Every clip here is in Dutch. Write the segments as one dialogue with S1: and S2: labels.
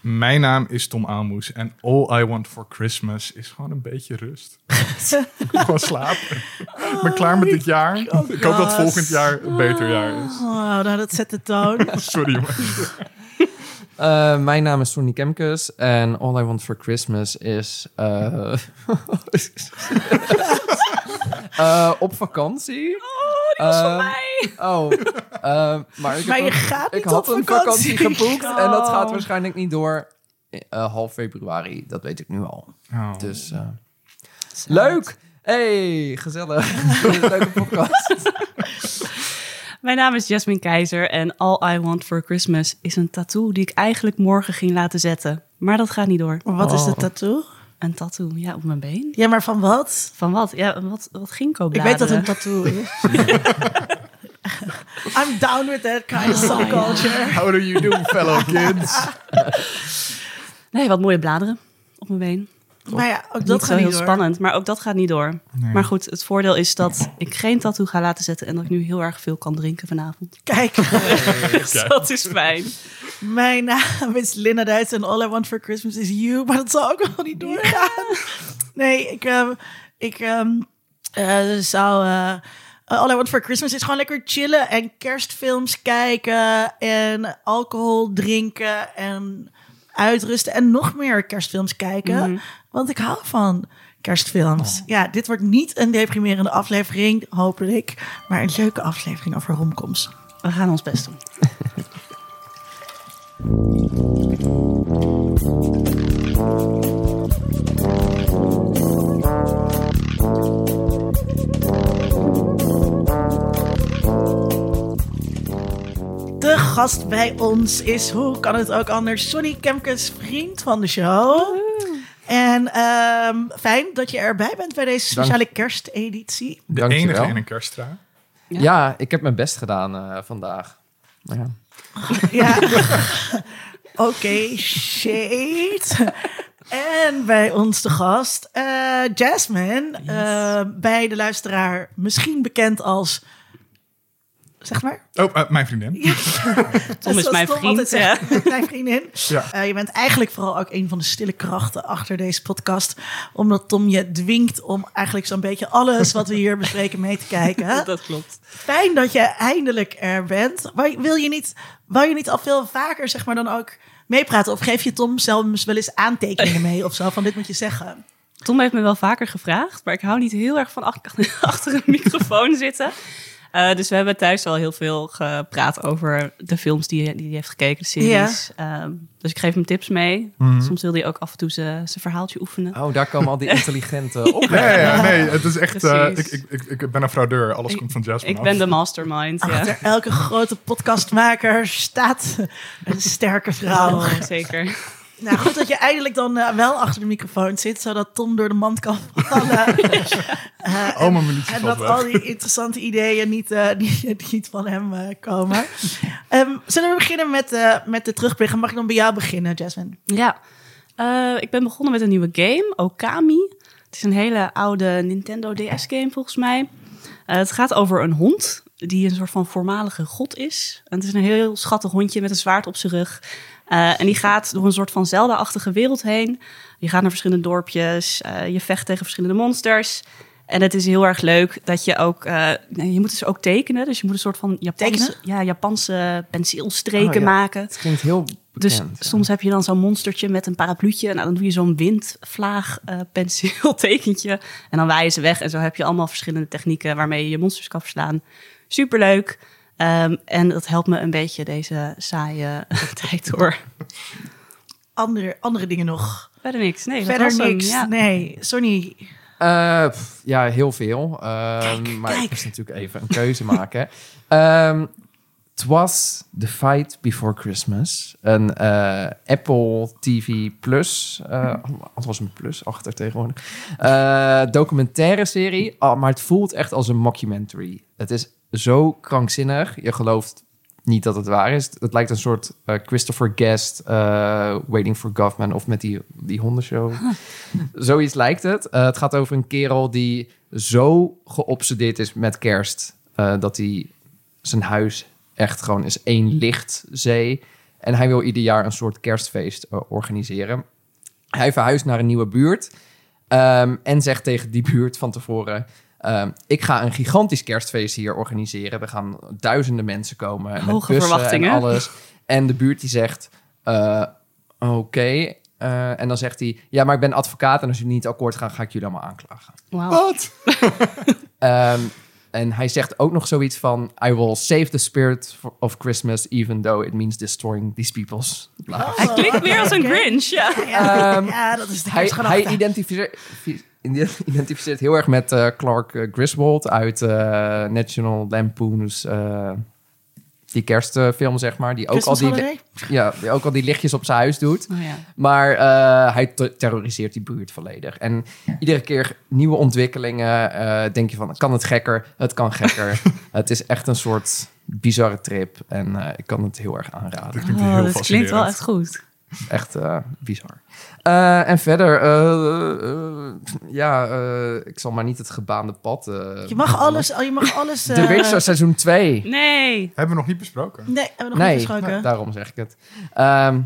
S1: Mijn naam is Tom Aalmoes en all I want for Christmas is gewoon een beetje rust. gewoon slapen. ik ben klaar
S2: Oh,
S1: met dit jaar. ik hoop dat
S3: God.
S1: volgend jaar een beter jaar is.
S3: Oh, nou, dat zet de toon.
S1: Sorry jongens.
S4: Eh, mijn naam is Tony Kemkes en All I Want for Christmas is eh, eh, op vakantie.
S2: Oh, die was van
S4: Ehm,
S2: mij.
S4: Oh, eh, maar ik, heb
S3: Maar je
S4: een-
S3: gaat niet
S4: ik had
S3: op
S4: een
S3: vakantie.
S4: vakantie geboekt
S3: Oh.
S4: en dat gaat waarschijnlijk niet door eh, half februari. Dat weet ik nu al.
S1: Oh.
S4: Dus eh, leuk! Hey, gezellig. Leuke podcast.
S2: Mijn naam is Jasmin Keizer en All I Want for Christmas is een tattoo die ik eigenlijk morgen ging laten zetten. Maar dat gaat niet door.
S3: Wat is de
S4: Oh.
S3: tattoo?
S2: Een tattoo, ja, op mijn been.
S3: Ja, maar van wat?
S2: Van wat? Ja, wat, wat ginkgo
S3: Ik weet dat een tattoo is. I'm down with that kind of subculture.
S1: How do you do, fellow kids?
S2: Nee, wat mooie bladeren op mijn been.
S3: Maar ja, ook
S2: Dat
S3: dat
S2: niet zo
S3: gaat
S2: heel
S3: niet door.
S2: spannend, maar ook dat gaat niet door. Maar goed, het voordeel is dat ik geen tattoo ga laten zetten en dat ik nu heel erg veel kan drinken vanavond.
S3: Kijk,
S2: Dus dat is fijn.
S3: mijn naam is Linda Duits en all I want for Christmas is you. Maar dat zal ook wel niet doorgaan. Nee, ik, ehm, ik ehm, eh, zou... eh, all I want for Christmas is gewoon lekker chillen en kerstfilms kijken en alcohol drinken en uitrusten en nog meer kerstfilms kijken. Want ik hou van kerstfilms. Ja, dit wordt niet een deprimerende aflevering, hopelijk. Maar een leuke aflevering over romcoms.
S2: We gaan ons best doen.
S3: De gast bij ons is, hoe kan het ook anders, Sonny Kemkes, vriend van de show. En ehm, fijn dat je erbij bent bij deze speciale kersteditie.
S1: De
S4: Dankjewel.
S1: enige in een kersttra.
S4: Ja, ik heb mijn best gedaan eh, vandaag. Ja.
S3: Ja. Oké, shit. En bij ons de gast, eh, Jasmine. eh, bij de luisteraar misschien bekend als... Zeg maar.
S1: Oh, eh, mijn vriendin.
S2: Tom is
S3: Zoals
S2: mijn vriend,
S3: altijd zegt, Mijn vriendin.
S1: Ja.
S3: Eh, je bent eigenlijk vooral ook een van de stille krachten achter deze podcast. Omdat Tom je dwingt om eigenlijk zo'n beetje alles wat we hier bespreken mee te kijken.
S2: Dat klopt.
S3: Fijn dat je eindelijk er bent. Maar wil je niet, wil je niet al veel vaker zeg maar dan ook meepraten? Of geef je Tom zelfs wel eens aantekeningen mee of zo van dit moet je zeggen?
S2: Tom heeft me wel vaker gevraagd, maar ik hou niet heel erg van ach- achter een microfoon zitten. Eh, dus we hebben thuis al heel veel gepraat over de films die, hij- die hij heeft gekeken, de series. Ehm, dus ik geef hem tips mee. Soms wil hij ook af en toe zijn zijn verhaaltje oefenen.
S4: Oh, daar komen al die intelligente op.
S1: Ja, ja, ja, nee, het is echt... eh, ik,
S2: Precies.
S1: ik, ik, ik ben een fraudeur. Alles
S2: Ik-
S1: komt van Jasmine
S2: Ik
S1: af.
S2: ben de mastermind. Ja.
S3: Achter elke grote podcastmaker staat een sterke vrouw.
S2: Oh, zeker.
S3: Nou, goed dat je eindelijk dan eh, wel achter de microfoon zit, zodat Tom door de mand kan vallen. Eh,
S1: Oh, mijn minuutje
S3: en
S1: valt
S3: dat
S1: weg.
S3: al die interessante ideeën niet, eh, die, die niet van hem eh, komen. Ehm, zullen we beginnen met, eh, met de terugblikken? Mag ik dan bij jou beginnen, Jasmine?
S2: Ja, Eh, ik ben begonnen met een nieuwe game, Okami. Het is een hele oude Nintendo DS-game volgens mij. Eh, het gaat over een hond die een soort van voormalige god is. En het is een heel schattig hondje met een zwaard op zijn rug. Eh, en die gaat door een soort van Zelda-achtige wereld heen. Je gaat naar verschillende dorpjes, eh, je vecht tegen verschillende monsters. En het is heel erg leuk dat je ook... eh, nee, je moet dus ook tekenen, dus je moet een soort van Japanse,
S3: Tekenen?
S2: ja, Japanse penseelstreken
S4: Oh, ja.
S2: maken.
S4: Het klinkt heel
S2: Dus
S4: bekend.
S2: soms heb je dan zo'n monstertje met een parapluutje. Nou, dan doe je zo'n windvlaag eh penseeltekentje. En dan waaien ze weg. En zo heb je allemaal verschillende technieken waarmee je je monsters kan verslaan. Superleuk. Ehm, en dat helpt me een beetje deze saaie tijd door.
S3: Andere, andere dingen nog.
S2: Verder niks. Nee, dat
S3: Verder
S2: was hem,
S3: niks.
S2: ja.
S3: Nee, Sonny.
S4: Eh, pff, ja, heel veel. Ehm, maar
S3: kijk.
S4: ik moest natuurlijk even een keuze maken. Ehm Twas The Fight Before Christmas. Een eh, Apple TV Plus. eh
S3: Mhm.
S4: het was een plus achter tegenwoordig. eh, documentaire serie. Ah, maar het voelt echt als een mockumentary. Het is zo krankzinnig. Je gelooft niet dat het waar is. Het lijkt een soort eh, Christopher Guest, eh, Waiting for Government of met die, die hondenshow. Zoiets lijkt het. Eh, het gaat over een kerel die zo geobsedeerd is met kerst. eh, dat hij zijn huis echt gewoon is één lichtzee. En hij wil ieder jaar een soort kerstfeest eh, organiseren. Hij verhuist naar een nieuwe buurt. ehm, en zegt tegen die buurt van tevoren... ehm, ik ga een gigantisch kerstfeest hier organiseren. Er gaan duizenden mensen komen. met
S2: Hoge
S4: bussen
S2: verwachtingen.
S4: En alles. En de buurt die zegt... eh, Oké. Eh, en dan zegt hij... Ja, maar ik ben advocaat. En als jullie niet akkoord gaan, ga ik jullie allemaal aanklagen.
S3: Oh,
S2: Wauw.
S1: Wat?
S4: Ehm, en hij zegt ook nog zoiets van... I will save the spirit for- of Christmas... even though it means destroying these people's lives.
S2: Hij klinkt weer als een Grinch. Ja.
S3: Ja,
S4: Ehm,
S3: ja, dat is de
S4: Hij,
S3: kerstgedachte.
S4: hij identificeert, identificeert heel erg met eh, Clark eh, Griswold... uit eh, National Lampoon's... eh, die kerstfilm, zeg maar. Die ook, al
S3: Christmas
S4: die,
S3: holiday?
S4: ja, die ook al die lichtjes op zijn huis doet.
S2: Oh, ja.
S4: Maar eh, hij te- terroriseert die buurt volledig. En iedere keer nieuwe ontwikkelingen. eh, denk je van, kan het gekker? Het kan gekker. het is echt een soort bizarre trip. En eh, ik kan het heel erg aanraden.
S1: Dat klinkt
S2: Oh,
S1: heel
S2: dat klinkt wel
S1: fascinerend.
S2: echt goed.
S4: Echt eh, bizar. Eh, en verder, eh, eh, ja, eh, ik zal maar niet het gebaande pad... eh,
S3: Je mag
S4: bewandelen.
S3: alles... oh, Je mag alles
S4: The
S3: eh,
S4: Witcher seizoen 2.
S2: Nee.
S1: Hebben we nog niet besproken.
S3: Nee, hebben we nog
S4: nee,
S3: niet gesproken.
S4: nou, daarom zeg ik het. Ehm,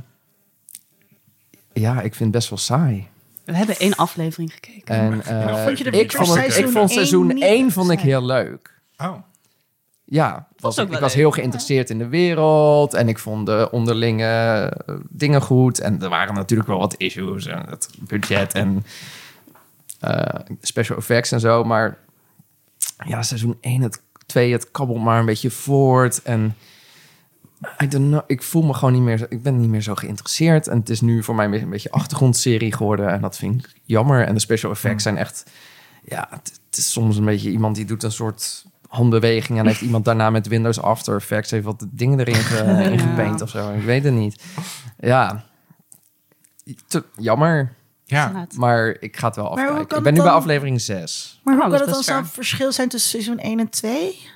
S4: ja, ik vind het best wel saai.
S2: We hebben één aflevering gekeken.
S4: En,
S1: Nou,
S4: eh,
S3: Vond je de
S4: Ik
S3: Witcher
S4: vond, het, ik
S3: seizoen
S4: vond
S3: één
S4: seizoen
S3: niet
S4: 1 vond ik
S3: saai?
S4: heel leuk.
S1: Oh,
S4: Ja, was,
S2: ook
S4: ik
S2: wel
S4: was
S2: leuk.
S4: heel geïnteresseerd in de wereld en ik vond de onderlinge eh, dingen goed. En er waren natuurlijk wel wat issues en het budget en eh, special effects en zo. Maar ja, seizoen 1, het 2, het kabbelt maar een beetje voort. En I don't know, ik voel me gewoon niet meer, zo- ik ben niet meer zo geïnteresseerd. En het is nu voor mij een beetje een achtergrondserie geworden en dat vind ik jammer. En de special effects zijn echt ja, het, het is soms een beetje iemand die doet een soort handbeweging en heeft iemand daarna met Windows After Effects heeft wat dingen erin ge, in gepaint of zo. Ik weet het niet. Ja, Te- jammer,
S1: ja.
S2: Inderdaad.
S4: maar ik ga het wel
S3: hoe
S4: afkijken.
S3: kan
S4: Ik ben nu
S3: het
S4: bij
S3: dan-
S4: aflevering 6.
S3: Maar hoe
S2: Oh,
S3: kan
S2: dat
S3: het
S2: is
S3: dan
S2: best
S3: zo'n
S2: fair.
S3: verschil zijn tussen seizoen 1 en 2?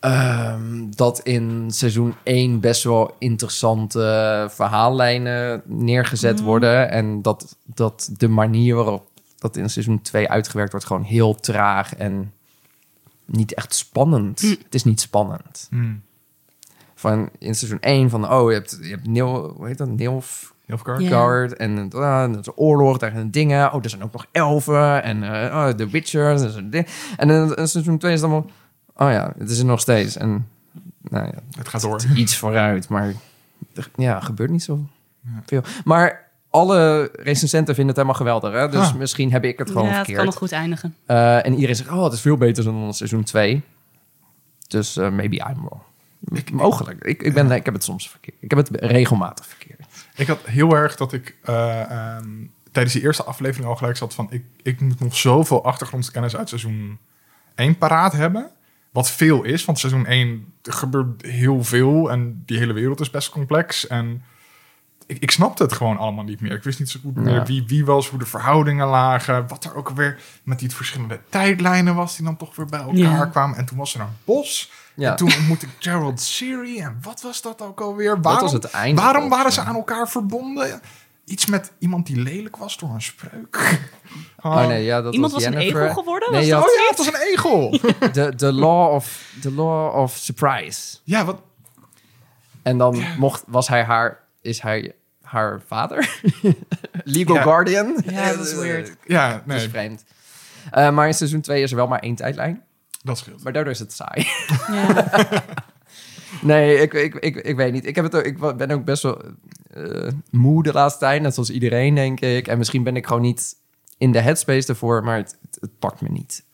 S4: Ehm, dat in seizoen 1 best wel interessante verhaallijnen neergezet worden. En dat, dat de manier waarop dat in seizoen 2 uitgewerkt wordt, gewoon heel traag en niet echt spannend. Het is niet spannend.
S1: Hmm.
S4: Van in seizoen 1 van, oh, je hebt, je hebt Neil, hoe heet dat? Neil
S1: Hilfkar?
S2: Ja.
S4: Guard en eh, en het oorlog tegen dingen. Oh, er zijn ook nog elfen en eh, oh, The Witcher. En, zo- dit. en dan en seizoen 2 is dan wel... Oh ja, het is er nog steeds. En nou ja,
S1: Het gaat door.
S4: iets vooruit, maar er- ja, gebeurt niet zo veel. Maar alle recensenten vinden het helemaal geweldig, hè? Dus
S1: Ah.
S4: misschien heb ik het gewoon
S2: ja, het
S4: verkeerd.
S2: kan nog goed eindigen.
S4: Eh, en iedereen zegt, oh, het is veel beter dan seizoen 2. Dus eh, maybe I'm wrong. Mogelijk. Ik, ik, ben, ik heb het soms verkeerd. Ik heb het regelmatig verkeerd.
S1: Ik had heel erg dat ik eh, ehm, tijdens die eerste aflevering al gelijk zat van... Ik, ik moet nog zoveel achtergrondkennis uit seizoen 1 paraat hebben. Wat veel is, want seizoen 1 gebeurt heel veel. En die hele wereld is best complex. En ik, ik snapte het gewoon allemaal niet meer. Ik wist niet zo goed meer
S4: Ja.
S1: wie wie was, hoe de verhoudingen lagen. Wat er ook weer met die verschillende tijdlijnen was... die dan toch weer bij elkaar
S2: Ja.
S1: kwamen. En toen was er een bos.
S4: Ja.
S1: En toen ontmoette ik Gerald Siri. En wat was dat ook alweer?
S4: Dat
S1: Waarom,
S4: was het einde,
S1: waarom
S4: volgens
S1: waren ze
S4: mij.
S1: aan elkaar verbonden? Iets met iemand die lelijk was door een spreuk.
S4: Oh nee, ja, dat
S2: Iemand was een
S4: Jennifer.
S2: egel geworden?
S4: Nee,
S2: Was
S4: je
S1: Oh
S4: had
S1: ja, het was een egel.
S4: de, de, law of, de law of surprise.
S1: ja, wat?
S4: En dan mocht, was hij haar, is hij haar vader? Legal
S1: Ja.
S4: guardian?
S2: Ja, dat is weird.
S1: Ja,
S4: Dat is
S1: nee,
S4: vreemd. Eh, maar in seizoen 2 is er wel maar één tijdlijn.
S1: dat scheelt.
S4: Maar daardoor is het saai.
S2: Ja.
S4: Nee, ik, ik, ik, ik weet niet. Ik, heb het ook, ik wa- ben ook best wel eh, moe de laatste tijd. Net zoals iedereen, denk ik. En misschien ben ik gewoon niet in de headspace ervoor. Maar het, het, het pakt me niet.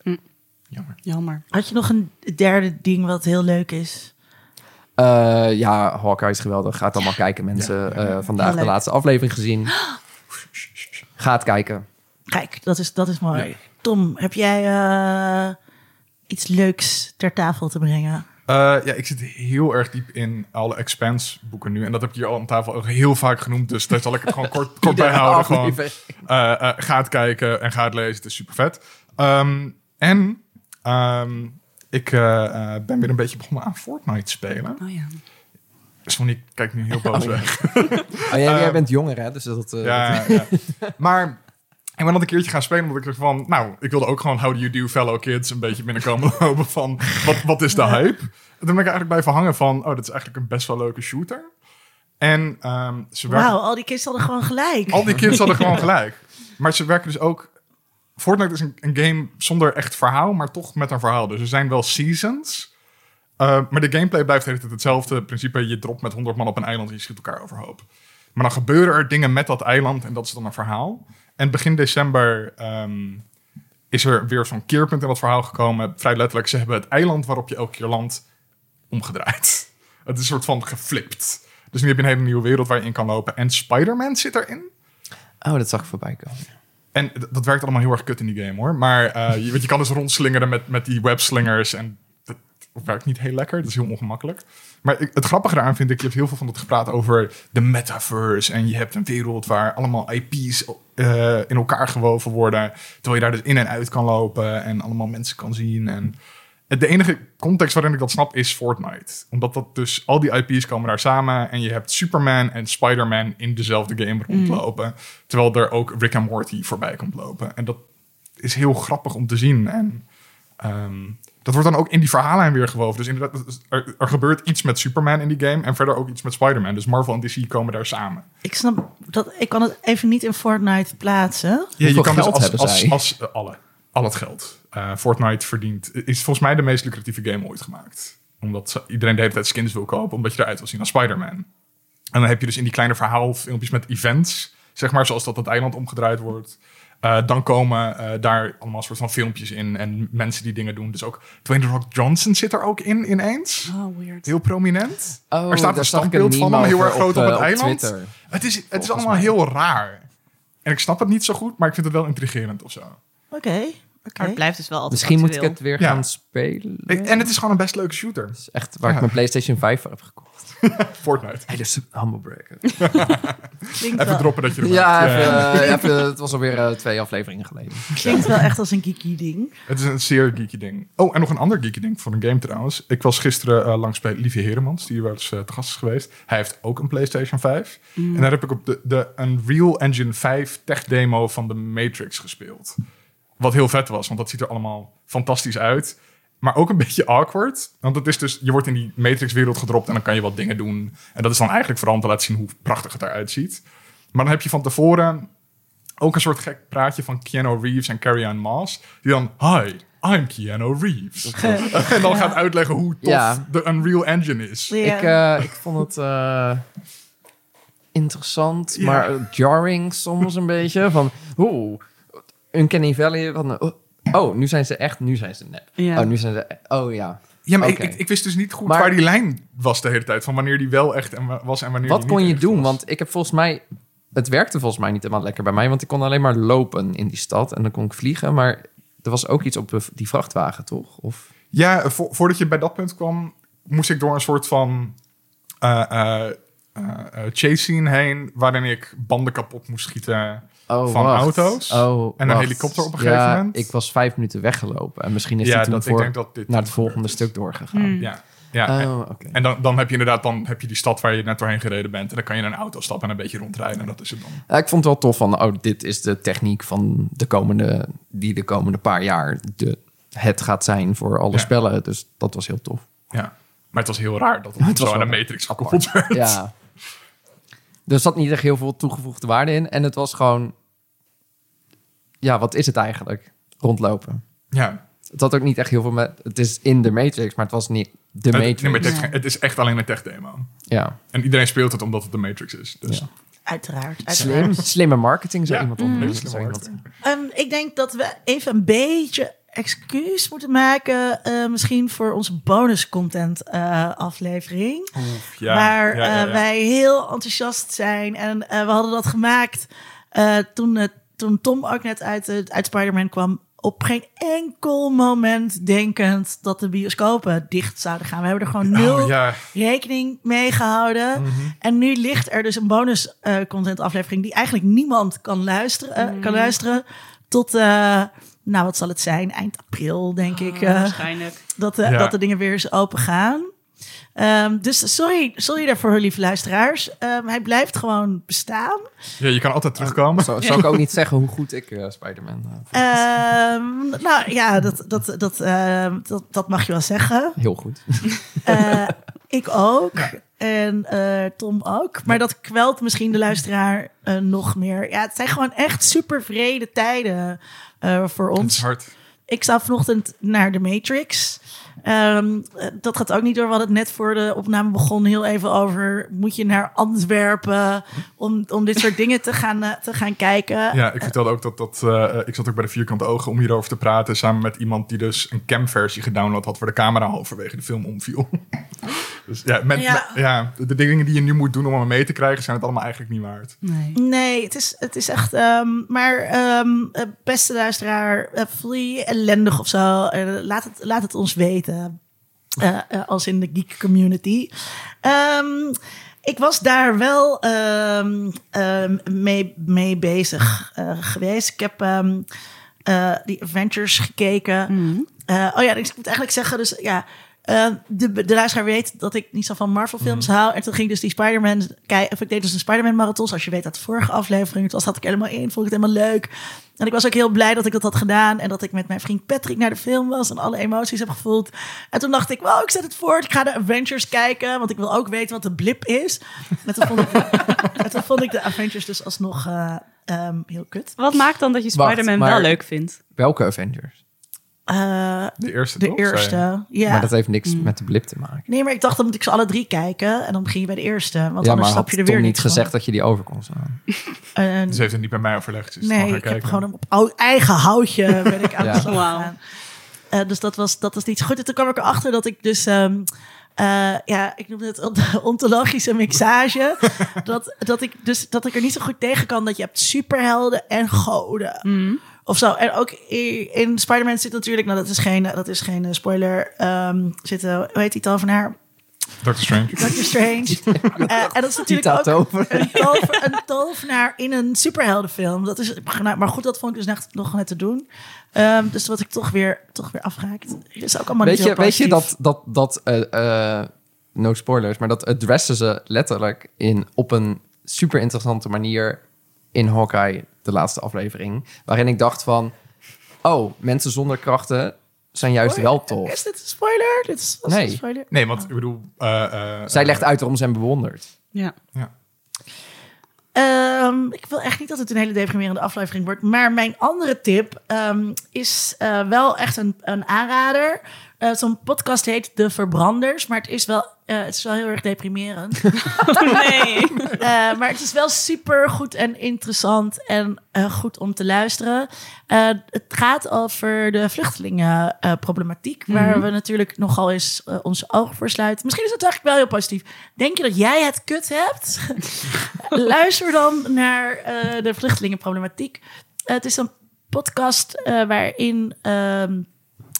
S1: Jammer.
S2: Jammer.
S3: Had je nog een derde ding wat heel leuk is?
S4: Eh, ja, Hawkeye is geweldig. Ga het allemaal kijken, mensen. Eh, vandaag
S3: Heel
S4: de
S3: leuk.
S4: laatste aflevering gezien. Ga het kijken.
S3: Kijk, dat is, dat is mooi.
S4: Nee.
S3: Tom, heb jij eh, iets leuks ter tafel te brengen?
S1: Eh, ja, ik zit heel erg diep in alle expense boeken nu. En dat heb ik hier al aan tafel ook heel vaak genoemd. Dus daar zal ik het gewoon kort, kort bij houden. Gewoon.
S4: Aflevering.
S1: Eh, eh, ga het kijken en ga het lezen. Het is super vet. en ehm, ik eh, eh, ben weer een beetje begonnen aan Fortnite spelen.
S2: Oh ja.
S1: Sonic kijkt nu heel boos weg.
S4: Oh, jij, jij
S1: Eh,
S4: bent jonger, hè? Dus dat, eh, dat-
S1: Ja, ja. Maar ik ben dat een keertje gaan spelen omdat ik dacht van... Nou, ik wilde ook gewoon How Do You Do Fellow Kids een beetje binnenkomen lopen van... Wat, wat is de hype? toen ben ik eigenlijk bij verhangen van... oh, dat is eigenlijk een best wel leuke shooter. En ehm, ze werken...
S3: Wauw, al die kids hadden gewoon gelijk.
S4: Oh.
S1: Al die kids hadden gewoon gelijk. Maar ze werken dus ook... Fortnite is een, een game zonder echt verhaal, maar toch met een verhaal. Dus er zijn wel seasons... eh, maar de gameplay blijft de hele tijd hetzelfde. In principe, je dropt met 100 man op een eiland en je schiet elkaar overhoop. Maar dan gebeuren er dingen met dat eiland en dat is dan een verhaal. En begin december ehm, is er weer zo'n keerpunt in dat verhaal gekomen. Vrij letterlijk, ze hebben het eiland waarop je elke keer landt omgedraaid. Het is een soort van geflipt. Dus nu heb je een hele nieuwe wereld waar je in kan lopen. En Spider-Man zit erin.
S4: Oh, dat zag ik voorbij komen.
S1: En d- dat werkt allemaal heel erg kut in die game hoor. Maar eh, je, want je kan dus rondslingeren met, met die webslingers. En dat werkt niet heel lekker. Dat is heel ongemakkelijk. Maar ik- het grappige eraan vind ik, je hebt heel veel van dat gepraat over de metaverse. En je hebt een wereld waar allemaal IP's eh, in elkaar gewoven worden. Terwijl je daar dus in en uit kan lopen en allemaal mensen kan zien. En het- de enige context waarin ik dat snap is Fortnite. Omdat dat dus al die IP's komen daar samen. En je hebt Superman en Spider-Man in dezelfde game rondlopen. Terwijl er ook Rick en Morty voorbij komt lopen. En dat is heel grappig om te zien. En ehm, dat wordt dan ook in die verhaallijn weer gewoven. Dus inderdaad, dat is- er, er gebeurt iets met Superman in die game. En verder ook iets met Spider-Man. Dus Marvel en DC komen daar samen.
S3: Ik snap dat ik kan het even niet in Fortnite plaatsen.
S1: Ja, je
S4: Hoeveel
S1: kan dus
S4: geld
S1: als,
S4: hebben
S1: als,
S4: zij?
S1: als, eh, alle. Al het geld. Eh, Fortnite verdient. Is volgens mij de meest lucratieve game ooit gemaakt. Omdat ze- iedereen de hele tijd skins wil kopen. Omdat je eruit wil zien als Spider-Man. En dan heb je dus in die kleine verhaalfilmpjes met events. Zeg maar zoals dat dat eiland omgedraaid wordt. Eh, dan komen eh, daar allemaal soort van filmpjes in. En mensen die dingen doen. Dus ook Dwayne The Rock Johnson zit er ook in ineens.
S2: Oh, weird.
S1: Heel prominent.
S4: Oh,
S1: er staat een
S4: daar zag ik
S1: standbeeld van hem
S4: meme
S1: heel
S4: over
S1: erg groot op,
S4: eh,
S1: het eiland.
S4: Twitter.
S1: Het is, het is
S4: Volgens
S1: allemaal
S4: mij.
S1: heel raar. En ik snap het niet zo goed, maar ik vind het wel intrigerend of zo.
S3: Oké. oké.
S2: Maar het blijft dus wel altijd
S4: Misschien moet ik
S2: actueel.
S4: het weer
S1: Ja.
S4: gaan spelen.
S1: Ik- en het is gewoon een best leuke shooter.
S4: Dat is echt waar
S1: Ja.
S4: ik mijn PlayStation 5 voor heb gekocht.
S1: Fortnite.
S4: Hey, dat is een humble breaker.
S3: Klinkt,
S1: Even
S3: wel,
S1: droppen dat je er
S4: Ja,
S1: bent.
S4: even,
S1: Ja.
S4: eh, even- het was alweer eh, twee afleveringen geleden.
S3: klinkt wel echt als een geeky ding.
S1: Het is een zeer geeky ding. Oh, en nog een ander geeky ding voor een game trouwens. Ik was gisteren eh, langs bij Lieve Heremans, die hier wel eens eh, te gast is geweest. Hij heeft ook een PlayStation 5. En daar heb ik op de, de Unreal Engine 5 tech demo van de Matrix gespeeld. Wat heel vet was, want dat ziet er allemaal fantastisch uit. Maar ook een beetje awkward. Want het is dus, je wordt in die Matrix-wereld gedropt en dan kan je wat dingen doen. En dat is dan eigenlijk vooral om te laten zien hoe prachtig het eruit ziet. Maar dan heb je van tevoren ook een soort gek praatje van Keanu Reeves en Carrie-Anne Moss. Die dan, hi, I'm Keanu Reeves. en dan gaat uitleggen hoe tof
S4: Ja.
S1: de Unreal Engine is.
S3: Ja.
S4: Ik, eh, ik vond het eh, interessant,
S1: Ja.
S4: maar eh, jarring soms een beetje. Van, oeh, Uncanny Valley. Van, oh, oh, nu zijn ze echt, nu zijn ze nep.
S2: Ja.
S4: Oh, nu zijn ze, oh ja.
S1: Ja, maar
S4: Oké.
S1: ik, ik, ik wist dus niet goed
S4: Maar-
S1: waar die lijn was de hele tijd. Van wanneer die wel echt en wa- was en wanneer
S4: Wat
S1: die
S4: kon
S1: niet
S4: je
S1: echt
S4: doen?
S1: was.
S4: Want ik heb volgens mij... Het werkte volgens mij niet helemaal lekker bij mij. Want ik kon alleen maar lopen in die stad. En dan kon ik vliegen. Maar er was ook iets op de- die vrachtwagen, toch? Of,
S1: Ja, eh, vo- voordat je bij dat punt kwam, moest ik door een soort van eh, eh, eh, eh, chase scene heen... waarin ik banden kapot moest schieten.
S4: oh,
S1: Van
S4: wacht.
S1: auto's
S4: Oh,
S1: en een
S4: wacht.
S1: helikopter op een
S4: Ja,
S1: gegeven moment.
S4: ik was vijf minuten weggelopen. En misschien is
S1: ja,
S4: die toen
S1: dat, ik
S4: voor,
S1: denk dat dit...
S4: naar het volgende stuk doorgegaan.
S2: Mm.
S1: Ja, ja. en-
S4: Oh, oké.
S1: En dan, dan heb je inderdaad dan heb je die stad waar je net doorheen gereden bent. En dan kan je in een auto stappen en een beetje rondrijden. En dat is het dan.
S4: Ja, ik vond het wel tof van, oh, dit is de techniek van de komende, die de komende paar jaar de, het gaat zijn voor alle
S1: Ja.
S4: spellen. Dus dat was heel tof.
S1: Ja. Maar het was heel raar dat het,
S4: Het was
S1: zo aan de
S4: wel
S1: Matrix gekoppeld werd.
S4: Ja. Er zat niet echt heel veel toegevoegde waarde in. En het was gewoon, ja, wat is het eigenlijk? Rondlopen.
S1: Ja.
S4: Het had ook niet echt heel veel met, het is in de Matrix, maar het was niet de
S1: Het,
S4: Matrix.
S1: nee, maar het, heeft
S2: Ja.
S1: geen- het is echt alleen een tech demo.
S4: Ja,
S1: En iedereen speelt het omdat het de Matrix is. Dus
S4: Ja.
S3: Uiteraard. uiteraard.
S4: slim. Slimme marketing, zou
S1: Ja,
S4: iemand
S1: mm.
S4: ondernemen.
S1: slimme
S4: Zou iemand-
S1: marketing.
S3: Ehm, ik denk dat we even een beetje excuus moeten maken. eh, misschien voor onze bonus content eh, aflevering.
S1: ja,
S3: waar
S1: ja, ja,
S3: eh,
S1: ja.
S3: wij heel enthousiast zijn. En eh, we hadden dat gemaakt eh, toen, het toen Tom ook net uit, eh, uit Spider-Man kwam. Op geen enkel moment denkend dat de bioscopen dicht zouden gaan. We hebben er gewoon nul
S1: Oh, ja.
S3: rekening mee gehouden. En nu ligt er dus een bonus eh, content aflevering die eigenlijk niemand kan luisteren. eh, kan luisteren tot, eh, nou wat zal het zijn, eind april denk ik.
S2: Oh,
S3: eh,
S2: waarschijnlijk.
S3: dat, de,
S1: Ja.
S3: dat de dingen weer eens open gaan. Ehm, dus sorry, sorry daarvoor, lieve luisteraars. Ehm, hij blijft gewoon bestaan.
S1: Ja, je kan altijd terugkomen.
S4: Zo, zou ik ook niet zeggen hoe goed ik eh, Spider-Man eh, vind.
S3: Ehm, nou ja, dat, dat, dat, ehm, dat, dat mag je wel zeggen.
S4: Heel goed.
S3: Eh, ik ook. En eh, Tom ook. Maar dat kwelt misschien de luisteraar eh, nog meer. Ja, het zijn gewoon echt super vrede tijden eh, voor
S1: Het is
S3: ons.
S1: hard.
S3: Ik zou vanochtend naar de Matrix. Ehm, eh, dat gaat ook niet door. We hadden het net voor de opname begon heel even over... moet je naar Antwerpen om, om dit soort dingen te gaan, eh, te gaan kijken.
S1: Ja, ik vertelde ook dat, dat eh, ik zat ook bij de vierkante ogen om hierover te praten. Samen met iemand die dus een camversie gedownload had waar de camera halverwege de film omviel. dus ja, met,
S3: Ja.
S1: met- ja, de, de dingen die je nu moet doen om hem mee te krijgen zijn het allemaal eigenlijk niet waard.
S2: Nee.
S3: Nee, het is, het is echt. ehm, maar ehm, eh, beste luisteraar, eh, voel je je ellendig of zo? eh, laat, het, laat het ons weten. Eh, eh, als in de geek community. Ehm, ik was daar wel ehm, ehm, mee, mee bezig eh, geweest. Ik heb ehm, eh, die adventures gekeken. Eh, oh ja, dus ik moet eigenlijk zeggen, dus ja. eh, de, de luisteraar weet dat ik niet zo van Marvel films hou. En toen ging ik dus die Spider-Man kijken. Of ik deed dus een Spider-Man marathon. Als je weet uit de vorige aflevering. Toen zat ik helemaal in. Vond ik het helemaal leuk. En ik was ook heel blij dat ik dat had gedaan. En dat ik met mijn vriend Patrick naar de film was. En alle emoties heb gevoeld. En toen dacht ik, wow, ik zet het voort. Ik ga de Avengers kijken. Want ik wil ook weten wat de blip is. En toen vond ik, en toen vond ik de Avengers dus alsnog eh, ehm, heel kut.
S2: Wat maakt dan dat je
S4: Wacht,
S2: Spider-Man
S4: maar-
S2: wel leuk vindt?
S4: Welke Avengers?
S3: Eh,
S1: De eerste
S3: de
S1: toch, zei je?
S3: eerste. Ja. Mm.
S4: Maar dat heeft niks met de blip te maken.
S3: Nee, maar ik dacht dan moet ik ze alle drie kijken. En dan begin je bij de eerste. Want
S4: ja,
S3: anders
S4: maar
S3: snap je er
S4: had
S3: weer
S4: Tom
S3: niks
S4: niet
S3: van.
S4: gezegd dus dat je die over kon slaan.
S3: Eh,
S1: Ze heeft het niet bij mij overlegd. Dus mag ik
S3: nee, ik heb
S1: kijken.
S3: gewoon op ou- eigen houtje ben ik aan de
S4: Ja.
S3: slag
S2: Wauw.
S3: gegaan. Eh, dus dat was, dat was niet zo goed. En toen kwam ik erachter dat ik dus... ehm, eh, ja, ik noemde het ont- ontologische mixage. dat, dat, ik dus, dat ik er niet zo goed tegen kan dat je hebt superhelden en goden. Of zo. En ook i- in Spider-Man zit natuurlijk... Nou, dat is geen, dat is geen eh, spoiler. ehm zit, eh, hoe heet die tal van haar?
S1: Doctor Strange.
S3: Doctor Strange. Eh, en dat is
S4: Die
S3: natuurlijk
S4: taat
S3: ook
S4: over.
S3: een, tover, een tovenaar in een superheldenfilm. Dat is, maar goed, dat vond ik dus net, nog net te doen. Ehm, dus wat ik toch weer, toch weer afraakt. Is ook allemaal
S4: Weet
S3: niet
S4: je,
S3: zo
S4: weet je
S3: positief.
S4: dat, dat, dat eh, eh, no spoilers, maar dat addressen ze letterlijk in, op een super interessante manier in Hawkeye, de laatste aflevering. Waarin ik dacht van, oh, mensen zonder krachten zijn juist wel tof.
S3: Is dit een spoiler? Dit is, was dit
S4: Nee.
S3: een spoiler?
S1: Nee, want ik bedoel... eh, eh,
S4: Zij
S1: eh,
S4: legt uit waarom ze hem bewondert.
S2: Ja.
S1: Ja.
S3: Ehm, ik wil echt niet dat het een hele deprimerende aflevering wordt. Maar mijn andere tip ehm, is eh, wel echt een, een aanrader. Eh, Zo'n podcast heet De Verbranders. Maar het is wel, eh, het is wel heel erg deprimerend.
S2: Nee.
S3: Eh, maar het is wel super goed en interessant en eh, goed om te luisteren. Eh, het gaat over de vluchtelingenproblematiek, waar we natuurlijk nogal eens eh, onze ogen voor sluiten. Misschien is het eigenlijk wel heel positief. Denk je dat jij het kut hebt? Luister dan naar eh, de vluchtelingenproblematiek. Eh, het is een podcast eh, waarin ehm,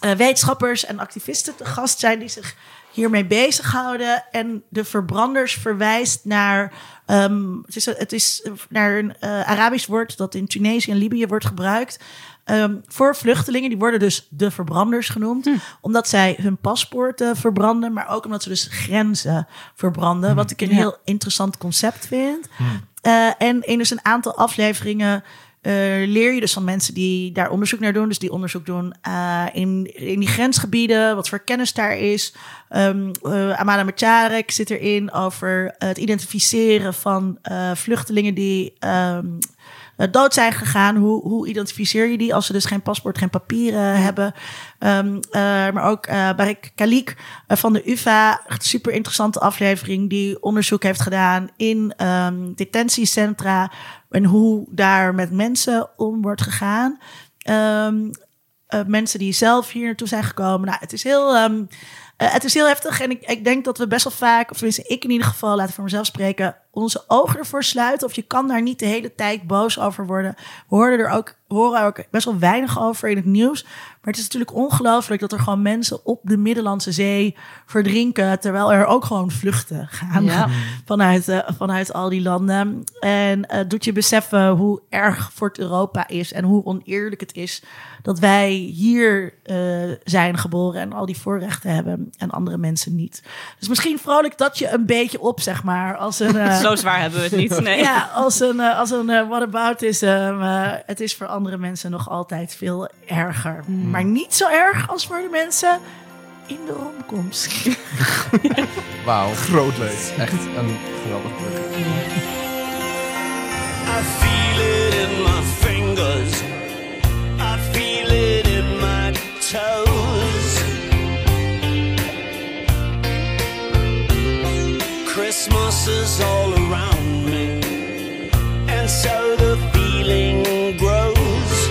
S3: eh, wetenschappers en activisten te gast zijn die zich hiermee bezighouden. En de verbranders verwijst naar, ehm, het is, het is naar een eh, Arabisch woord dat in Tunesië en Libië wordt gebruikt. ehm, voor vluchtelingen, die worden dus de verbranders genoemd. Omdat zij hun paspoorten verbranden, maar ook omdat ze dus grenzen verbranden. Wat ik een
S2: Ja.
S3: heel interessant concept vind. Eh, en in dus een aantal afleveringen eh, leer je dus van mensen die daar onderzoek naar doen. Dus die onderzoek doen eh, in, in die grensgebieden, wat voor kennis daar is. Ehm eh, Amanda Macharek zit erin over het identificeren van eh, vluchtelingen die ehm, eh, dood zijn gegaan. Hoe, hoe identificeer je die als ze dus geen paspoort, geen papieren hebben? Ehm, eh, maar ook eh Barik Kalik eh, van de UvA. Echt super interessante aflevering die onderzoek heeft gedaan in ehm, detentiecentra. En hoe daar met mensen om wordt gegaan. Ehm, eh, mensen die zelf hier naartoe zijn gekomen. Nou, het is heel, ehm, eh, het is heel heftig. En ik, ik denk dat we best wel vaak, of tenminste ik in ieder geval, laat ik voor mezelf spreken, onze ogen ervoor sluiten. Of je kan daar niet de hele tijd boos over worden. We horen er ook, we horen er ook best wel weinig over in het nieuws. Maar het is natuurlijk ongelooflijk dat er gewoon mensen op de Middellandse Zee verdrinken. Terwijl er ook gewoon vluchten gaan
S2: Ja.
S3: vanuit, eh, vanuit al die landen. En eh, het doet je beseffen hoe erg voor het Europa is en hoe oneerlijk het is dat wij hier eh, zijn geboren en al die voorrechten hebben en andere mensen niet. Dus misschien vrolijk dat je een beetje op, zeg maar, als een. eh,
S2: Zo zwaar hebben we het niet. Nee.
S3: ja, als een, eh, als een eh, whataboutism. eh, het is voor andere mensen nog altijd veel erger. Maar niet zo erg als voor de mensen in de romkomst.
S4: Wauw,
S1: Groot leed.
S4: echt een geweldig brug.
S5: I feel it in my fingers. I feel it in my toes. Christmas is all around me, and so the feeling grows.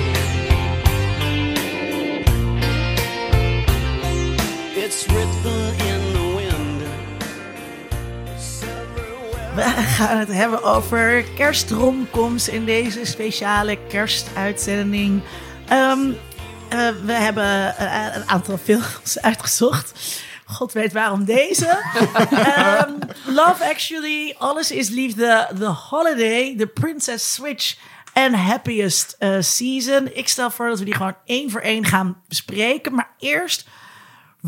S5: It's written in the wind. It's everywhere.
S3: We gaan het hebben over kerstromkomst in deze speciale kerstuitzending. Ehm, eh, we hebben eh, een aantal films uitgezocht. God weet waarom deze. Ehm, Love Actually, Alles is Liefde, The Holiday, The Princess Switch en Happiest eh, Season. Ik stel voor dat we die gewoon één voor één gaan bespreken. Maar eerst,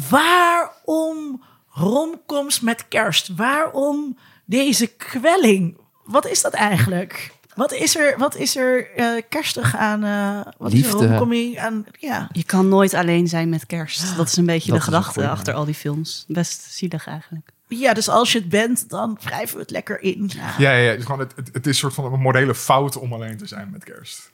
S3: waarom romkomst met kerst? Waarom deze kwelling? Wat is dat eigenlijk? Wat is er, wat is er eh, kerstig aan? eh, wat is
S4: Liefde.
S3: er romcoming aan? Ja.
S2: Je kan nooit alleen zijn met kerst. Dat is een beetje
S4: Dat
S2: de
S4: is een
S2: gedachte
S4: goeie.
S2: achter al die films. Best zielig eigenlijk.
S3: ja, dus als je het bent, dan wrijven we het lekker in. Ja.
S1: Ja, ja, ja. Het, is gewoon, het, het, het is soort van een morele fout om alleen te zijn met kerst.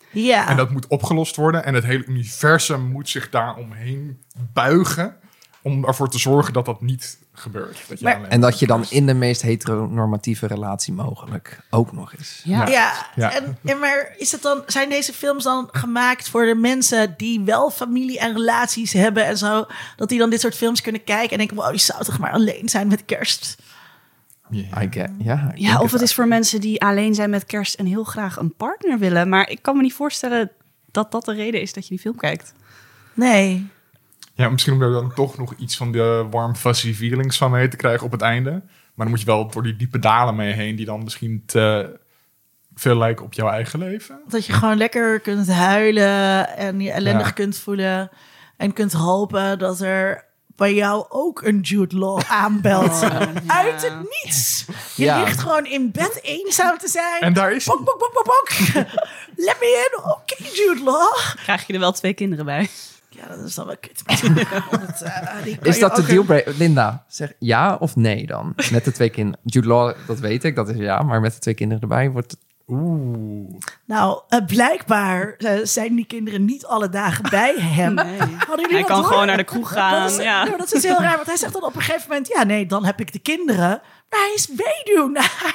S1: En dat moet opgelost worden. En het hele universum moet zich daar omheen buigen. Om ervoor te zorgen dat dat niet gebeurt. Dat je
S3: Maar-
S1: alleen
S4: En dat je dan
S1: kerst-
S4: in de meest heteronormatieve relatie mogelijk ook nog eens.
S2: Ja.
S3: Ja,
S1: Ja.
S3: En, en maar is het dan, zijn deze films dan gemaakt voor de mensen die wel familie en relaties hebben en zo? Dat die dan dit soort films kunnen kijken en denken, wow, je zou toch maar alleen zijn met kerst?
S4: I get, ja, ik
S2: Ja,
S4: denk
S2: of het
S4: wel.
S2: is voor mensen die alleen zijn met kerst en heel graag een partner willen. Maar ik kan me niet voorstellen dat dat de reden is dat je die film kijkt.
S3: Nee.
S1: Ja, misschien om er dan toch nog iets van de warm fuzzy feelings van mee te krijgen op het einde. Maar dan moet je wel door die diepe dalen mee heen. Die dan misschien te veel lijken op jouw eigen leven.
S3: Dat je gewoon lekker kunt huilen en je ellendig
S1: Ja.
S3: kunt voelen. En kunt hopen dat er bij jou ook een Jude Law aanbelt.
S1: Oh,
S3: Uit het niets. Je
S4: Ja.
S3: ligt gewoon in bed eenzaam te zijn.
S1: En daar is
S3: Bok, bok, bok, bok, bok. Let me in. Oké, Jude Law.
S2: Krijg je er wel twee kinderen bij?
S3: Ja, dat is dan wel kut. Want, eh, die kan
S4: Is
S3: je
S4: dat de
S3: ook-
S4: dealbreaker? Linda, zeg ja of nee dan? Met de twee kinderen. Jude Law, dat weet ik, dat is ja. Maar met de twee kinderen erbij wordt het...
S1: Oeh.
S3: Nou, eh, blijkbaar eh, zijn die kinderen niet alle dagen bij hem. Hadden jullie
S2: Hij
S3: dat
S2: kan
S3: door?
S2: gewoon naar de kroeg gaan.
S3: Dat is,
S2: ja.
S3: nee, maar dat is heel raar, want hij zegt dan op een gegeven moment... ja, nee, dan heb ik de kinderen. Maar hij is weduwnaar.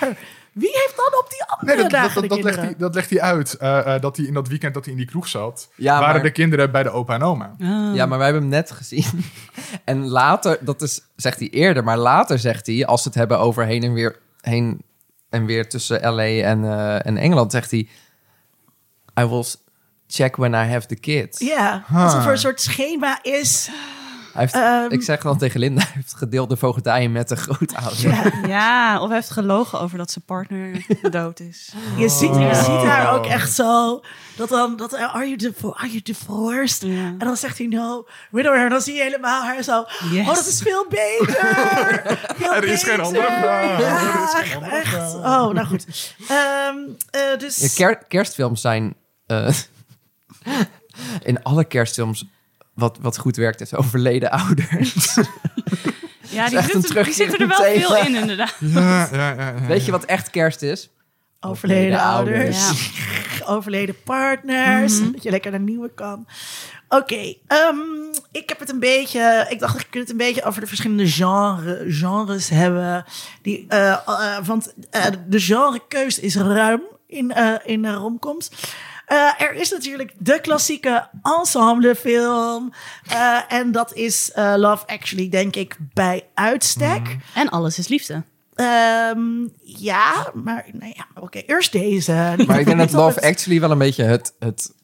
S3: Wie heeft dan op die andere
S1: Nee, dat, dat,
S3: dagen
S1: dat,
S3: de
S1: dat legt
S3: kinderen?
S1: hij, dat legt hij uit. Eh, eh, dat hij in dat weekend dat hij in die kroeg zat,
S4: Ja,
S1: waren
S4: maar-
S1: de kinderen bij de opa en oma.
S2: Oh.
S4: Ja, maar wij hebben hem net gezien. En later, dat is, zegt hij eerder, maar later zegt hij... als ze het hebben over heen en weer, heen en weer tussen LA en, eh, en Engeland... zegt hij... I will check when I have the kids.
S3: Ja, alsof er een soort schema is.
S4: Hij heeft,
S3: Ehm.
S4: ik zeg dan tegen Linda, hij heeft gedeelde voogdijen met de grootouders.
S2: Ja, of hij heeft gelogen over dat zijn partner dood is.
S3: Je ziet, je ziet haar ook
S1: Oh.
S3: echt zo. Dat dan, dat, eh, are, you divo- are you divorced?
S2: Ja.
S3: En dan zegt hij no, widower. En dan zie je helemaal haar zo.
S2: Yes.
S3: Oh, dat is veel beter. Veel
S1: Er is geen
S3: beter.
S1: andere vraag. Er is
S3: Ja,
S1: geen andere
S3: echt.
S1: vraag.
S3: Oh, nou goed. Ehm, eh, dus,
S4: Ja, ker- kerstfilms zijn eh, in alle kerstfilms wat, wat goed werkt, heeft overleden ouders.
S2: Ja, die
S4: echt een
S2: zitten, die zitten er wel
S4: terugkerend
S2: veel
S4: tegen.
S2: in, inderdaad.
S1: Ja, ja, ja, ja.
S4: Weet je wat echt kerst is?
S3: overleden
S4: Overleden
S3: ouders.
S2: Ja.
S3: overleden partners. Dat je lekker naar nieuwe kan. Oké, ehm, ik heb het een beetje. Ik dacht, ik kan het een beetje over de verschillende genre, genres hebben. Die, eh, eh, want eh, de genrekeus is ruim in, eh in de romcoms. Eh, er is natuurlijk de klassieke ensemblefilm. Eh, en dat is eh, Love Actually, denk ik, bij uitstek.
S2: En alles is liefde.
S3: Ehm, ja, maar nou ja, oké, eerst deze.
S4: Maar ik denk dat
S3: Niet op
S4: Love
S3: het-
S4: Actually wel een beetje het, het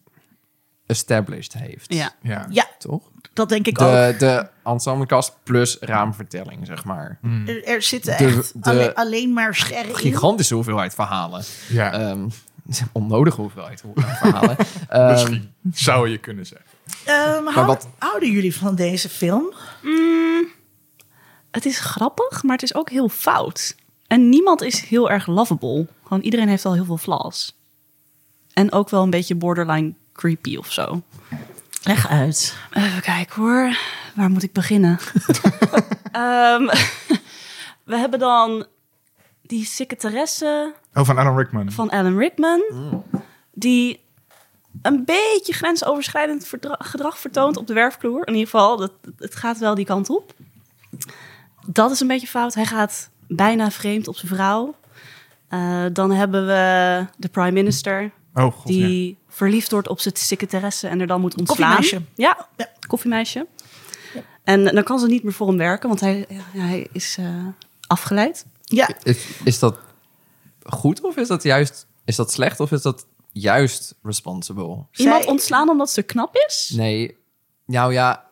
S4: established heeft.
S2: Ja.
S1: Ja.
S3: Ja,
S4: Toch?
S3: dat denk ik ook.
S4: De, de ensemblecast plus raamvertelling, zeg maar.
S3: Er, er zitten
S4: de-
S3: echt
S4: de-
S3: alleen, alleen maar scherren in.
S4: Gigantische hoeveelheid verhalen.
S1: Ja.
S4: Ehm, onnodige hoeveelheid verhalen. Ehm,
S1: Misschien zou je kunnen zeggen.
S3: Ehm, hou-
S4: wat-
S3: Houden jullie van deze film?
S2: Het is grappig, maar het is ook heel fout. En niemand is heel erg lovable. Gewoon iedereen heeft al heel veel flaws. En ook wel een beetje borderline creepy of zo.
S3: Leg uit.
S2: Even kijken hoor. Waar moet ik beginnen? Ehm, we hebben dan die secretaresse
S1: Oh, van Alan Rickman.
S2: van Alan Rickman.
S1: Hmm.
S2: Die een beetje grensoverschrijdend verdra- gedrag vertoont op de werfvloer. In ieder geval, dat, het gaat wel die kant op. Dat is een beetje fout. Hij gaat bijna vreemd op zijn vrouw. Eh, dan hebben we de prime minister.
S1: Oh, god, ja.
S2: die verliefd wordt op zijn secretaresse en er dan moet ontslaan.
S3: Koffiemeisje.
S2: Ja,
S3: Ja.
S2: koffiemeisje. En dan kan ze niet meer voor hem werken, want hij, hij is eh, afgeleid.
S3: Ja,
S4: is, is dat goed of is dat juist... Is dat slecht of is dat juist responsible?
S2: Iemand
S3: Zij-
S2: ontslaan omdat ze knap is?
S4: Nee, nou ja,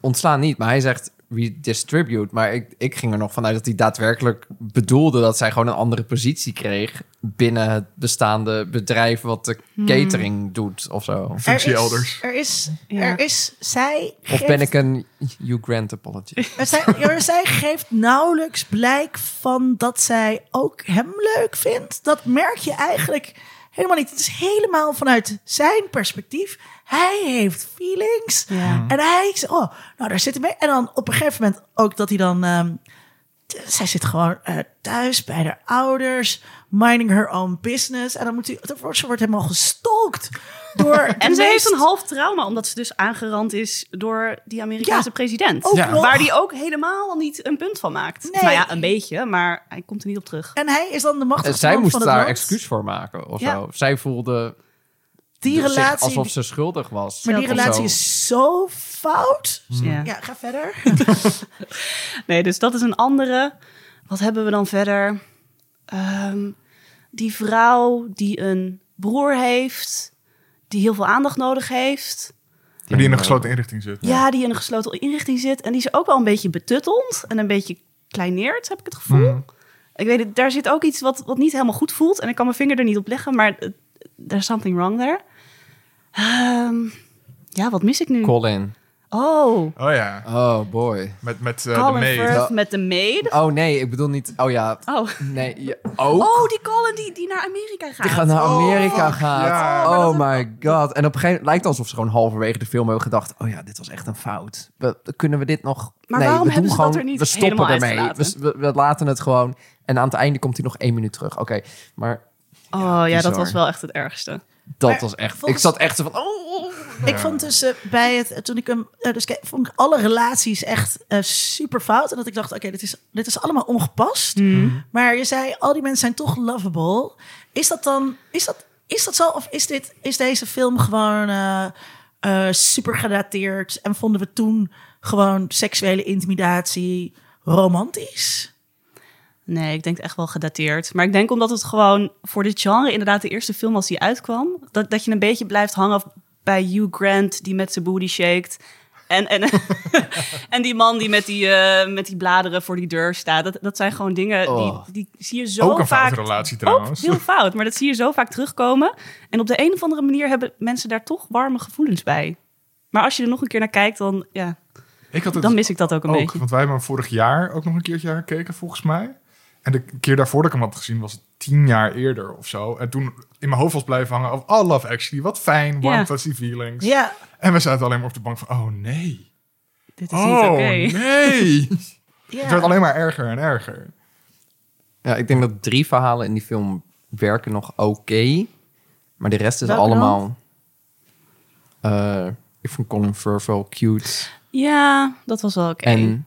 S4: ontslaan niet. Maar hij zegt redistribute. Maar ik, ik ging er nog vanuit dat hij daadwerkelijk bedoelde... dat zij gewoon een andere positie kreeg... binnen het bestaande bedrijf wat de
S3: Hmm.
S4: catering doet of zo.
S1: Functie
S3: er is,
S1: elders.
S3: Er is,
S2: Ja.
S3: er is, zij
S4: Of ben ik een Hugh Grant apology?
S3: Maar zij, maar zij geeft nauwelijks blijk van dat zij ook hem leuk vindt. Dat merk je eigenlijk helemaal niet. Het is helemaal vanuit zijn perspectief. Hij heeft feelings.
S2: Ja.
S3: En hij zegt, oh, nou daar zit hij mee. En dan op een gegeven moment ook dat hij dan... ehm, t- zij zit gewoon eh, thuis bij haar ouders, minding her own business. En dan moet hij, dan wordt- ze wordt helemaal gestalkt door
S2: En
S3: de
S2: ze Dus heeft
S3: meest-
S2: een half trauma, omdat ze dus aangerand is door die Amerikaanse
S3: Ja,
S2: president.
S3: ook nog.
S2: Waar die ook helemaal niet een punt van maakt.
S3: Nee.
S2: Nou ja, een beetje, maar hij komt er niet op terug.
S3: En hij is dan de
S4: Eh,
S3: machtigste
S4: Zij
S3: man
S4: moest
S3: van het
S4: daar
S3: land.
S4: excuus voor maken of
S2: Ja.
S4: zo. Zij voelde
S3: Die
S4: zich
S3: relatie...
S4: alsof ze schuldig was.
S3: Maar die
S4: of zo.
S3: relatie is zo fout.
S2: Dus Ja.
S3: Ja, ga verder.
S2: Nee, dus dat is een andere. Wat hebben we dan verder? Ehm, die vrouw die een broer heeft, die heel veel aandacht nodig heeft.
S1: Maar die in een gesloten inrichting zit.
S2: Ja, die in een gesloten inrichting zit. En die is ook wel een beetje betutteld en een beetje kleineert, heb ik het gevoel.
S4: Mhm.
S2: Ik weet het, daar zit ook iets wat, wat niet helemaal goed voelt. En ik kan mijn vinger er niet op leggen, maar eh, there's something wrong there. Ehm, ja, wat mis ik nu?
S4: Colin.
S2: Oh,
S1: Oh ja,
S4: Oh boy.
S1: met, met eh, de
S2: Colin
S1: maid.
S2: Firth met de maid.
S4: Oh nee, ik bedoel niet. Oh ja.
S2: Oh.
S4: Nee. ja, ook?
S2: Oh, die Colin die, die naar Amerika gaat.
S4: Die gaat naar Amerika gaat.
S1: ja.
S4: Oh, my god. En op een gegeven moment lijkt het alsof ze gewoon halverwege de film hebben gedacht... oh ja, dit was echt een fout. We, kunnen we dit nog...
S2: Maar
S4: nee,
S2: waarom
S4: we doen
S2: hebben ze dat
S4: gewoon,
S2: er niet
S4: We stoppen
S2: helemaal
S4: ermee. We,
S2: uitgelaten?
S4: we, we laten het gewoon. En aan het einde komt hij nog één minuut terug. Oké, maar
S2: Oh ja, dat
S4: bizar.
S2: was wel echt het ergste.
S4: dat
S3: Maar
S4: was echt...
S3: volgens-
S4: Ik zat echt zo van... Oh, oh.
S3: Ik vond dus eh, bij het, eh, toen ik hem, eh, dus kijk, vond ik alle relaties echt eh, super fout. En dat ik dacht, oké, dit, is, dit is allemaal ongepast. Maar je zei, al die mensen zijn toch lovable. Is dat dan, is dat, is dat zo? Of is, dit, is deze film gewoon eh, eh, super gedateerd? En vonden we toen gewoon seksuele intimidatie romantisch?
S2: Nee, ik denk echt wel gedateerd. Maar ik denk omdat het gewoon voor dit genre inderdaad de eerste film was die uitkwam. Dat, dat je een beetje blijft hangen bij Hugh Grant die met zijn booty shaked. En, en, en die man die met die, eh, met die bladeren voor die deur staat. Dat, dat zijn gewoon dingen
S4: Oh.
S2: die, die zie je zo
S1: Ook een
S2: vaak.
S1: foute relatie
S2: Ook
S1: trouwens.
S2: heel fout, maar dat zie je zo vaak terugkomen. En op de een of andere manier hebben mensen daar toch warme gevoelens bij. Maar als je er nog een keer naar kijkt, dan, ja,
S1: Ik had het
S2: dan mis ik dat ook een
S1: ook,
S2: beetje.
S1: want wij hebben hem vorig jaar ook nog een keertje gekeken, volgens mij. En de keer daarvoor dat ik hem had gezien was het tien jaar eerder of zo. En toen in mijn hoofd was blijven hangen of oh, love actually, wat fijn, warm
S2: Ja.
S1: fuzzy feelings.
S3: Ja,
S1: En we zaten alleen maar op de bank van, oh nee,
S2: Dit is niet
S1: oh
S2: oké.
S1: nee. Het werd
S3: ja.
S1: alleen maar erger en erger.
S4: Ja, ik denk dat drie verhalen in die film werken nog oké. maar de rest is
S3: Welke
S4: allemaal... Eh, ik vond Colin Firth wel cute.
S2: Ja, dat was wel oké.
S4: En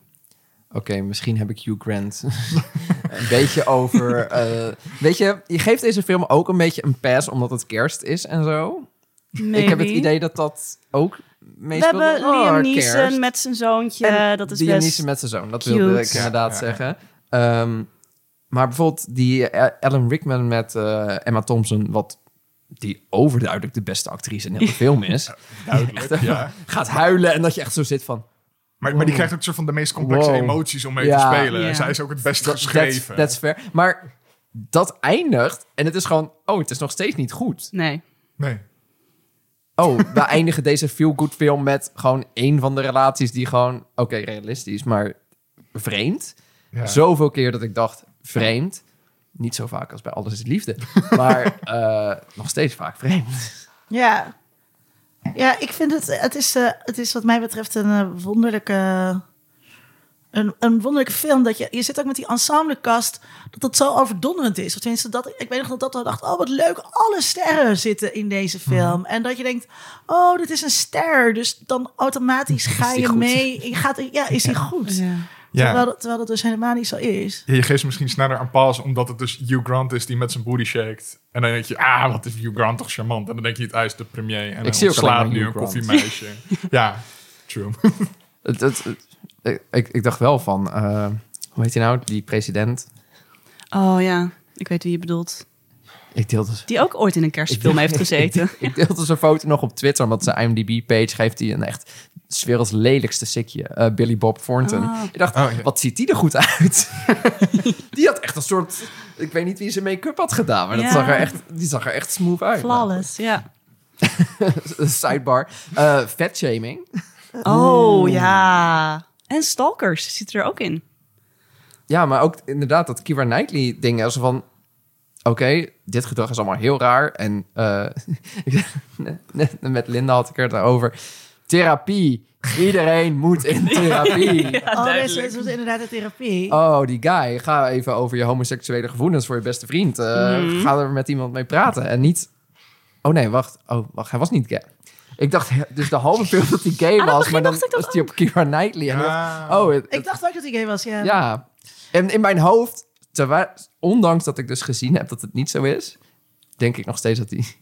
S4: oké, misschien heb ik Hugh Grant een beetje over. eh, weet je, je geeft deze film ook een beetje een pass omdat het kerst is en zo. Ik heb het
S2: Maybe.
S4: idee dat dat ook
S2: We
S4: meestal.
S2: hebben Liam Neeson met zijn zoontje.
S4: En
S2: dat is
S4: Liam
S2: best...
S4: Neeson met zijn zoon. Dat
S2: cute.
S4: wilde ik inderdaad
S1: Ja, ja, ja.
S4: zeggen. Ehm, Maar bijvoorbeeld die eh, Alan Rickman met eh, Emma Thompson, wat die overduidelijk de beste actrice in heel de film is, eh,
S1: Duidelijk, ja.
S4: gaat huilen en dat je echt zo zit van...
S1: Maar, maar die krijgt ook soort van de meest complexe
S4: Wow.
S1: emoties om mee
S4: Ja.
S1: te spelen.
S2: Ja.
S1: Zij is ook het best
S4: dat That's,
S1: geschreven.
S4: that's fair. Maar dat eindigt en het is gewoon... Oh, het is nog steeds niet goed.
S2: Nee.
S1: Nee.
S4: Oh, we eindigen deze feel-good film met gewoon één van de relaties die gewoon... Oké, realistisch, maar vreemd.
S1: Ja.
S4: Zoveel keer dat ik dacht, vreemd. Niet zo vaak als bij Alles is Liefde. Maar eh, nog steeds vaak vreemd.
S3: Ja. Ja, ik vind het... Het is, eh, het is wat mij betreft een eh, wonderlijke... Een, een wonderlijke film. Dat je, je zit ook met die ensemblecast. Dat het zo overdonderend is. Of tenminste, dat, ik weet nog dat dat wel dacht. Oh, wat leuk. Alle sterren zitten in deze film. En dat je denkt... Oh, dit is een ster. Dus dan automatisch ga
S4: die
S3: je
S4: goed?
S3: mee. Je gaat, ja, is die goed? Terwijl,
S1: Ja.
S3: dat- terwijl dat dus helemaal niet zo is.
S1: Ja, Je geeft ze misschien sneller aan pas, omdat het dus Hugh Grant is die met zijn booty shakt. En dan denk je, ah, wat is Hugh Grant toch charmant. En dan denk je, het is de premier. En
S4: Ik
S1: dan
S4: zie ook
S1: slaat
S4: alleen maar
S1: nu een
S4: Hugh Grant.
S1: koffiemeisje. ja, true.
S4: Het, het- het- ik- ik, ik dacht wel van... eh, hoe heet hij nou? Die president.
S2: Oh ja, ik weet wie je bedolt.
S4: Ik dus deelde ze.
S2: Die ook ooit in een kerstfilm heeft gezeten.
S4: Ik deelde zijn foto nog op Twitter, want zijn IMDb-page geeft hij een echt 's werelds lelijkste sikje. eh, Billy Bob Thornton.
S2: Ah.
S4: Ik dacht,
S1: Oh, ja.
S4: wat ziet die er goed uit? die had echt een soort... Ik weet niet wie zijn make-up had gedaan, maar dat
S2: Ja.
S4: zag er echt, die zag er echt smooth uit.
S2: Flawless, ja.
S4: Sidebar. Eh Vetshaming.
S2: Oh ja. En Stalkers zit er ook in.
S4: Ja, maar ook inderdaad dat Kira Knightley ding. Als van, oké, dit gedrag is allemaal heel raar. En eh, net met Linda had ik het over. Therapie. Iedereen moet in therapie.
S2: Ja,
S3: oh, deze is inderdaad een therapie.
S4: Oh, die guy. Ga even over je homoseksuele gevoelens voor je beste vriend. Eh,
S2: Mhm.
S4: Ga er met iemand mee praten. En niet... Oh nee, wacht. Oh, wacht. Hij was niet gay. Ik dacht he- dus de halve film dat hij gay
S2: Ah, dat
S4: was.
S2: begin
S4: Maar dan
S2: dacht ik dat
S4: was hij op Kira Knightley. En
S1: Ja.
S4: dacht, oh, het-
S3: ik dacht ook dat hij gay was, ja.
S4: Ja. En in mijn hoofd, terwijl, ondanks dat ik dus gezien heb dat het niet zo is, denk ik nog steeds dat die...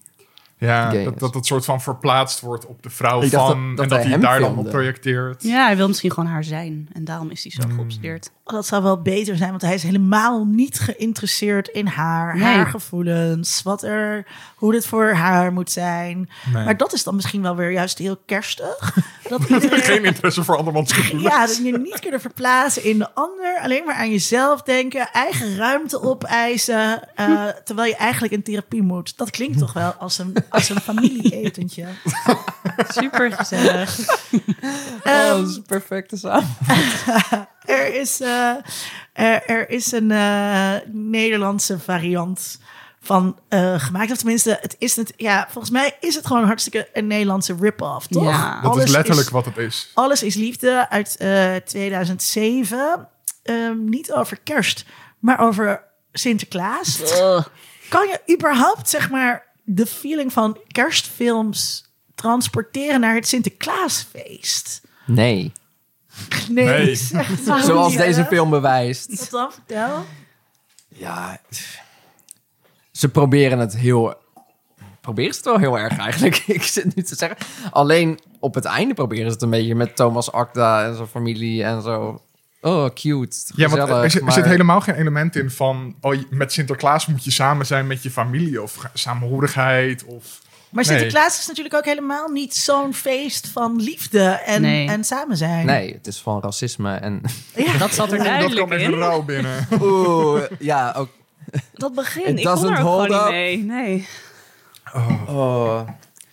S1: Ja,
S4: Gay
S1: dat,
S4: is.
S1: dat dat soort van verplaatst wordt op de vrouw
S4: Ik dacht
S1: van...
S4: dat- dat
S1: en dat
S4: hij
S1: hij
S4: hem
S1: daar dan
S4: filmde.
S1: op projecteert.
S2: Ja, hij wil misschien gewoon haar zijn. En daarom is hij zo geobsedeerd.
S3: Oh, Dat zou wel beter zijn, want hij is helemaal niet geïnteresseerd in haar,
S2: Nee.
S3: haar gevoelens, wat er, hoe dit voor haar moet zijn.
S1: Nee.
S3: Maar dat is dan misschien wel weer juist heel kerstig. Dat iedereen,
S1: Geen interesse voor andermans gevoelens.
S3: ja, dat je niet kunnen verplaatsen in de ander, alleen maar aan jezelf denken, eigen ruimte opeisen, eh, terwijl je eigenlijk in therapie moet. Dat klinkt toch wel als een, als een familieetentje.
S2: Super gezellig.
S4: Oh,
S3: Ehm,
S4: dat is een perfecte samen.
S3: Er is, eh, er, er is een eh, Nederlandse variant van eh, gemaakt. Of tenminste, het is het, ja, volgens mij is het gewoon hartstikke een Nederlandse rip-off, toch?
S2: Ja.
S1: Dat is
S3: Alles
S1: letterlijk
S3: is-
S1: wat het is.
S3: Alles is Liefde uit eh, 2007. Ehm, niet over kerst, maar over Sinterklaas. Kan je überhaupt, zeg maar, de feeling van kerstfilms transporteren naar het Sinterklaasfeest?
S4: Nee.
S3: Nee,
S1: Nee.
S3: zeg maar.
S4: Zoals
S3: Ja.
S4: deze film bewijst.
S3: Wat dan? Vertel.
S4: Ja, ze proberen het heel... Proberen ze het wel heel erg eigenlijk. Ik zit nu te zeggen. Alleen op het einde proberen ze het een beetje met Thomas Akda en zijn familie en zo. Oh, cute.
S1: Ja, want er,
S4: gezellig,
S1: zit, er
S4: maar-
S1: zit helemaal geen element in van... Oh, je- met Sinterklaas moet je samen zijn met je familie. Of ga- samenhorigheid. Of,
S3: Maar
S1: Nee.
S3: Sinterklaas is natuurlijk ook helemaal niet zo'n feest van liefde en,
S2: Nee.
S3: en samen zijn.
S4: Nee, het is van racisme en...
S3: Ja.
S2: Dat zat er
S1: dat
S2: duidelijk
S1: kan even
S2: in.
S1: rauw binnen.
S4: Oeh, ja, ook
S2: Dat
S4: It
S2: begin, ik kon
S4: doesn't
S2: er ook
S4: hold
S2: gewoon
S4: up.
S2: niet mee. Nee.
S4: Oh.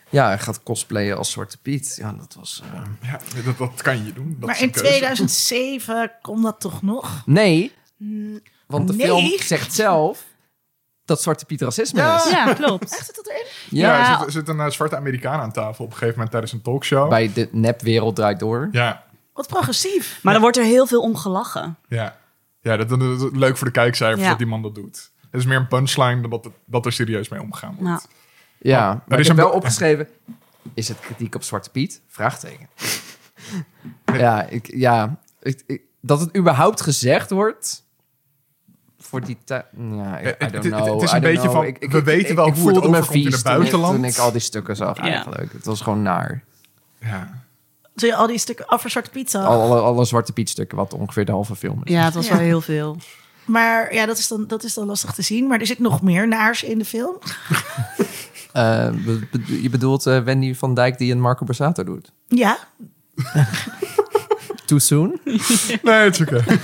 S4: Ja, hij gaat cosplayen als Zwarte Piet. Ja, dat was... eh,
S1: Ja, dat, dat kan je doen. Dat
S3: maar
S1: is een
S3: in
S1: keuze.
S3: 2007 kon dat toch nog?
S4: Nee, Mm. want de
S3: Nee.
S4: film zegt zelf dat Zwarte Piet racisme
S1: Ja.
S4: is.
S2: Ja, klopt.
S3: Echt zit dat erin?
S1: Ja,
S4: Ja,
S1: er zit, er zit een eh, zwarte Amerikaan aan tafel op een gegeven moment tijdens een talkshow.
S4: bij de nepwereld draait door.
S1: Ja,
S3: Wat progressief.
S2: Maar dan wordt er heel veel om gelachen.
S1: ja. Ja, dat, dat- dat- dat- leuk voor de kijkcijfers
S2: Ja.
S1: dat die man dat doet. Het is meer een punchline dan dat, het- dat er serieus mee omgegaan wordt.
S2: Nou,
S4: Ja, maar
S1: Oh, is
S4: ik heb
S1: een-
S4: wel opgeschreven... Is het kritiek op Zwarte Piet? Vraagteken. Ja, ik, ja ik, ik- dat het überhaupt gezegd wordt... Voor die tijd... Ja, ik-
S1: Eh, Het-
S4: I
S1: het-
S4: don't
S1: het-
S4: know.
S1: het is
S4: I
S1: een
S4: don't
S1: beetje
S4: know.
S1: van, we weten wel hoe het
S4: voelde me
S1: overkomt in
S4: vies
S1: het
S4: toen ik-
S1: buitenland.
S4: Toen ik al die stukken zag eigenlijk. Het was gewoon naar.
S1: Ja.
S3: Toen je al
S1: Oh.
S3: die stukken af voor Zwarte Piet zag.
S4: Alle, alle Zwarte Piet stukken, wat ongeveer de halve film is.
S2: ja, het was
S3: Ja.
S2: wel heel veel.
S3: Maar ja, dat is, dan, dat is dan lastig te zien. Maar er zit nog meer naars in de film.
S4: Eh, be- be- je bedoelt eh, Wendy van Dijk die een Marco Borsato doet.
S3: Ja,
S4: Too soon?
S1: Nee, het is oké.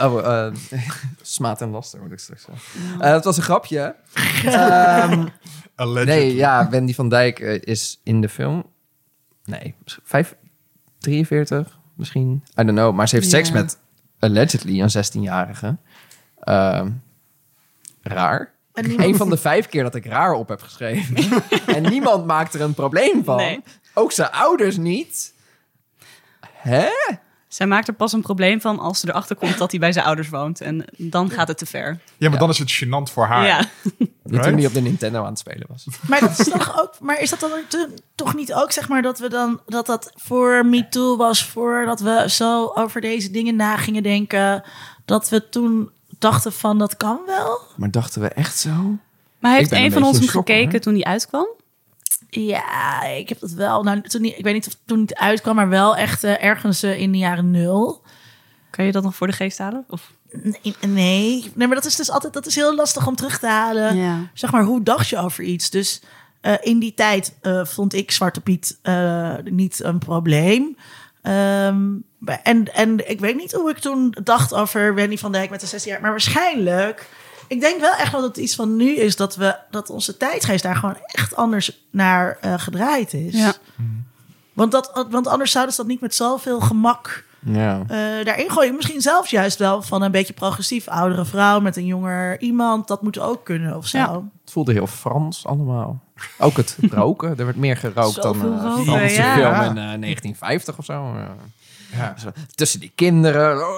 S4: Oh, eh, smaad en laster moet ik straks zeggen. Eh, het was een grapje. Ehm,
S1: Alleged.
S4: nee, ja, Wendy van Dijk eh, is in de film. Nee, vijf- 43 misschien. I don't know. Maar ze heeft seks
S2: Ja.
S4: met allegedly een 16-jarige. Ehm, raar.
S3: en niemand,
S4: Een van de vijf keer dat ik raar op heb geschreven. en niemand maakt er een probleem van.
S2: Nee.
S4: Ook zijn ouders niet. Hè?
S2: Zij maakt er pas een probleem van als ze erachter komt dat hij bij zijn ouders woont. En dan gaat het te ver.
S1: Ja, maar dan is het gênant voor haar.
S2: Ja.
S4: Die Toen
S1: Right?
S4: die op de Nintendo aan het spelen was.
S3: maar, dat is toch ook, maar is dat dan te- toch niet ook, zeg maar, dat we dan dat dat voor MeToo was, voordat we zo over deze dingen na gingen denken, dat we toen dachten van dat kan wel?
S4: Maar dachten we echt zo?
S2: Maar heeft
S4: ben
S2: een
S4: een
S2: van
S4: beetje
S2: ons
S4: in
S2: hem
S4: shock,
S2: gekeken
S4: hoor.
S2: toen hij uitkwam?
S3: Ja, ik heb dat wel. Nou, toen, niet- ik weet niet of het toen niet uitkwam, maar wel echt eh, ergens eh, in de jaren nul.
S2: Kan je dat nog voor de geest halen? Of?
S3: Nee, nee. Nee, maar dat is dus altijd dat is heel lastig om terug te halen.
S2: Ja.
S3: Zeg maar, hoe dacht je over iets? Dus eh, in die tijd eh, vond ik Zwarte Piet eh, niet een probleem. Ehm, en, en ik weet niet hoe ik toen dacht over Wendy van Dijk met de 16 jaar. Maar waarschijnlijk, ik denk wel echt dat het iets van nu is... dat, we, dat onze tijdgeest daar gewoon echt anders naar eh, gedraaid is.
S2: Ja.
S3: Want, dat, want anders zouden ze dat niet met zoveel gemak
S4: Ja.
S3: eh, daarin gooien. Misschien zelfs juist wel van een beetje progressief oudere vrouw met een jonger iemand. Dat moet ook kunnen of zo.
S2: Ja.
S4: Het voelde heel Frans allemaal. Ook het roken. Er werd meer gerookt dan
S2: Zoveel
S4: eh,
S2: roken,
S4: Franse
S2: ja.
S4: film in eh, 1950 of zo. Ja.
S1: Ja.
S4: Zo, Tussen die kinderen. Oh,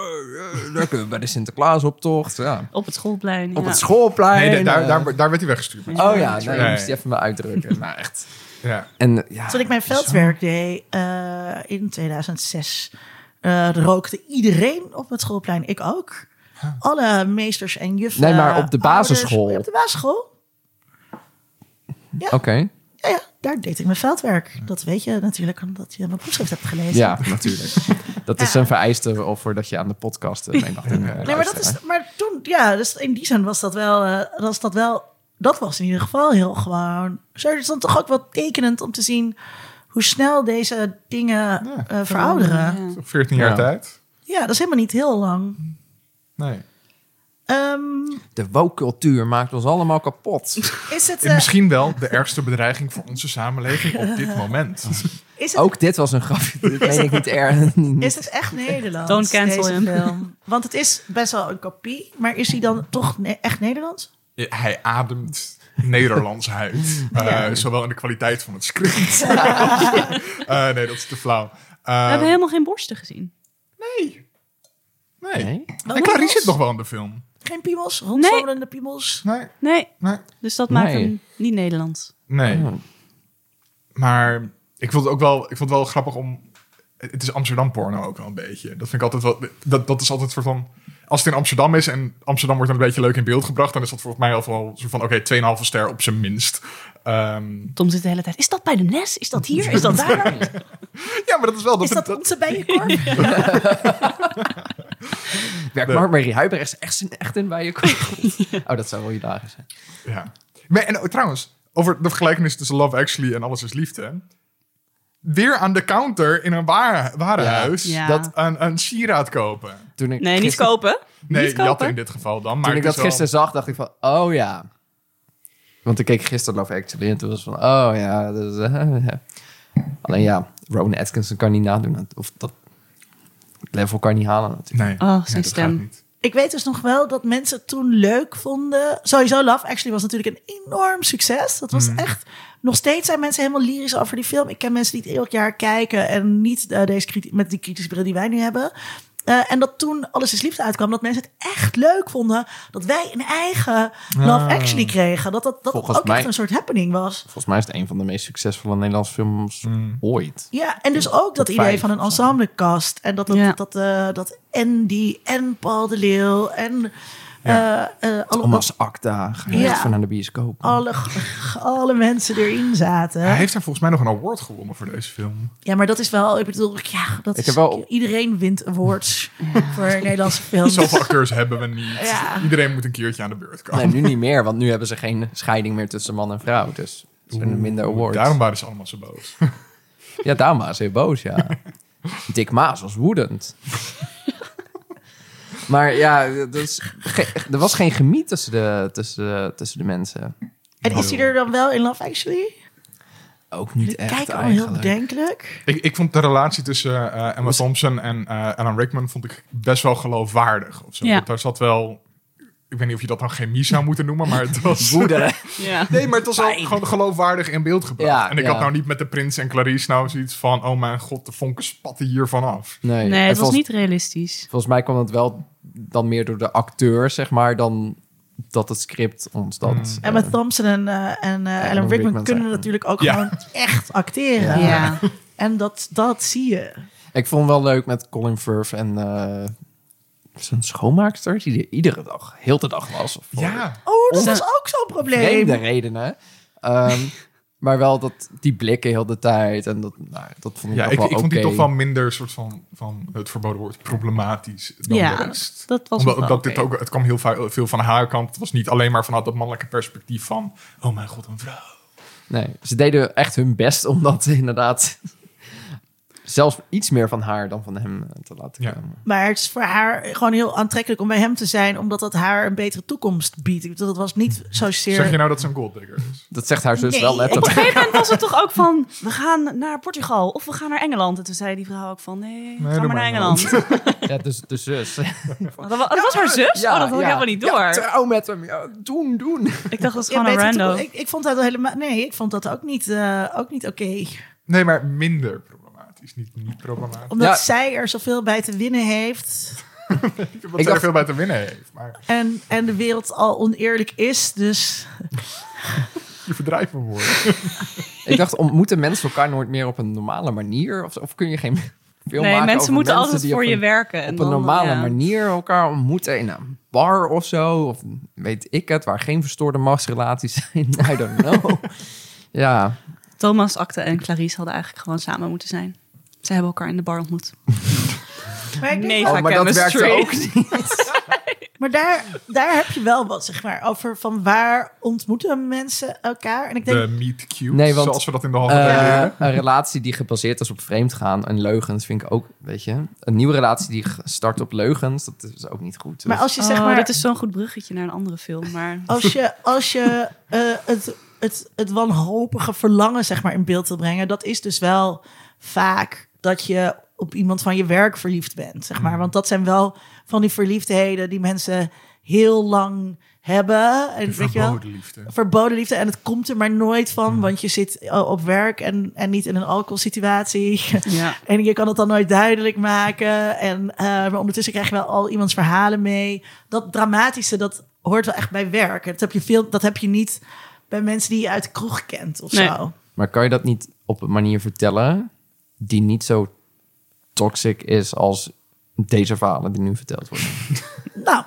S4: eh, lekker bij de Sinterklaasoptocht. Ja.
S2: Op het schoolplein.
S4: Op
S2: ja.
S4: het schoolplein.
S1: Nee, da- daar,
S4: eh.
S1: daar, daar werd hij weggestuurd.
S4: Oh ja, nee,
S1: Nee.
S4: ik moest die even maar uitdrukken. Maar echt.
S1: Ja.
S4: En, eh, ja,
S3: Toen ik mijn
S4: zo.
S3: veldwerk deed eh, in 2006, eh, rookte iedereen op het schoolplein. Ik ook. Alle meesters en juffen.
S4: Nee, maar op
S3: ouders.
S4: de basisschool.
S3: op de basisschool.
S4: Oké,
S3: Ja, ja, daar deed ik mijn veldwerk. Dat weet je natuurlijk omdat je mijn proefschrift hebt gelezen.
S4: ja, natuurlijk. Dat is een vereiste of voordat je aan de podcast eh, meedacht.
S3: Nee, maar, dat is, maar toen, ja, dus in die zin was dat wel, eh, was dat wel, dat was in ieder geval heel gewoon. Zo is dan toch ook wel tekenend om te zien hoe snel deze dingen
S1: Ja,
S3: eh, verouderen. Ja.
S2: Ja.
S1: 14 jaar
S4: Ja.
S1: tijd.
S3: dat is helemaal niet heel lang.
S1: Nee.
S3: Ehm,
S4: De woke-cultuur maakt ons allemaal kapot.
S3: is het, eh,
S1: Misschien wel de ergste bedreiging voor onze samenleving op dit moment.
S3: is het,
S4: Ook dit was een grapje. Dit meen ik niet erg.
S3: is het echt Nederlands?
S2: Don't cancel
S3: deze
S2: him.
S3: film? Want het is best wel een kopie, maar is die dan toch ne- echt Nederlands?
S1: Hij ademt Nederlands uit. Eh, Zowel in de kwaliteit van het script. Eh, nee, dat is te flauw. Eh,
S2: We hebben helemaal geen borsten gezien.
S1: nee.
S4: Nee?
S1: En Clarice zit nog wel in de film.
S3: Geen piemels? Rondzolende piemels?
S1: Nee,
S2: Nee,
S1: nee.
S2: dus dat maakt
S4: Nee.
S2: hem niet Nederlands.
S1: Nee.
S4: Oh.
S1: Maar ik vond het ook wel, ik vond het wel grappig om. Het is Amsterdam porno ook wel een beetje. Dat vind ik altijd wel. Dat, dat is altijd een soort van. Als het in Amsterdam is en Amsterdam wordt dan een beetje leuk in beeld gebracht, dan is dat volgens mij al wel een soort van oké, 2,5 ster op zijn minst. Ehm,
S2: Tom zit de hele tijd. Is dat bij de Nes? Is dat hier? Is dat daar?
S1: ja, maar dat is wel. Dat,
S3: Is dat
S1: dat-
S3: onze bijenkorf?
S4: Werkt
S1: Nee.
S4: Mark Marie Huibrechts echt, in- echt in bij je Oh, dat zou wel je dagen zijn.
S1: ja. Maar, en oh, trouwens, over de vergelijking tussen Love Actually en Alles is Liefde. Weer aan de counter in een ware, warenhuis
S2: Ja.
S1: dat een, een sieraad kopen.
S4: Toen ik
S2: Nee, niet
S4: gisteren-
S2: kopen.
S1: Nee,
S2: niet kopen.
S1: jatten in dit geval dan. Maar
S4: Toen
S1: het
S4: ik dat
S1: is wel-
S4: gisteren zag, dacht ik van, oh ja. Want ik keek gisteren Love Actually en toen was het van, oh ja. dat is, eh, eh. Alleen ja, Rowan Atkinson kan niet nadoen. Of dat level kan niet halen natuurlijk.
S1: Nee,
S2: Oh, zijn
S1: Nee, dat
S2: stem.
S1: gaat niet.
S3: Ik weet dus nog wel dat mensen het toen leuk vonden. Sowieso Love Actually was natuurlijk een enorm succes. Dat was
S4: Mm.
S3: echt... Nog steeds zijn mensen helemaal lyrisch over die film. Ik ken mensen die het elk jaar kijken... en niet eh, deze kriti- met die kritische bril die wij nu hebben. Eh, en dat toen Alles is Liefde uitkwam... dat mensen het echt leuk vonden... dat wij een eigen Love
S1: Ah.
S3: Actually kregen. Dat dat, dat
S4: Volgens
S3: ook
S4: mij-
S3: echt een soort happening was.
S4: Volgens mij is het een van de meest succesvolle Nederlandse films
S1: Mm.
S4: ooit.
S3: Ja, en dus ook dat
S4: Top
S3: idee
S4: vijf
S3: van een
S4: of zo.
S3: ensemblekast. En dat, dat,
S2: Ja.
S3: dat, eh, dat Andy en Paul de Leeuw en Eh, eh, alle,
S4: Thomas Acta. Ga je
S3: Ja.
S4: echt van naar de bioscoop.
S3: alle, alle mensen erin zaten.
S1: Hij heeft daar volgens mij nog een award gewonnen voor deze film.
S3: Ja, maar dat is wel. Ik bedoel, ja, dat
S4: Ik
S3: is,
S4: heb wel-
S3: iedereen wint awards voor Nederlandse films.
S1: Zoveel acteurs hebben we niet.
S3: Ja.
S1: Iedereen moet een keertje aan de beurt komen.
S4: Nee, nu niet meer, want nu hebben ze geen scheiding meer tussen man en vrouw. Dus ze zijn er minder awards.
S1: Daarom waren ze allemaal zo boos.
S4: Ja, daarom was hij boos, ja. Dick Maas was woedend. maar ja, dat is ge- er was geen gemiet tussen de, tussen, de- tussen de mensen.
S3: En is hij er dan wel in Love Actually?
S4: Ook niet echt
S3: Kijk, al heel
S4: eigenlijk.
S3: bedenkelijk.
S1: Ik, ik vond de relatie tussen eh, Emma Thompson en eh, Alan Rickman vond ik best wel geloofwaardig. Of zo.
S2: Ja.
S1: Want Daar zat wel... Ik weet niet of je dat dan chemie zou moeten noemen, maar het was...
S4: Woede.
S2: Ja.
S1: Nee, maar het was ook gewoon geloofwaardig in beeld gebracht.
S4: Ja,
S1: en ik
S4: ja.
S1: had nou niet met de prins en Clarice nou zoiets van... Oh mijn god, de vonken spatten hiervan af.
S4: Nee,
S2: Nee,
S4: en
S2: het was
S4: volgens,
S2: niet realistisch.
S4: Volgens mij kwam dat wel dan meer door de acteur, zeg maar, dan dat het script ons dat... eh,
S3: Emma Thompson en, eh, en eh, Alan Rickman,
S4: Rickman
S3: kunnen
S4: zijn-
S3: natuurlijk ook
S1: Ja.
S3: gewoon echt acteren.
S2: Ja.
S3: En dat, dat zie je.
S4: Ik vond het wel leuk met Colin Firth en eh, zijn schoonmaakster, die er iedere dag, heel de dag was. Of voor
S1: Ja,
S3: Oh, dat
S4: Om-
S3: was ook zo'n probleem.
S4: vreemde redenen. Ehm, maar wel dat die blikken heel de tijd en dat, nou, dat vond ik
S1: ja
S4: ook
S1: ik,
S4: wel
S1: ik vond die
S4: oké.
S1: toch wel minder soort van, van het verboden woord problematisch dan
S2: Ja,
S1: de rest.
S2: dat was
S1: Omdat,
S2: nog wel
S1: omdat
S2: oké.
S1: dit ook, het kwam heel va- veel van haar kant. Het was niet alleen maar vanuit dat mannelijke perspectief van... Oh mijn god, een vrouw.
S4: Nee, ze deden echt hun best om dat inderdaad zelfs iets meer van haar dan van hem eh, te laten
S1: Ja.
S4: komen.
S3: Maar het is voor haar gewoon heel aantrekkelijk om bij hem te zijn, omdat dat haar een betere toekomst biedt. Ik bedoel, dat was niet zozeer.
S1: Zeg je nou dat ze een golddigger is?
S4: Dat zegt haar zus
S3: Nee,
S4: wel
S2: Op een
S4: letterlijk.
S2: gegeven moment was het toch ook van, we gaan naar Portugal of we gaan naar Engeland. En toen zei die vrouw ook van, nee,
S1: doe
S2: ga maar
S1: maar
S2: naar Engeland.
S4: Ja, dus de zus.
S2: Want Dat, wa- dat was haar zus?
S4: Ja,
S2: oh, dat had
S4: ja.
S2: ik helemaal niet door.
S4: Ja, trouw met hem. Ja, doen, doen.
S2: ik dacht, dat is
S3: Ja,
S2: gewoon een
S3: betere
S2: rando.
S3: toekomst. Ik, ik vond dat helemaal. Nee, ik vond dat ook niet, eh, ook niet oké.
S1: Nee, maar minder problematisch. Niet, niet problematisch.
S3: Omdat
S4: Ja.
S3: zij er zoveel bij te winnen heeft.
S1: Wat
S4: Ik
S1: zij er
S4: dacht-
S1: veel bij te winnen heeft. Maar
S3: En, en de wereld al oneerlijk is. Dus
S1: je verdrijft me woorden.
S4: Ik dacht, ontmoeten mensen elkaar nooit meer op een normale manier? Of, of kun je geen film
S2: Nee,
S4: maken
S2: mensen
S4: over
S2: moeten
S4: mensen
S2: altijd
S4: die
S2: voor
S4: op
S2: je
S4: een-
S2: werken. en
S4: op
S2: dan,
S4: een normale
S2: ja.
S4: manier elkaar ontmoeten in een bar of zo. Of weet ik het, waar geen verstoorde machtsrelaties zijn. I don't know. ja,
S2: Thomas, Acte en Clarice hadden eigenlijk gewoon samen moeten zijn. Ze hebben elkaar in de bar ontmoet.
S3: Maar, ik denk
S2: Mega
S3: wel-
S4: Oh, maar dat
S2: chemistry.
S4: werkte ook niet.
S3: maar daar, daar heb je wel wat, zeg maar, over van waar ontmoeten mensen elkaar. En ik denk,
S1: De meet cute,
S4: Nee, want,
S1: zoals we dat in de halve
S4: Eh,
S1: tijd leren.
S4: een relatie die gebaseerd is op vreemdgaan en leugens vind ik ook, weet je. Een nieuwe relatie die start op leugens, dat is ook niet goed. Dus-
S3: maar als je, zeg
S2: Oh,
S3: maar,
S2: dat is zo'n goed bruggetje naar een andere film. Maar
S3: als je, als je eh, het, het, het wanhopige verlangen, zeg maar, in beeld wil brengen, dat is dus wel vaak dat je op iemand van je werk verliefd bent, zeg maar. Want dat zijn wel van die verliefdheden die mensen heel lang hebben. En,
S1: De
S3: weet je wel?
S1: verboden liefde.
S3: verboden liefde. En het komt er maar nooit van, want je zit eh, op werk en, en niet in een alcoholsituatie.
S2: ja.
S3: en je kan het dan nooit duidelijk maken. En, eh, maar ondertussen krijg je wel al iemands verhalen mee. Dat dramatische, dat hoort wel echt bij werk. Dat heb je, veel, dat heb je niet bij mensen die je uit de kroeg kent of
S2: Nee.
S3: zo.
S4: Maar kan je dat niet op een manier vertellen die niet zo toxic is als deze verhalen die nu verteld worden?
S3: Nou,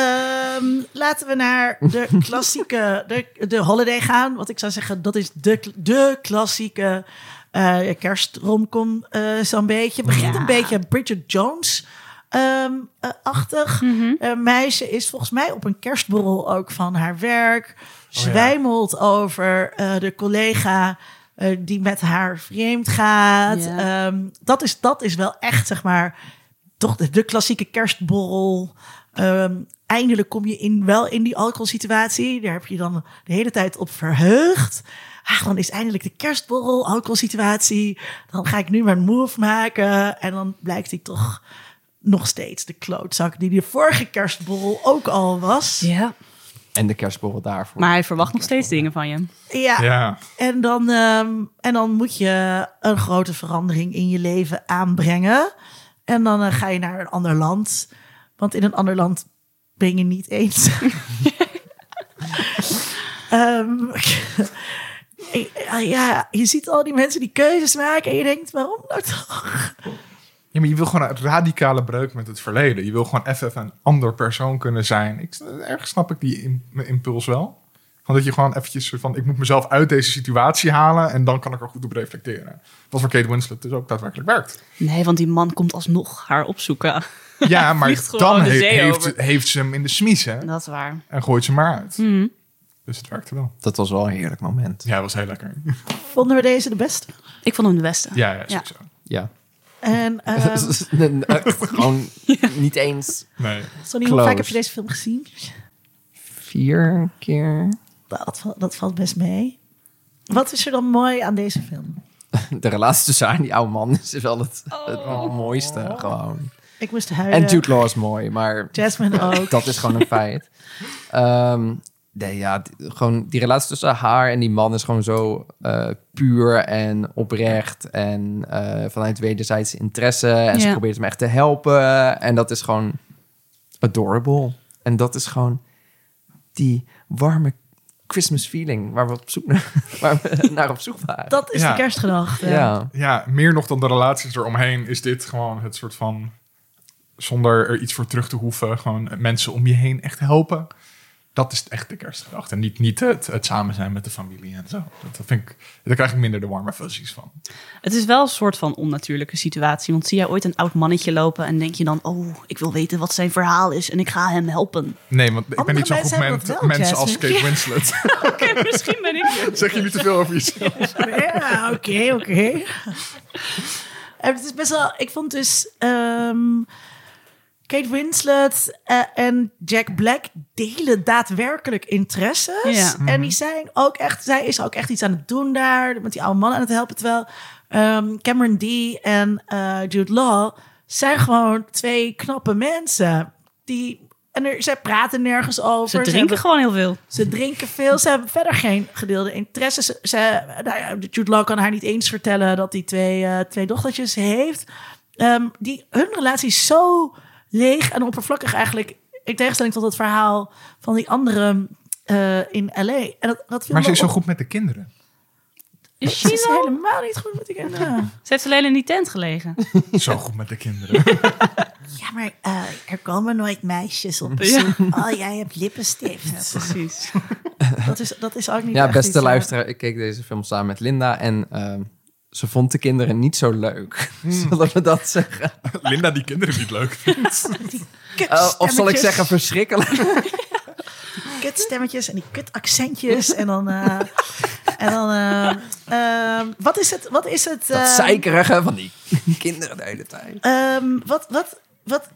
S3: ehm, laten we naar de klassieke, de, de holiday gaan. Want ik zou zeggen, dat is de, de klassieke eh kerstromcom eh, zo'n beetje. Begint een beetje Bridget Jones. ehm, eh, achtig. Eh, meisje is volgens mij op een kerstborrel ook van haar werk. Zwijmelt over eh, de collega eh, die met haar vreemd gaat.
S2: Ja.
S3: Ehm, dat, is, dat is wel echt, zeg maar, toch de, de klassieke kerstborrel. Ehm, eindelijk kom je in, wel in die alcoholsituatie. Daar heb je dan de hele tijd op verheugd. Ah, dan is eindelijk de kerstborrel, alcoholsituatie. Dan ga ik nu mijn move maken. En dan blijkt hij toch nog steeds de klootzak die de vorige kerstborrel ook al was.
S2: ja.
S4: En de kerstborrel daarvoor.
S2: Maar hij verwacht nog steeds dingen van je.
S3: Ja,
S1: Ja,
S3: En, dan, ehm, en dan moet je een grote verandering in je leven aanbrengen. En dan eh, ga je naar een ander land. Want in een ander land ben je niet eens. Ehm, ja, je ziet al die mensen die keuzes maken en je denkt, waarom nou toch?
S1: Ja, maar je wil gewoon een radicale breuk met het verleden. Je wil gewoon even een ander persoon kunnen zijn. Ik, ergens snap ik die im- impuls wel. Van dat je gewoon eventjes soort van... ik moet mezelf uit deze situatie halen... en dan kan ik er goed op reflecteren. Wat voor Kate Winslet dus ook daadwerkelijk werkt.
S2: Nee, want die man komt alsnog haar opzoeken.
S1: Ja, maar
S2: vliegt gewoon
S1: dan
S2: de
S1: he-
S2: zee
S1: heeft,
S2: over.
S1: heeft ze hem in de smies, hè?
S2: Dat is waar.
S1: En gooit ze maar uit.
S3: Mhm.
S1: Dus het werkte wel.
S4: Dat was wel een heerlijk moment.
S1: Ja, was heel lekker.
S3: Vonden we deze de beste?
S2: Ik vond hem de beste.
S1: Ja, ja,
S2: Ja.
S1: sowieso.
S4: Ja.
S3: En ehm
S4: Dus, eh, Gewoon niet eens
S1: Nee.
S3: Sonny, hoe vaak
S4: Close.
S3: heb je deze film gezien?
S4: vier keer
S3: Dat, val- dat valt best mee. Wat is er dan mooi aan deze film?
S4: de relatie tussen haar en die oude man is wel het, het mooiste gewoon.
S3: Ik moest huilen.
S4: En Jude Law is mooi, maar
S3: Jasmine ook.
S4: dat is gewoon een feit. Ehm, nee, ja, d- gewoon die relatie tussen haar en die man is gewoon zo eh, puur en oprecht en eh, vanuit wederzijds interesse. En ze
S2: Ja.
S4: probeert hem echt te helpen en dat is gewoon adorable. En dat is gewoon die warme Christmas feeling waar we op zoek naar, waar we naar op zoek waren.
S3: Dat is
S1: Ja.
S3: de kerstgedachte.
S4: ja.
S1: Ja, meer nog dan de relaties eromheen is dit gewoon het soort van... zonder er iets voor terug te hoeven, gewoon mensen om je heen echt helpen. Dat is echt de kerstgedachte. En niet, niet het, het samen zijn met de familie en zo. Dat, dat vind ik, daar krijg ik minder de warme fuzzies van.
S2: Het is wel een soort van onnatuurlijke situatie. Want zie jij ooit een oud mannetje lopen en denk je dan... oh, ik wil weten wat zijn verhaal is en ik ga hem helpen.
S1: Nee, want ik ben
S3: Andere
S1: niet zo'n
S3: mensen
S1: goed
S3: hebben dat
S1: mens,
S3: wel,
S1: mens als
S3: Jasmine.
S1: Kate Winslet.
S2: Oké, misschien ben ik...
S1: zeg je niet te veel over jezelf.
S3: Ja, oké, oké. En Eh, het is best wel... Ik vond dus... ehm, Kate Winslet eh, en Jack Black delen daadwerkelijk interesses.
S2: Ja.
S3: En die zijn ook echt... Zij is ook echt iets aan het doen daar. Met die oude man aan het helpen. Terwijl ehm, Cameron D. en eh, Jude Law... zijn gewoon twee knappe mensen. Die... En er, zij praten nergens over.
S2: Ze
S3: hebben
S2: drinken gewoon heel veel.
S3: ze drinken veel, ze hebben verder geen gedeelde interesses. Ze, ze, nou ja, Jude Law kan haar niet eens vertellen dat hij twee, eh, twee dochtertjes heeft. Ehm, die, hun relatie is zo leeg en oppervlakkig eigenlijk. In tegenstelling tot het verhaal van die andere eh, in L.A. En dat, dat viel
S1: Maar ze
S3: me
S1: is zo
S3: op.
S1: goed met de kinderen.
S2: Is
S3: Ze
S2: she
S3: is
S2: wel?
S3: helemaal niet goed met die kinderen.
S2: Ze heeft alleen in die tent gelegen.
S1: Zo goed met de kinderen.
S3: Ja, maar eh, er komen nooit meisjes op
S2: bezoek.
S3: Oh, jij hebt lippenstift.
S2: Precies.
S3: Dat is, dat is ook niet
S4: Ja,
S3: echt iets,
S4: beste
S3: eh,
S4: luisteraar, ik keek deze film samen met Linda en ehm, ze vond de kinderen niet zo leuk. Zullen we dat zeggen?
S1: Linda die kinderen niet leuk
S4: Eh, of zal ik
S3: kutstemmetjes.
S4: zeggen verschrikkelijk?
S3: kutstemmetjes en die kutaccentjes. en dan. eh, en dan eh, ehm, wat is het? Wat is het?
S4: Dat
S2: eh,
S3: ehm,
S4: zeikerige van die kinderen de hele tijd.
S3: ehm, wat, wat, wat.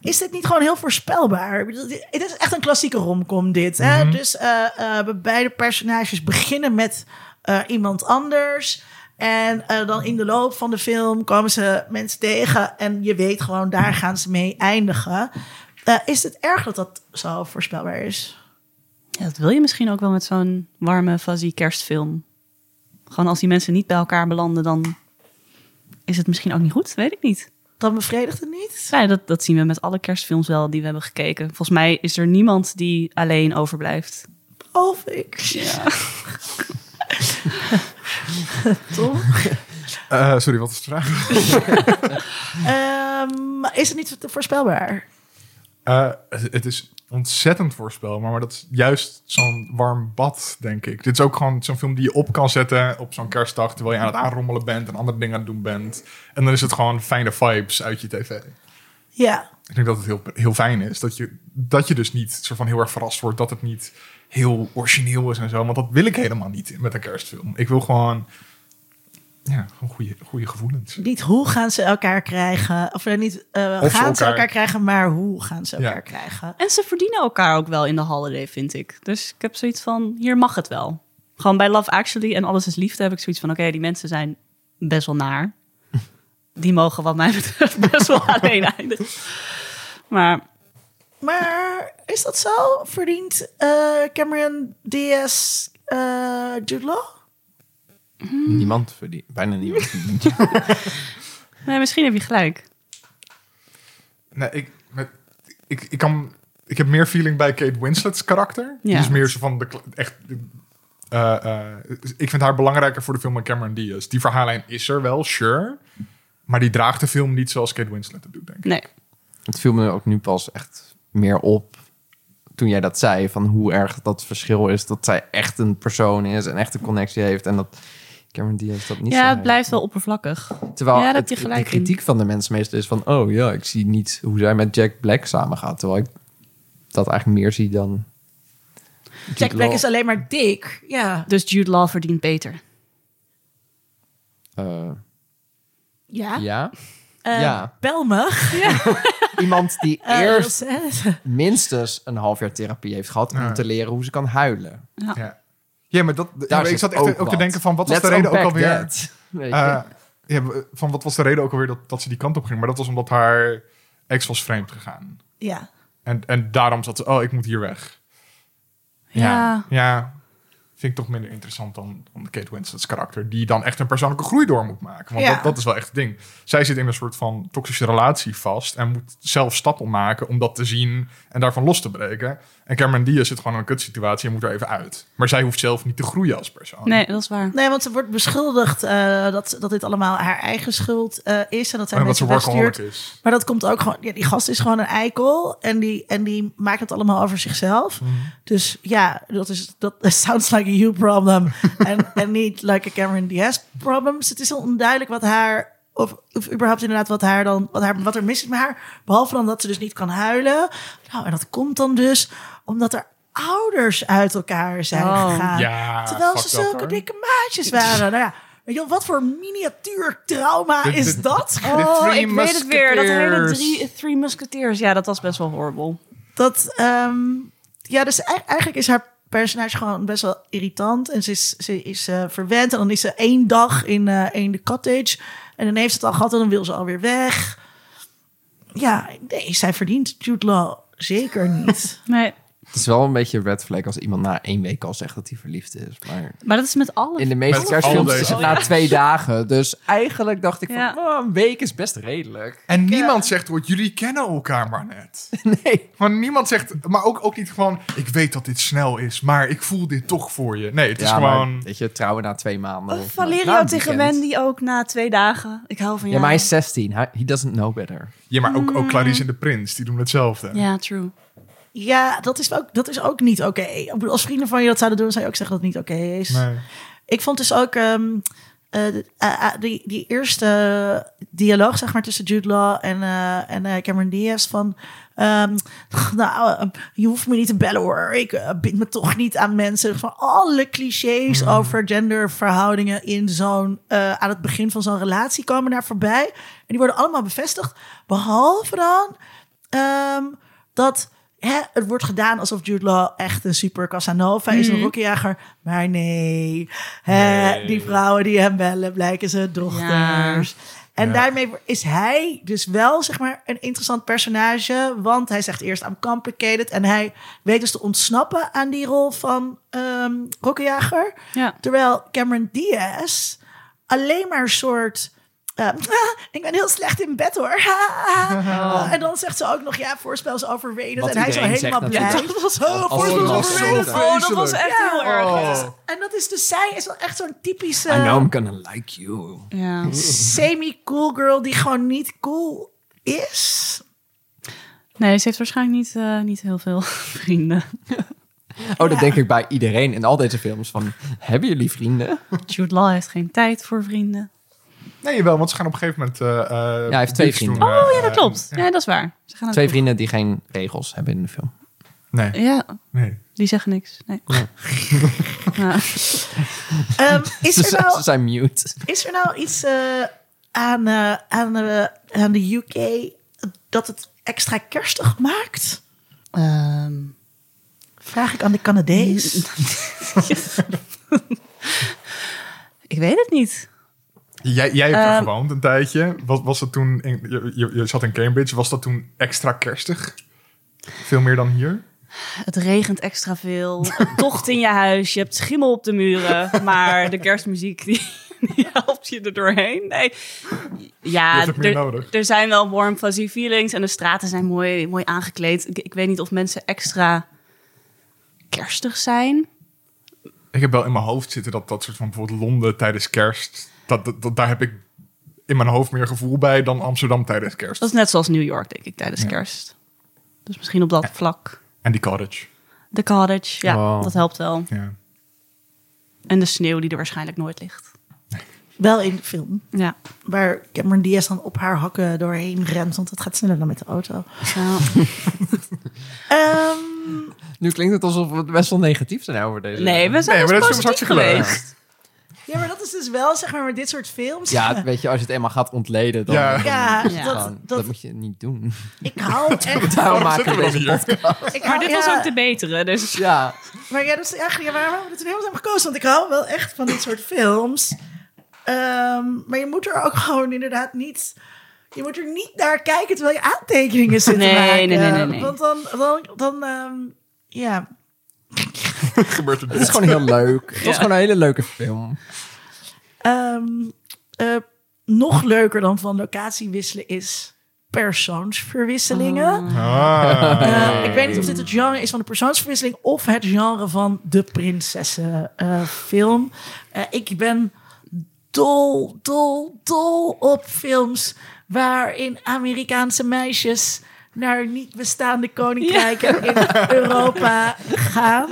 S3: Is dit niet gewoon heel voorspelbaar? Ik bedoel, dit- Het is echt een klassieke romcom, dit. Hè? Dus eh, eh, beide personages beginnen met eh, iemand anders. En eh, dan in de loop van de film komen ze mensen tegen. En je weet gewoon, daar gaan ze mee eindigen. Eh, is het erg dat dat zo voorspelbaar is?
S2: Ja, dat wil je misschien ook wel met zo'n warme, fuzzy kerstfilm. Gewoon als die mensen niet bij elkaar belanden, dan is het misschien ook niet goed. Weet ik niet.
S3: Dan bevredigt het niet?
S2: Ja, dat, dat zien we met alle kerstfilms wel die we hebben gekeken. Volgens mij is er niemand die alleen overblijft.
S3: Of ik. Ja. Tom?
S1: Eh, sorry, wat is de vraag?
S3: Ehm, is het niet te voorspelbaar?
S1: Eh, het het is ontzettend voorspelbaar, maar dat is juist zo'n warm bad, denk ik. Dit is ook gewoon zo'n film die je op kan zetten op zo'n kerstdag... terwijl je aan het aanrommelen bent en andere dingen aan het doen bent. En dan is het gewoon fijne vibes uit je tv.
S3: Ja.
S1: Ik denk dat het heel, heel fijn is. Dat je, dat je dus niet soort van heel erg verrast wordt... dat het niet heel origineel is en zo. Want dat wil ik helemaal niet met een kerstfilm. Ik wil gewoon... Ja, gewoon goede, goede gevoelens.
S3: Niet hoe gaan ze elkaar krijgen. Of eh, niet eh,
S1: Of ze
S3: gaan ze
S1: elkaar-
S3: elkaar krijgen, maar hoe gaan ze
S1: Ja.
S3: elkaar krijgen.
S2: En ze verdienen elkaar ook wel in de holiday, vind ik. Dus ik heb zoiets van, hier mag het wel. Gewoon bij Love Actually en Alles is Liefde heb ik zoiets van... oké, die mensen zijn best wel naar. Die mogen wat mij betreft best wel alleen eindigen. Maar
S3: Maar is dat zo? Verdient eh, Cameron Diaz eh Jude Law?
S4: Mm. Niemand verdient, bijna niemand verdient.
S2: nee, misschien heb je gelijk.
S1: Nee, ik, met, ik, ik, kan, ik heb meer feeling bij Kate Winslet's karakter.
S2: Ja.
S1: Die is meer zo van de. kle- Echt, eh, eh, ik vind haar belangrijker voor de film dan Cameron Diaz. Die verhaallijn is er wel, sure. Maar die draagt de film niet zoals Kate Winslet het doet, denk ik.
S2: Nee.
S4: Het viel me ook nu pas echt meer op toen jij dat zei. Van hoe erg dat verschil is. Dat zij echt een persoon is en echt een connectie heeft. En dat Cameron Diaz dat niet zo
S2: Ja, het
S4: heeft.
S2: blijft wel oppervlakkig.
S4: Terwijl
S2: Ja, daar heb
S4: het-
S2: je
S4: de
S2: gelijk in.
S4: kritiek van de mensen meestal is van... oh ja, ik zie niet hoe zij met Jack Black samengaat. Terwijl ik dat eigenlijk meer zie dan...
S3: Jack Black
S4: Law.
S3: is alleen maar dik. Ja.
S2: Dus Jude Law verdient beter.
S4: Eh,
S3: Ja.
S4: ja.
S3: Eh,
S4: Ja.
S3: Bel me.
S4: Iemand die
S3: Eh,
S4: eerst
S3: Rosette.
S4: minstens een half jaar therapie heeft gehad... om
S1: Ja.
S4: te leren hoe ze kan huilen.
S1: Ja, ja maar dat, ja, maar
S4: zit
S1: ik zat echt
S4: ook
S1: ook, te
S4: wat.
S1: denken van... wat was
S4: Let's
S1: de reden ook
S4: unpack
S1: alweer...
S4: that. Weet je?
S1: Eh, ja, we- van wat was de reden ook alweer dat, dat ze die kant op ging? Maar dat was omdat haar ex was vreemd gegaan.
S3: Ja.
S1: En, en daarom zat ze, oh, ik moet hier weg.
S2: Ja.
S1: Ja, vind ik toch minder interessant dan, dan Kate Winslet's karakter. Die dan echt een persoonlijke groei door moet maken. Want
S3: Ja.
S1: dat, dat is wel echt het ding. Zij zit in een soort van toxische relatie vast. En moet zelf stappen maken om dat te zien en daarvan los te breken. En Cameron Diaz zit gewoon in een kutsituatie en moet er even uit. Maar zij hoeft zelf niet te groeien als persoon.
S2: Nee, dat is waar.
S3: Nee, want ze wordt beschuldigd eh, dat, dat dit allemaal haar eigen schuld eh, is. En dat zij
S1: En dat Oh, ze
S3: mensen wegstuurt.
S1: workaholic is.
S3: Maar dat komt ook gewoon... Ja, die gast is gewoon een eikel. En die, en die maakt het allemaal over zichzelf.
S1: Mhm.
S3: Dus ja, dat is... Dat sounds like a you problem. en, en niet like a Cameron Diaz problem. Dus het is heel onduidelijk wat haar... Of, of überhaupt inderdaad wat, haar dan, wat, haar, wat er mis is met haar. Behalve dan dat ze dus niet kan huilen. Nou, en dat komt dan dus omdat er ouders uit elkaar zijn
S2: Oh.
S3: gegaan.
S1: Ja,
S3: Terwijl ze
S1: fuck dat,
S3: zulke
S1: hoor.
S3: dikke maatjes waren. Nou ja, weet je wel, wat voor miniatuur trauma
S1: Dit-
S3: is
S1: dit-
S3: dat?
S2: Oh, ik weet het weer. Dat hele
S1: Musketeers.
S2: drie, Three Musketeers. Ja, dat was best wel horrible.
S3: Dat, ehm, ja, dus ei- eigenlijk is haar personage gewoon best wel irritant. En ze is, ze is eh, verwend. En dan is ze één dag in, eh, in de cottage. En dan heeft ze het al gehad en dan wil ze alweer weg. Ja, nee, zij verdient Jude Law zeker niet.
S2: Nee.
S4: Het is wel een beetje een red flag als iemand na één week al zegt dat hij verliefd is. Maar
S2: Maar dat is met alle...
S4: in de meeste
S1: Met
S4: kerstfilms
S1: al
S4: is het
S1: deze-
S4: na twee dagen. Dus eigenlijk dacht ik van,
S2: Ja.
S4: "Oh, een week is best redelijk.
S1: En niemand zegt, ooit, jullie kennen elkaar maar net.
S4: Nee.
S1: Maar niemand zegt, maar ook, ook niet gewoon, ik weet dat dit snel is, maar ik voel dit toch voor je. Nee, het is
S4: Ja, maar,
S1: gewoon.
S4: weet je, trouwen na twee maanden. of na-
S2: Valerio
S4: na een
S2: tegen
S4: weekend.
S2: Mandy ook na twee dagen. Ik hou van
S4: Ja,
S2: jou.
S4: maar hij is 16. Hij- He doesn't know better.
S1: Ja, maar ook, ook Clarice en de Prins, die doen hetzelfde.
S2: Mm. Ja, true.
S3: ja, dat is ook, dat is ook niet oké. Ik bedoel, Als vrienden van je dat zouden doen, zou je ook zeggen dat het niet oké is.
S1: Nee.
S3: Ik vond dus ook ehm, eh, de- eh, eh, die, die eerste dialoog zeg maar, tussen Jude Law en, eh, en eh, Cameron Diaz van... ehm, nou, ehm, je hoeft me niet te bellen hoor. Ik eh, bind me toch niet aan mensen. Dus Van alle clichés over genderverhoudingen in zo'n... eh, aan het begin van zo'n relatie komen daar voorbij. En die worden allemaal bevestigd. Behalve dan ehm, dat hè, het wordt gedaan alsof Jude Law echt een super Casanova is, een rockiejager. Maar nee, hè, die vrouwen die hem bellen blijken zijn dochters. En daarmee is hij dus wel zeg maar een interessant personage, want hij zegt eerst I'm complicated en hij weet dus te ontsnappen aan die rol van ehm rockiejager.
S2: Ja.
S3: Terwijl Cameron Diaz alleen maar een soort. eh, ik ben heel slecht in bed hoor.
S2: Oh.
S3: En dan zegt ze ook nog: ja, voorspel is overrated.
S4: Wat
S3: en hij is al
S4: iedereen zegt
S3: helemaal blij.
S4: natuurlijk.
S3: Dat was zo
S4: als
S3: voorspel is
S4: iemand zo
S3: overrated.
S1: vreselijk.
S2: Oh, dat was echt
S3: Ja.
S2: heel erg.
S1: Oh.
S3: En dat is dus zij is wel echt zo'n typische
S4: I know I'm gonna like you.
S2: Ja.
S3: semi-cool girl die gewoon niet cool is.
S2: Nee, ze heeft waarschijnlijk niet, eh, niet heel veel vrienden.
S4: Oh, dat denk ik bij iedereen in al deze films. Van, hebben jullie vrienden?
S2: Jude Law heeft geen tijd voor vrienden.
S1: nee, wel, want ze gaan op een gegeven moment. eh eh,
S4: hij heeft twee
S1: iets doen,
S4: vrienden.
S1: eh,
S2: Oh ja, dat klopt.
S1: eh,
S2: Ja, dat is waar. Ze gaan
S4: Twee
S2: het
S4: vrienden die geen regels hebben in de film.
S1: eh, Nee,
S2: doen. Ja,
S1: nee.
S2: die zeggen niks. Nee. Ja.
S3: Ehm, is
S4: Ze
S3: er
S4: zijn,
S3: nou
S4: ze zijn mute.
S3: Is er nou iets eh, aan, eh, aan, eh, aan de UK dat het extra kerstig maakt? Vraag ik aan de Canadees.
S2: Ik weet het niet.
S1: Jij, jij hebt er
S2: Ehm.
S1: gewoond een tijdje. Was, was dat toen. in- je, je, je zat in Cambridge. Was dat toen extra kerstig? Veel meer dan hier?
S2: Het regent extra veel. Het Tocht in je huis. Je hebt schimmel op de muren. Maar de kerstmuziek die, die helpt je er doorheen. Nee.
S1: Je
S2: Ja,
S1: hebt het meer
S2: er,
S1: nodig.
S2: er zijn wel warm fuzzy feelings. En de straten zijn mooi, mooi aangekleed. Ik, ik weet niet of mensen extra kerstig zijn.
S1: Ik heb wel in mijn hoofd zitten dat dat soort van bijvoorbeeld Londen tijdens kerst. Dat, dat, dat- daar heb ik in mijn hoofd meer gevoel bij dan Amsterdam tijdens kerst.
S2: Dat is net zoals New York, denk ik, tijdens
S1: Ja.
S2: kerst. Dus misschien op dat vlak.
S1: En die cottage.
S2: De cottage, ja,
S4: Wow.
S2: dat helpt wel.
S1: Ja.
S2: En de sneeuw die er waarschijnlijk nooit ligt.
S3: Wel in de film.
S2: Ja.
S3: Waar Cameron Diaz dan op haar hakken doorheen rent. Want dat gaat sneller dan met de auto.
S2: Ja.
S3: Ehm,
S4: Nu klinkt het alsof we best wel negatief zijn over deze.
S2: nee, we zijn
S1: Nee, maar
S2: dus
S1: dat is soms
S2: positief
S1: hartstikke
S2: geweest.
S1: leuk.
S3: ja, maar dat is dus wel zeg maar met dit soort films.
S4: Ja, weet je, als je het eenmaal gaat ontleden, dan...
S1: Ja.
S3: Ja,
S2: Ja.
S3: Dat,
S4: Gewoon,
S3: dat,
S4: dat moet je niet doen.
S3: ik hou echt.
S4: Daarom
S1: Waarom
S4: maken we
S1: zitten we
S4: deze
S1: dan hier?
S4: podcast.
S3: Ik
S2: Maar
S3: hou-
S2: dit
S3: ja.
S2: was ook de betere, dus...
S4: Ja.
S3: Maar ja, dat is eigenlijk ja, waarom hebben we dit helemaal hebben gekozen. Want ik hou wel echt van dit soort films. Ehm, maar je moet er ook gewoon inderdaad niet... Je moet er niet naar kijken terwijl je aantekeningen zit
S2: Nee,
S3: te maken.
S2: nee, nee, nee, nee.
S3: Want dan... dan, dan ehm, ja,
S1: Gebeurt er
S4: Het is
S1: dit?
S4: gewoon heel leuk. Het was gewoon een hele leuke film.
S3: Ehm, eh, nog leuker dan van locatie wisselen is persoonsverwisselingen.
S1: Ah.
S3: Eh, ik weet niet of dit het genre is van de persoonsverwisseling of het genre van de prinsessenfilm. Eh, ik ben dol, dol, dol op films waarin Amerikaanse meisjes naar niet bestaande koninkrijken in Europa gaan.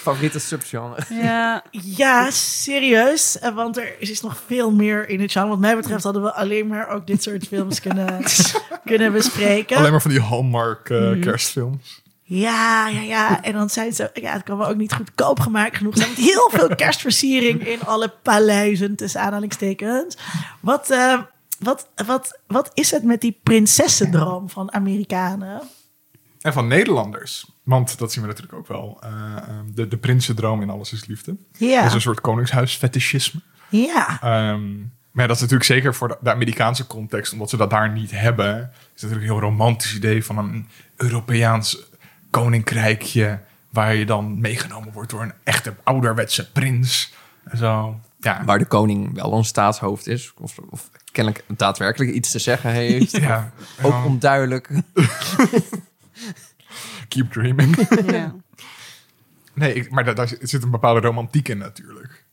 S4: Favoriete subgenre.
S2: Ja,
S3: Ja, serieus. Eh, Want er is nog veel meer in het genre. Wat mij betreft hadden we alleen maar ook dit soort films kunnen, kunnen bespreken.
S1: Alleen maar van die Hallmark eh,
S4: Mhm.
S1: kerstfilms.
S3: Ja, ja, ja. En dan zijn ze... Ja, het kan wel ook niet goedkoop gemaakt genoeg zijn. Met heel veel kerstversiering in alle paleizen, tussen aanhalingstekens. Wat, eh, wat, wat, wat is het met die prinsessendroom van Amerikanen?
S1: En van Nederlanders. Want dat zien we natuurlijk ook wel. Eh, ehm, de, de prinsendroom in Alles is Liefde.
S3: Ja.
S1: Dat is een soort koningshuisfetischisme.
S3: Ja.
S1: Ehm, maar ja, dat is natuurlijk zeker voor de, de Amerikaanse context, omdat ze dat daar niet hebben. Is het natuurlijk een heel romantisch idee van een Europeaans koninkrijkje. Waar je dan meegenomen wordt door een echte ouderwetse prins. En zo. Ja,
S4: Waar de koning wel een staatshoofd is. Of, of kennelijk daadwerkelijk iets te zeggen heeft.
S1: ja.
S4: Ook
S1: Ja.
S4: onduidelijk.
S1: keep dreaming.
S2: ja.
S1: nee, ik- maar daar, daar zit een bepaalde romantiek in natuurlijk.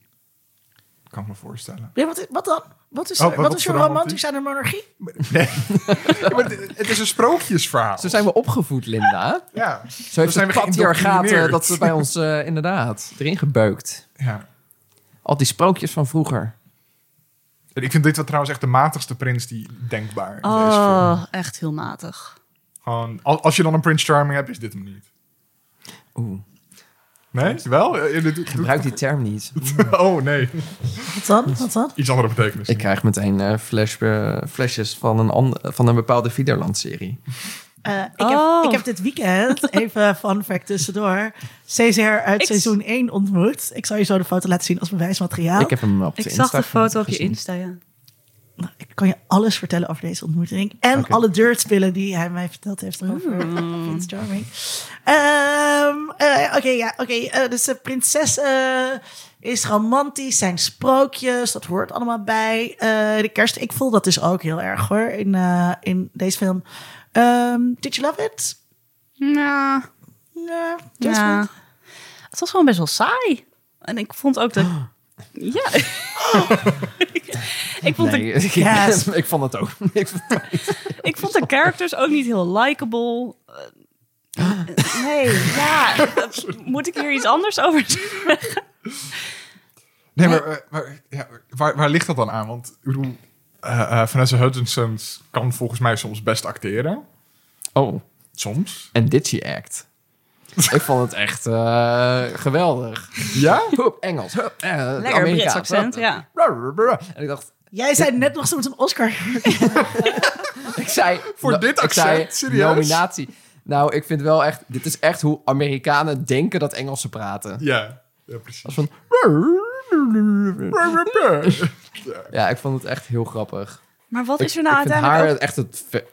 S1: Kan ik me voorstellen.
S3: Ja, Wat, wat dan? Wat is,
S1: Oh,
S3: er-
S1: wat-
S3: wat
S1: wat
S3: is
S1: voor
S3: er
S1: romantiek?
S3: romantisch aan de monarchie?
S1: Nee. Ja, maar het, het is een sprookjesverhaal.
S4: Zo zijn we opgevoed, Linda.
S1: ja.
S4: Zo heeft
S1: zijn
S4: het
S1: we
S4: patriarchaat eh,
S1: geïndoctrineerd.
S4: dat ze bij ons eh, inderdaad erin gebeukt.
S1: ja.
S4: Al die sprookjes van vroeger.
S1: En ik vind dit wel trouwens echt de matigste prins die denkbaar in deze film.
S2: Oh, echt heel matig.
S1: Gewoon, al- als je dan een Prince Charming hebt, is dit hem niet.
S4: Oeh,
S1: Nee? Wel? Eh, dit- dit-
S4: gebruik die term niet.
S1: Oh, nee.
S3: Wat dan? Wat dan?
S1: Iets andere betekenis.
S4: Ik krijg meteen eh, flash, eh, flashes van een, ander- van een bepaalde Videoland-serie.
S3: Eh, ik,
S2: Oh.
S3: heb, ik heb dit weekend, even fun fact tussendoor, Cesar uit
S2: Ik-
S3: seizoen 1 ontmoet. Ik zal je zo de foto laten zien als bewijsmateriaal.
S4: Ik
S3: Ik,
S4: heb hem op de
S2: Nou, Ik zag de
S4: Insta
S2: foto op je
S4: gezien.
S2: Insta, ja.
S3: kan je alles vertellen over deze ontmoeting. En
S4: Oké.
S3: alle dirtspillen die hij mij verteld heeft over
S2: Hmm.
S3: Prince Charming. Ehm, eh, Oké, ja, oké. eh, dus de prinses eh, is romantisch, zijn sprookjes, dat hoort allemaal bij. Eh, de kerst, ik voel dat dus ook heel erg hoor, in, eh, in deze film. Ehm, did you love it?
S2: Nou,
S3: Ja, just
S2: ja.
S3: not.
S2: Het was gewoon best wel saai. En ik vond ook dat... Ja. ik, vond
S4: Nee,
S2: de,
S4: ik,
S3: Yes.
S4: ik vond het ook. Ik vond-
S2: ik vond de characters ook niet heel likable. Eh, nee, ja. Moet ik hier iets anders over zeggen?
S1: Nee, maar, eh, maar, ja, waar, waar ligt dat dan aan? Want ik bedoel, eh, eh, Vanessa Hudgenson kan volgens mij soms best acteren.
S4: Oh,
S1: Soms.
S4: en dit she act. ik vond het echt eh, geweldig.
S1: Ja?
S4: Hup, Engels. Hup, eh,
S2: Lekker
S4: Amerikaans.
S2: Brits accent,
S4: Hup.
S2: ja.
S4: En ik dacht,
S3: Jij zei net nog ze moet een Oscar.
S4: ik zei...
S1: Voor dit
S4: ik zei,
S1: accent? Serieus?
S4: Nominatie. Nou, ik vind wel echt... Dit is echt hoe Amerikanen denken dat Engelsen praten.
S1: Ja. Ja, precies.
S4: Als van... Ja, ik vond het echt heel grappig.
S2: Maar wat is er
S4: Ik
S2: nou
S4: vind
S2: uiteindelijk
S4: haar
S2: ook-
S4: echt het... ve-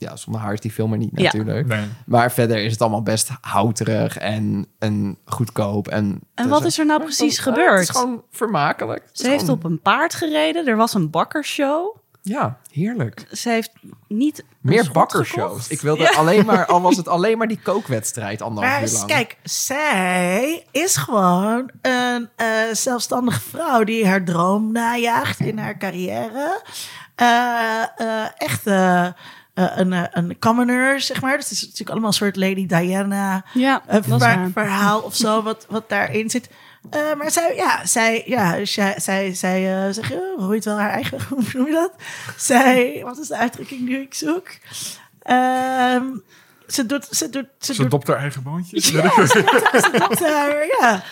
S4: Ja, zonder haar is die film er niet
S2: Ja.
S4: natuurlijk.
S1: Nee.
S4: Maar verder is het allemaal best houterig en, en goedkoop. En,
S2: En wat is er nou precies
S4: Oh, Het is
S2: gebeurd?
S4: gewoon vermakelijk. Het is
S2: Ze heeft
S4: gewoon-
S2: op een paard gereden. Er was een bakkershow.
S4: Ja, heerlijk.
S2: Ze heeft niet... een
S4: Meer
S2: schot
S4: bakkershows.
S2: gekocht.
S4: Ik wilde alleen maar, al was het alleen maar die kookwedstrijd anderhalf
S3: Maar
S4: uur lang.
S3: kijk, zij is gewoon een eh, zelfstandige vrouw die haar droom najaagt in haar carrière. Eh, eh, echt eh, eh, een, eh, een commoner, zeg maar. Dus het is natuurlijk allemaal een soort Lady Diana
S2: Ja,
S3: eh,
S2: dat is
S3: ver-
S2: waar.
S3: verhaal of zo, wat, wat daarin zit. Eh, maar zij, ja, zij, ja, zij, zij, zij eh, zeg je, roeit wel haar eigen, hoe noem je dat? Zij, wat is de uitdrukking die ik zoek? Ehm, ze doet, ze doet, ze,
S1: Ze
S3: doet
S1: dopt haar eigen boontjes.
S3: doet haar, eh, ja.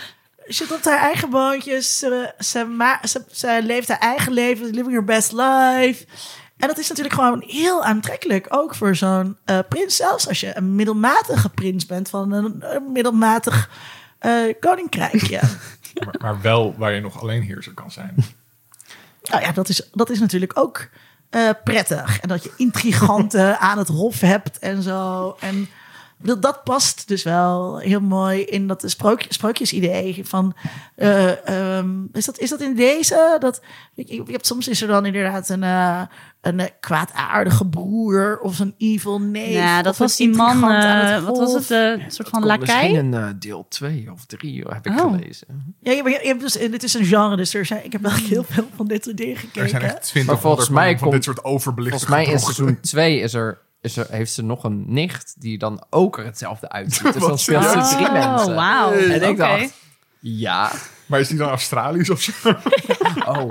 S3: Ze doet haar eigen boontjes. Ze, ze, ma- ze, ze leeft haar eigen leven. Living her best life. En dat is natuurlijk gewoon heel aantrekkelijk. Ook voor zo'n eh, prins. Zelfs als je een middelmatige prins bent van een, een middelmatig eh, koninkrijk. Ja.
S1: maar, maar wel waar je nog alleenheerser kan zijn.
S3: nou ja, dat is, dat is natuurlijk ook eh, prettig. En dat je intriganten aan het hof hebt en zo. En ik bedoel, dat past dus wel heel mooi in dat sprookje, sprookjesidee van... eh, ehm, is, dat, is dat in deze? Dat, je, je hebt, soms is er dan inderdaad een, eh, een eh, kwaadaardige broer of een evil neef.
S2: Nou, dat
S3: of een
S2: was die man,
S3: intrigant aan
S2: eh,
S3: het
S2: wat was
S3: hof.
S2: het, eh, een soort van
S4: Komt
S2: lakai?
S4: Misschien een eh, deel 2 of 3 heb ik
S2: Oh.
S4: gelezen.
S3: Ja, je, je hebt dus, dit is een genre, dus er zijn, ik heb
S2: Hmm.
S3: wel heel veel van dit soort dingen gekeken.
S1: Er zijn echt 20
S4: Maar volgens mij
S1: onderkomen van
S4: komt-
S1: dit soort overbelichte
S4: Volgens mij in
S1: gedrochten.
S4: seizoen 2 is er, is er, heeft ze nog een nicht die dan ook er hetzelfde uitziet. Dus dan
S1: Wat
S4: speelt ze drie mensen.
S2: Oh, wauw.
S4: En ik
S2: Oké.
S4: dacht, ja,
S1: Maar is die dan Australisch of zo?
S4: oh,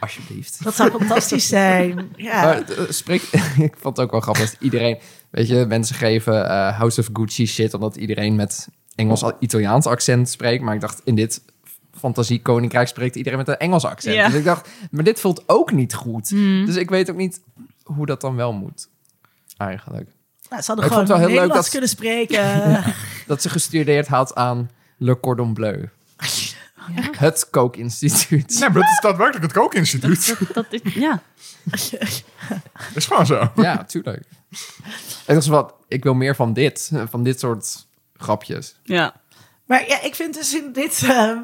S4: alsjeblieft.
S3: Dat zou fantastisch zijn. Ja.
S4: Maar, eh, spreek, ik vond het ook wel grappig. dat Iedereen, weet je, mensen geven eh, House of Gucci shit omdat iedereen met Engels-Italiaans accent spreekt. Maar ik dacht, in dit fantasie koninkrijk spreekt iedereen met een Engels accent.
S2: Ja.
S4: Dus ik dacht, maar dit voelt ook niet goed. Dus ik weet ook niet hoe dat dan wel moet. Eigenlijk.
S3: Nou, ze hadden
S4: Ik
S3: gewoon
S4: vond het wel heel leuk
S3: Nederlands
S4: dat-
S3: kunnen spreken.
S4: Dat ze gestudeerd had aan Le Cordon Bleu. Het kookinstituut.
S1: Nee, maar dat is daadwerkelijk het kookinstituut.
S2: Dat is, ja.
S1: Dat is gewoon zo.
S4: Ja, tuurlijk. Ik dacht, zo wat, ik wil meer van dit. Van dit soort grapjes.
S2: ja.
S3: maar ja, ik vind dus in dit, ehm,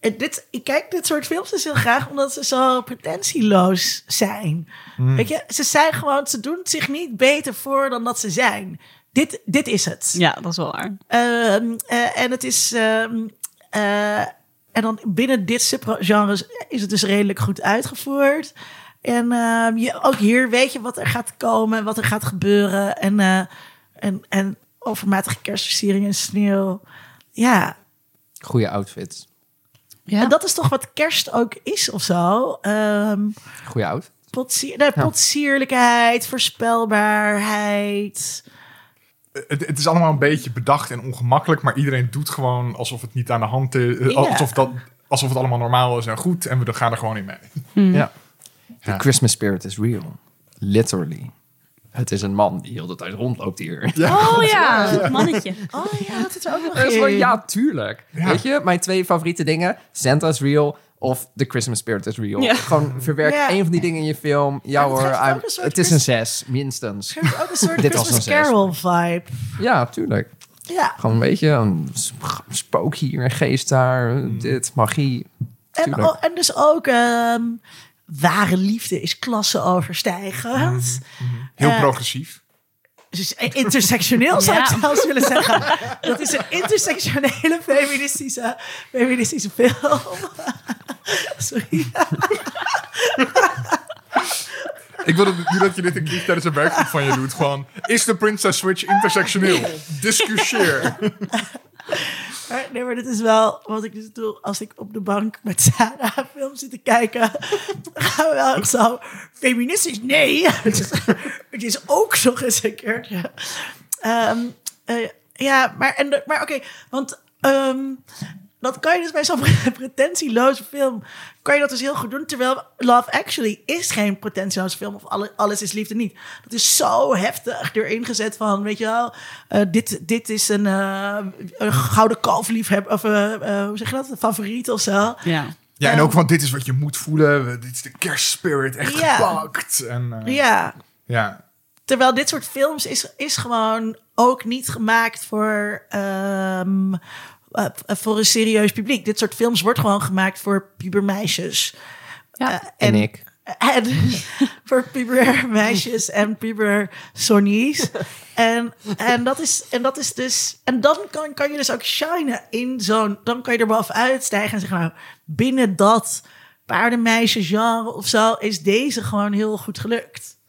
S3: eh, dit... Ik kijk dit soort films dus heel graag omdat ze zo pretentieloos zijn.
S4: Hmm.
S3: Weet je, ze zijn gewoon... Ze doen zich niet beter voor dan dat ze zijn. Dit, dit is het.
S2: ja, dat is wel waar.
S3: Ehm, eh, en het is... ehm, eh, en dan binnen dit subgenre is het dus redelijk goed uitgevoerd. En ehm, je, ook hier weet je wat er gaat komen en wat er gaat gebeuren. En, eh, en, en overmatige kerstversiering en sneeuw. Ja,
S4: Goede outfits.
S2: Ja.
S3: en dat is toch wat kerst ook is of zo. Ehm
S4: Goede outfits.
S3: potsier, nee, potsierlijkheid, voorspelbaarheid.
S1: Het, het is allemaal een beetje bedacht en ongemakkelijk, maar iedereen doet gewoon alsof het niet aan de hand is. eh,
S3: Ja.
S1: Alsof, dat, alsof het allemaal normaal is en goed en we gaan er gewoon in mee.
S3: Mm.
S4: Ja.
S1: Ja.
S4: The Christmas spirit is real. Literally. Het is een man die heel de tijd rondloopt hier.
S2: Oh ja, dat mannetje.
S3: Oh ja, dat is er ook nog
S4: Dat is wel-
S3: in.
S4: ja, tuurlijk.
S1: Ja.
S4: Weet je, mijn twee favoriete dingen. Santa is real of The Christmas spirit is real.
S2: Ja.
S4: Gewoon verwerk
S3: Ja.
S4: één van die dingen in je film. Ja
S3: het
S4: hoor,
S3: geeft ook
S4: I'm-
S3: een soort
S4: het is een
S3: Christ-
S4: zes, minstens.
S3: Het is Ook een soort
S4: Dit was
S3: Christmas
S4: een zes.
S3: Carol vibe.
S4: Ja, tuurlijk.
S3: Ja.
S4: Gewoon een beetje een sp- spook hier, een geest daar,
S1: Mm.
S4: dit, magie.
S3: En,
S4: Tuurlijk.
S3: o- en dus ook ehm, ware liefde is klasseoverstijgend.
S1: Heel
S3: Eh,
S1: progressief.
S3: Dus eh, intersectioneel zou ik
S2: Ja.
S3: zelfs willen zeggen. Dat is een intersectionele feministische, feministische film. Sorry.
S1: Ik wil het- niet dat je dit een keer tijdens een werkgroep van je doet. Gewoon, is de Princess Switch intersectioneel? Discussieer.
S3: Maar, nee, maar dit is wel wat ik dus doe als ik op de bank met Sarah een film zit te kijken. Dan gaan we wel echt zo feministisch. Nee, het is, het is ook nog eens een keertje. Ehm, eh, ja, maar, en de- maar oké, want ehm, dat kan je dus bij zo'n pretentieloze film, kan je dat dus heel goed doen. Terwijl Love Actually is geen pretentieloze film of alle- Alles is Liefde niet. Dat is zo heftig erin gezet van, weet je wel, eh, dit, dit is een, eh, een gouden kalfliefhebber, of eh, eh, hoe zeg je dat, een favoriet of zo.
S2: Ja.
S1: Ja, en ook van dit is wat je moet voelen. We- Dit is de kerstspirit, echt
S3: Ja.
S1: gepakt. En, eh,
S3: Ja,
S1: ja.
S3: Terwijl dit soort films is, is gewoon ook niet gemaakt voor, ehm, eh, voor een serieus publiek. Dit soort films wordt gewoon gemaakt voor pubermeisjes.
S2: Ja.
S3: Eh,
S4: En, ik.
S3: En voor puber meisjes en puber sonnies. En, en, dat is, en dat is dus. En dan kan, kan je dus ook shinen in zo'n. Dan kan je er bovenuit stijgen en zeggen: Nou, binnen dat paardenmeisjesgenre of zo is deze gewoon heel goed gelukt.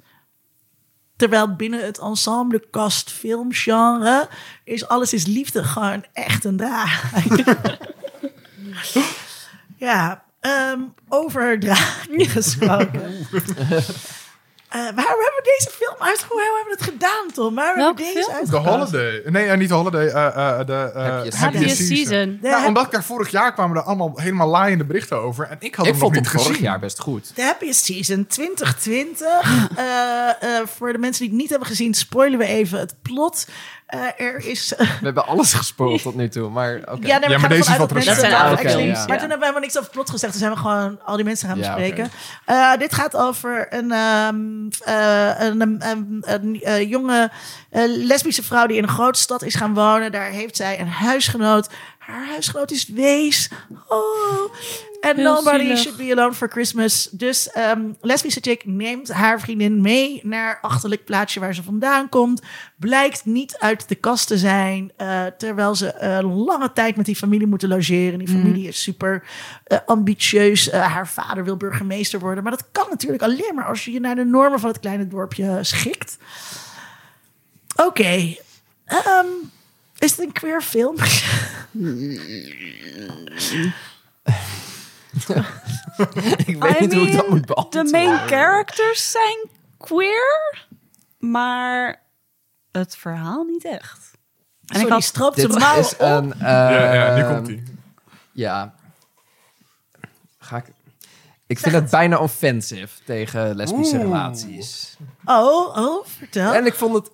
S3: Terwijl binnen het ensemble cast filmgenre is alles is liefde gewoon echt een draai. ja, ehm over draai gesproken. Eh, waarom hebben we deze film uit? Hoe hebben we het gedaan, Tom? Waarom hebben we
S2: Welke
S3: deze
S2: film?
S3: uit?
S1: De Holiday. Nee, eh, niet de Holiday. eh, eh, de, eh,
S4: Happiest
S2: Happiest Season.
S3: De,
S1: Nou,
S3: hap-
S1: omdat ik daar vorig jaar kwamen er allemaal helemaal laaiende berichten over. En ik had hem
S4: Ik
S1: nog
S4: vond
S1: niet
S4: het vorig
S1: gezien.
S4: jaar best goed.
S3: The Happiest Season 2020. Eh, eh, voor de mensen die het niet hebben gezien, spoilen we even het plot. Eh, er is
S4: We hebben alles gespoeld tot nu toe, maar oké.
S3: Ja, nee,
S1: Ja,
S3: we
S1: maar
S3: gaan
S1: deze
S3: ervan
S1: is wat
S3: uit dat
S1: recenter.
S3: mensen
S2: Dat zijn
S3: daar
S2: oude
S3: actually-
S4: films,
S3: Maar
S2: ja.
S3: toen hebben we helemaal niks over het plot gezegd. Dus hebben we gewoon al die mensen gaan
S4: Ja,
S3: bespreken. Eh, dit gaat over een, ehm, eh, een, ehm, ehm, een, eh, jonge eh, lesbische vrouw die in een grote stad is gaan wonen. Daar heeft zij een huisgenoot. Haar huisgenoot is wees. Oh. En
S2: Heel
S3: nobody
S2: zielig.
S3: should be alone for Christmas. Dus ehm, lesbische chick neemt haar vriendin mee naar achterlijk plaatsje waar ze vandaan komt. Blijkt niet uit de kast te zijn. eh, terwijl ze een lange tijd met die familie moeten logeren.
S2: Mhm.
S3: Die familie is super eh, ambitieus. Eh, haar vader wil burgemeester worden. Maar dat kan natuurlijk alleen maar als je je naar de normen van het kleine dorpje schikt. Oké. Ehm, is het een queer film?
S4: ik weet
S2: I
S4: niet hoe ik dat
S2: mean,
S4: moet
S2: De
S4: beantwoorden.
S2: main characters zijn queer, maar het verhaal niet echt. En
S3: Sorry,
S2: ik had
S3: stroopt
S4: Dit
S3: zijn mouw
S4: is eh,
S3: op.
S4: een...
S1: Ja, ja, nu
S4: eh,
S1: komt hij.
S4: Ja. Ga ik... Ik vind het bijna offensive tegen lesbische
S1: Oeh.
S4: relaties.
S3: Oh, oh, vertel.
S4: En ik vond het...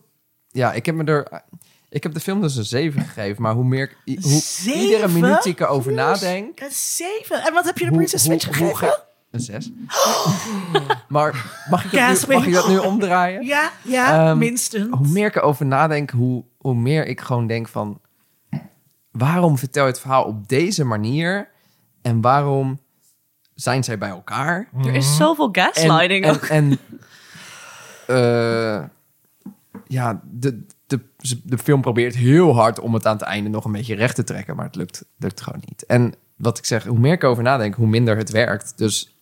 S4: Ja, ik heb me er... Ik heb de film dus een 7 gegeven, maar hoe meer... ik- i- Hoe
S3: Zeven?
S4: iedere minuut die ik erover nadenk...
S3: Een zeven. En wat heb je de
S4: Hoe-
S3: Princess
S4: hoe-
S3: Switch
S4: hoe
S3: gegeven?
S4: ga- Een 6. maar mag ik, dat nu,
S3: Kaaswinkel.
S4: mag ik dat nu omdraaien?
S3: Ja, ja,
S4: Ehm,
S3: minstens.
S4: Hoe meer ik erover nadenk, hoe, hoe meer ik gewoon denk van... Waarom vertel je het verhaal op deze manier? En waarom zijn zij bij elkaar?
S2: er is zoveel gaslighting
S4: Mm-hmm. en,
S2: ook.
S4: En, eh, ja, de, de, ze- de film probeert heel hard om het aan het einde nog een beetje recht te trekken, maar het lukt, lukt gewoon niet. En wat ik zeg, hoe meer ik over nadenk, hoe minder het werkt. Dus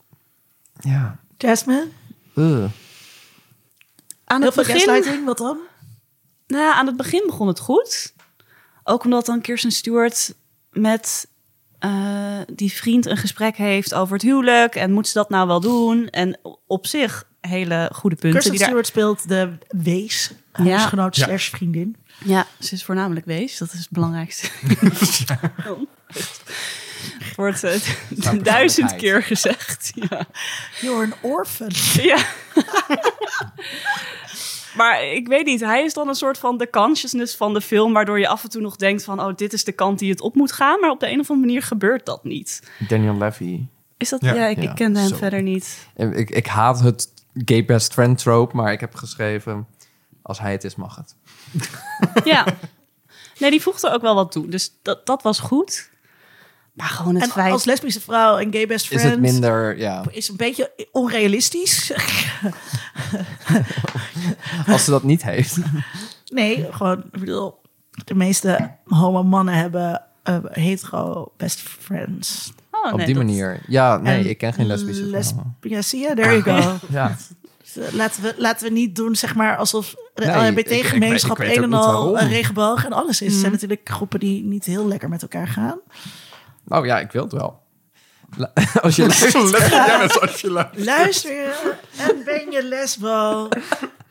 S4: ja.
S3: Jasmine?
S4: eh.
S2: Aan
S3: Heel
S2: het
S3: veel
S2: begin
S3: gaslighting, wat dan?
S2: Nou, ja, aan het begin begon het goed. Ook omdat dan Kirsten Stewart met eh, die vriend een gesprek heeft over het huwelijk. En moet ze dat nou wel doen? En op zich hele goede punten.
S3: Kirsten
S2: die daar-
S3: Stewart speelt de wees,
S2: Ja.
S3: huisgenoot
S1: Ja.
S3: slash vriendin.
S2: Ja, ze is voornamelijk wees. Dat is het belangrijkste. Oh. Wordt eh, duizend
S4: persoonlijkheid.
S2: keer gezegd. Ja.
S3: You're an orphan.
S2: ja. maar ik weet niet. Hij is dan een soort van de consciousness van de film... waardoor je af en toe nog denkt van... oh, dit is de kant die het op moet gaan. Maar op de een of andere manier gebeurt dat niet.
S4: Daniel Levy.
S2: Is dat...
S1: Ja.
S2: Ja, ik,
S4: Ja,
S2: ik kende hem
S4: zo.
S2: verder niet.
S4: En Ik, ik haat het gay best friend trope, maar ik heb geschreven... Als hij het is, mag het.
S2: Ja. Nee, die voegde ook wel wat toe. Dus dat, dat was goed. Maar gewoon het
S3: En
S2: feit...
S3: als lesbische vrouw en gay best
S4: Is
S3: friend...
S4: het minder, ja.
S3: is een beetje onrealistisch.
S4: Als ze dat niet heeft.
S2: Oh,
S3: nee, gewoon, ik bedoel, de meeste homo mannen hebben eh, hetero best friends.
S2: Oh,
S4: op
S2: nee,
S4: die
S2: dat-
S4: manier. Ja, nee,
S3: En
S4: ik ken geen lesbische
S3: lesb-
S4: vrouwen.
S3: Ja, zie je, there you go.
S4: Ja.
S3: eh, Laten we, laten we niet doen, zeg maar, alsof de
S4: Nee, ik- ik
S3: LHBT-gemeenschap
S4: weet- ik weet
S3: een
S4: ook
S3: en
S4: niet
S3: al een
S4: waarom.
S3: regenboog en alles is. Er
S2: Mhm.
S3: zijn natuurlijk groepen die niet heel lekker met elkaar gaan.
S4: Oh ja, ik wil het wel. La- Als je luistert.
S1: Let jij met als je luistert.
S3: Luister en ben je lesbo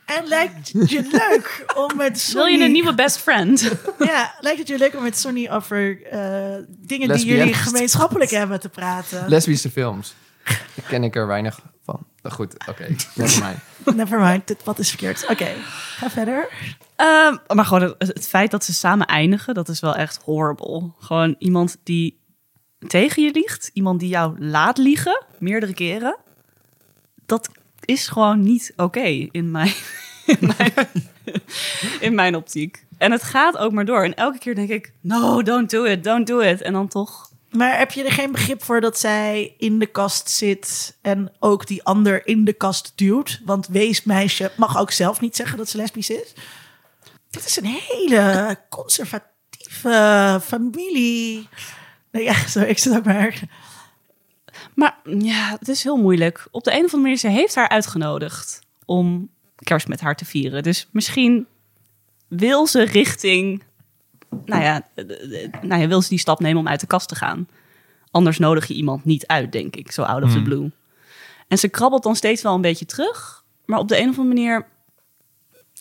S3: en lijkt het je leuk om met
S2: Wil
S3: Sonny...
S2: je een nieuwe best friend?
S3: Ja, lijkt het je leuk om met Sonny over eh, dingen die
S4: Lesbiennes
S3: jullie
S4: te
S3: gemeenschappelijk hebben te praten?
S4: Lesbische films. Daar ken ik er weinig van. Maar Goed, oké. never mind.
S3: Never mind, dit wat is verkeerd. Oké, ga verder.
S2: Ehm, maar gewoon het, het feit dat ze samen eindigen, dat is wel echt horrible. Gewoon iemand die tegen je liegt, iemand die jou laat liegen, meerdere keren. Dat is gewoon niet oké in, mijn, in mijn in mijn optiek. En het gaat ook maar door. En elke keer denk ik, no, don't do it, don't do it. En dan toch
S3: Maar heb je er geen begrip voor dat zij in de kast zit en ook die ander in de kast duwt? Want weesmeisje mag ook zelf niet zeggen dat ze lesbisch is. Dit is een hele conservatieve familie. Nou ja, sorry, ik zit ook maar erg.
S2: Maar ja, het is heel moeilijk. Op de een of andere manier, ze heeft haar uitgenodigd om kerst met haar te vieren. Dus misschien wil ze richting, nou ja, eh, eh, eh, nou ja wil ze die stap nemen om uit de kast te gaan. Anders nodig je iemand niet uit, denk ik, zo out of the blue. En ze krabbelt dan steeds wel een beetje terug. Maar op de een of andere manier,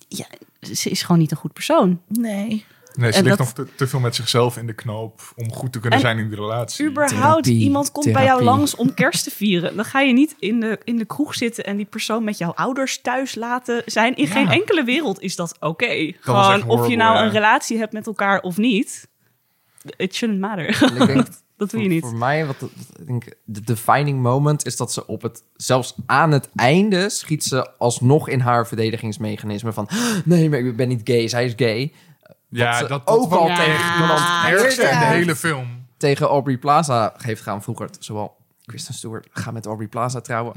S2: ja, ze is gewoon niet een goed persoon.
S3: Nee.
S1: Nee, ze
S2: En
S1: ligt
S2: dat-
S1: nog te, te veel met zichzelf in de knoop om goed te kunnen
S2: En
S1: zijn in die relatie.
S2: Überhaupt,
S4: Therapie,
S2: iemand komt bij jou
S4: therapie.
S2: langs om kerst te vieren. Dan ga je niet in de, in de kroeg zitten en die persoon met jouw ouders thuis laten zijn. In geen enkele wereld is dat oké.
S1: was echt
S2: Gewoon of
S1: horrible,
S2: je nou
S1: ja.
S2: een relatie hebt met elkaar of niet. It shouldn't matter.
S4: Ik denk,
S2: Dat doe je
S4: voor-
S2: niet.
S4: Voor mij, wat, wat- ik denk, de defining moment is dat ze op het, zelfs aan het einde, schiet ze alsnog in haar verdedigingsmechanisme van, "Ah, nee, maar ik ben niet gay, zij is gay.
S1: ja,
S4: ze
S1: dat, dat
S4: ook al
S1: wel
S4: tegen iemand
S1: het ergste in de
S3: Ja.
S1: hele film.
S4: tegen Aubrey Plaza heeft gaan vroeger. Zowel Kristen Stewart, ga met Aubrey Plaza trouwen.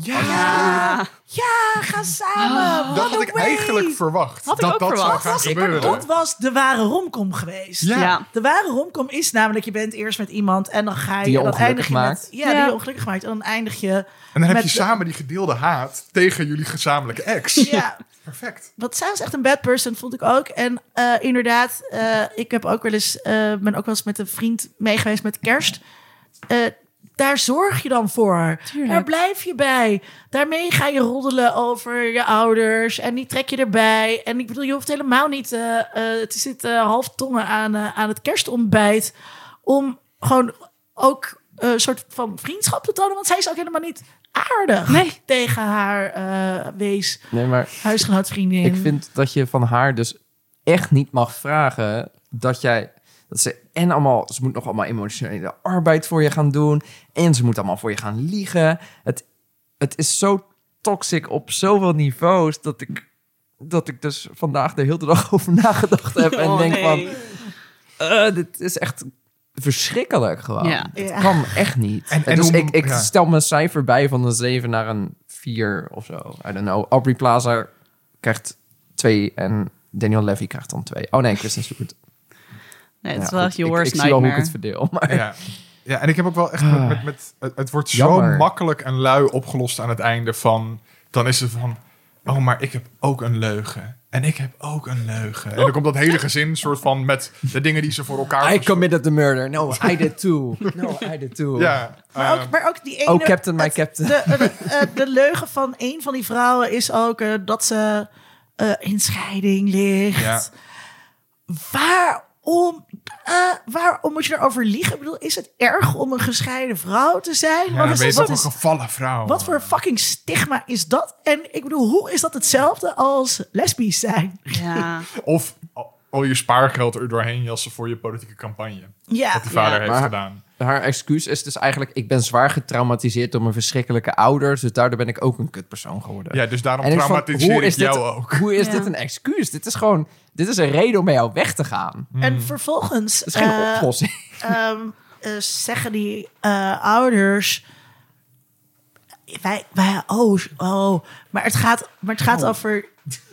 S3: Ja, ga samen. What
S1: Dat had
S3: a
S1: ik
S3: way.
S1: eigenlijk verwacht.
S2: Had ik
S1: dat
S2: ook
S1: Oh. dat
S2: verwacht.
S1: zou gaan gebeuren.
S3: Dat was de ware romcom geweest.
S1: Ja.
S2: Ja.
S3: De ware romcom is namelijk, je bent eerst met iemand en dan ga je...
S4: Die je
S3: en dan
S4: ongelukkig
S3: eindig je
S4: maakt.
S3: Met, ja,
S2: Ja.
S3: die je ongelukkig maakt. En dan eindig je...
S1: En dan heb
S3: met
S1: je
S3: de-
S1: samen die gedeelde haat tegen jullie gezamenlijke ex.
S3: Ja,
S1: Perfect.
S3: want zij was echt een bad person, vond ik ook. En eh, inderdaad, eh, ik heb ook wel eens, eh, ben ook wel eens met een vriend meegeweest met kerst. Eh, daar zorg je dan voor. Daar blijf je bij. Daarmee ga je roddelen over je ouders. En die trek je erbij. En ik bedoel, je hoeft helemaal niet eh eh, te zitten half tongen aan, eh, aan het kerstontbijt. Om gewoon ook eh, een soort van vriendschap te tonen. Want zij is ook helemaal niet aardig
S2: Nee.
S3: tegen haar eh, wees
S4: Nee, maar
S3: huisgenoot, vriendin.
S4: ik vind dat je van haar dus echt niet mag vragen dat jij... Dat ze en allemaal, ze moet nog allemaal emotionele arbeid voor je gaan doen. En ze moet allemaal voor je gaan liegen. Het, het is zo toxic op zoveel niveaus dat ik, dat ik dus vandaag de hele dag over nagedacht heb. en
S2: Oh,
S4: denk
S2: nee.
S4: van, eh, dit is echt verschrikkelijk gewoon.
S2: Ja.
S4: Het
S3: Ja.
S4: kan echt niet.
S1: En- en
S4: dus
S1: hoe-
S4: ik, ik
S1: ja.
S4: stel mijn cijfer bij van een 7 naar een 4 of zo. I don't know. Aubrey Plaza krijgt 2 en Daniel Levy krijgt dan 2. Oh nee, Kristen Stewart.
S2: Nee, het is
S4: Ja,
S2: wel
S4: goed.
S2: echt je
S4: Ik-
S2: worst
S4: Ik, zie wel hoe ik
S2: nightmare.
S4: het verdeel. Maar
S1: Ja. ja, en ik heb ook wel echt met... met, met- het, het wordt
S4: Jammer.
S1: zo makkelijk en lui opgelost aan het einde van... Dan is het van... Oh, maar ik heb ook een leugen. En ik heb ook een leugen. En dan komt dat hele gezin soort van met de dingen die ze voor elkaar...
S4: I
S1: verzo-
S4: committed the murder. No, I did too. No, I did too.
S1: Ja,
S3: maar,
S1: eh,
S3: ook, maar ook die ene...
S4: Oh, captain, my
S3: het-
S4: captain.
S3: De, eh, eh, de leugen van een van die vrouwen is ook eh, dat ze eh, in scheiding ligt.
S1: Ja.
S3: Waarom, eh, waarom moet je erover liegen? Ik bedoel, is het erg om een gescheiden vrouw te zijn?
S1: ja,
S3: Wat
S1: dan
S3: is
S1: ben je
S3: dat-
S1: toch een gevallen vrouw.
S3: wat voor fucking stigma is dat? En ik bedoel, hoe is dat hetzelfde als lesbisch zijn?
S2: Ja.
S1: Of al- al je spaargeld er doorheen jassen voor je politieke campagne.
S3: Ja,
S1: Wat die vader
S2: Ja.
S1: heeft
S4: Maar-
S1: gedaan.
S4: Haar excuus is dus eigenlijk... ik ben zwaar getraumatiseerd door mijn verschrikkelijke ouders... dus daardoor ben ik ook een kutpersoon geworden.
S1: Ja, dus daarom
S4: En ik van,
S1: traumatiseer
S4: hoe
S1: ik
S4: is dit-
S1: jou ook.
S4: Hoe is
S2: Ja.
S4: dit een excuus? Dit is gewoon... Dit is een reden om bij jou weg te gaan.
S3: en vervolgens...
S4: Dat is geen
S3: eh,
S4: oplossing.
S3: ehm, eh, zeggen die eh, ouders. Wij, wij, oh, oh, maar het gaat, maar het gaat over.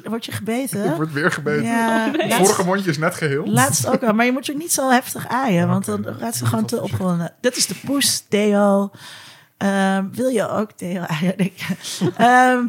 S3: Word je
S1: Oh. Ik
S3: gebeten?
S1: word weer gebeten.
S3: Ja,
S1: Het
S3: laatst,
S1: vorige mondje is net geheel.
S3: laatst ook al. Maar je moet er niet zo heftig aaien, want dan
S1: oké.
S3: raakt ze gewoon te opgewonden. Dat is de poes, Theo. Ehm, wil je ook Theo aaien? denk ik. Ehm,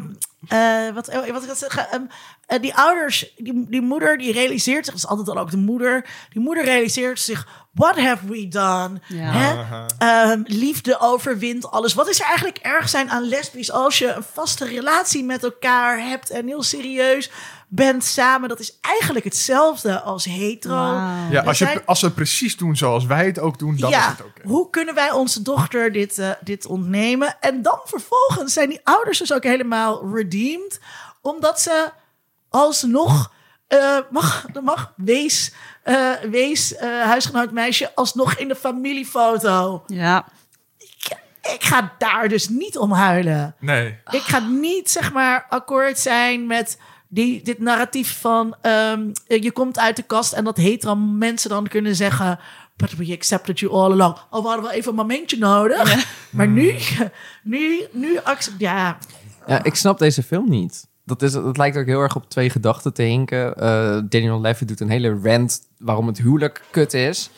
S3: eh, wat, oh, wat ik had zeggen. ehm, eh, die ouders, die, die moeder, die realiseert zich, dat is altijd dan ook de moeder. Die moeder realiseert zich: What have we done?
S2: Ja.
S3: Hè?
S1: Aha.
S3: Ehm, liefde overwint alles. Wat is er eigenlijk erg zijn aan lesbisch als je een vaste relatie met elkaar hebt en heel serieus bent samen? Dat is eigenlijk hetzelfde als hetero.
S2: Wauw.
S1: Ja, als,
S3: zijn-
S1: je, als ze het precies doen zoals wij het ook doen, dan is
S3: ja,
S1: het oké.
S3: hoe kunnen wij onze dochter dit, eh, dit ontnemen? En dan vervolgens zijn die ouders dus ook helemaal redeemed, omdat ze alsnog eh, mag, dan mag wees, eh, wees eh, huisgenoot meisje alsnog in de familiefoto.
S2: Ja.
S3: Ik ga daar dus niet om huilen.
S1: Nee.
S3: Ik ga niet, zeg maar, akkoord zijn met die, dit narratief van... ehm, je komt uit de kast en dat hetero mensen dan kunnen zeggen... But we accepted you all along. Al hadden we even een momentje nodig. Maar nu, nu, nu accept... Ja,
S4: Ja, ik snap deze film niet. Dat, is, dat lijkt ook heel erg op twee gedachten te hinken. Eh, Daniel Levy doet een hele rant waarom het huwelijk kut is.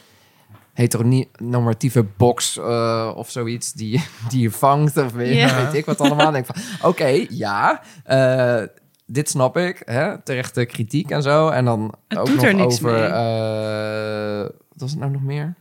S4: Heteronormatieve box eh, of zoiets die, die je vangt. Of weet,
S2: Ja.
S4: weet ik wat allemaal. En ik denk van, oké, ja, eh, dit snap ik. Hè? Terechte kritiek en zo. En dan
S2: Het
S4: ook
S2: doet
S4: nog
S2: er niks
S4: over...
S2: mee.
S4: eh, wat was het nou nog meer?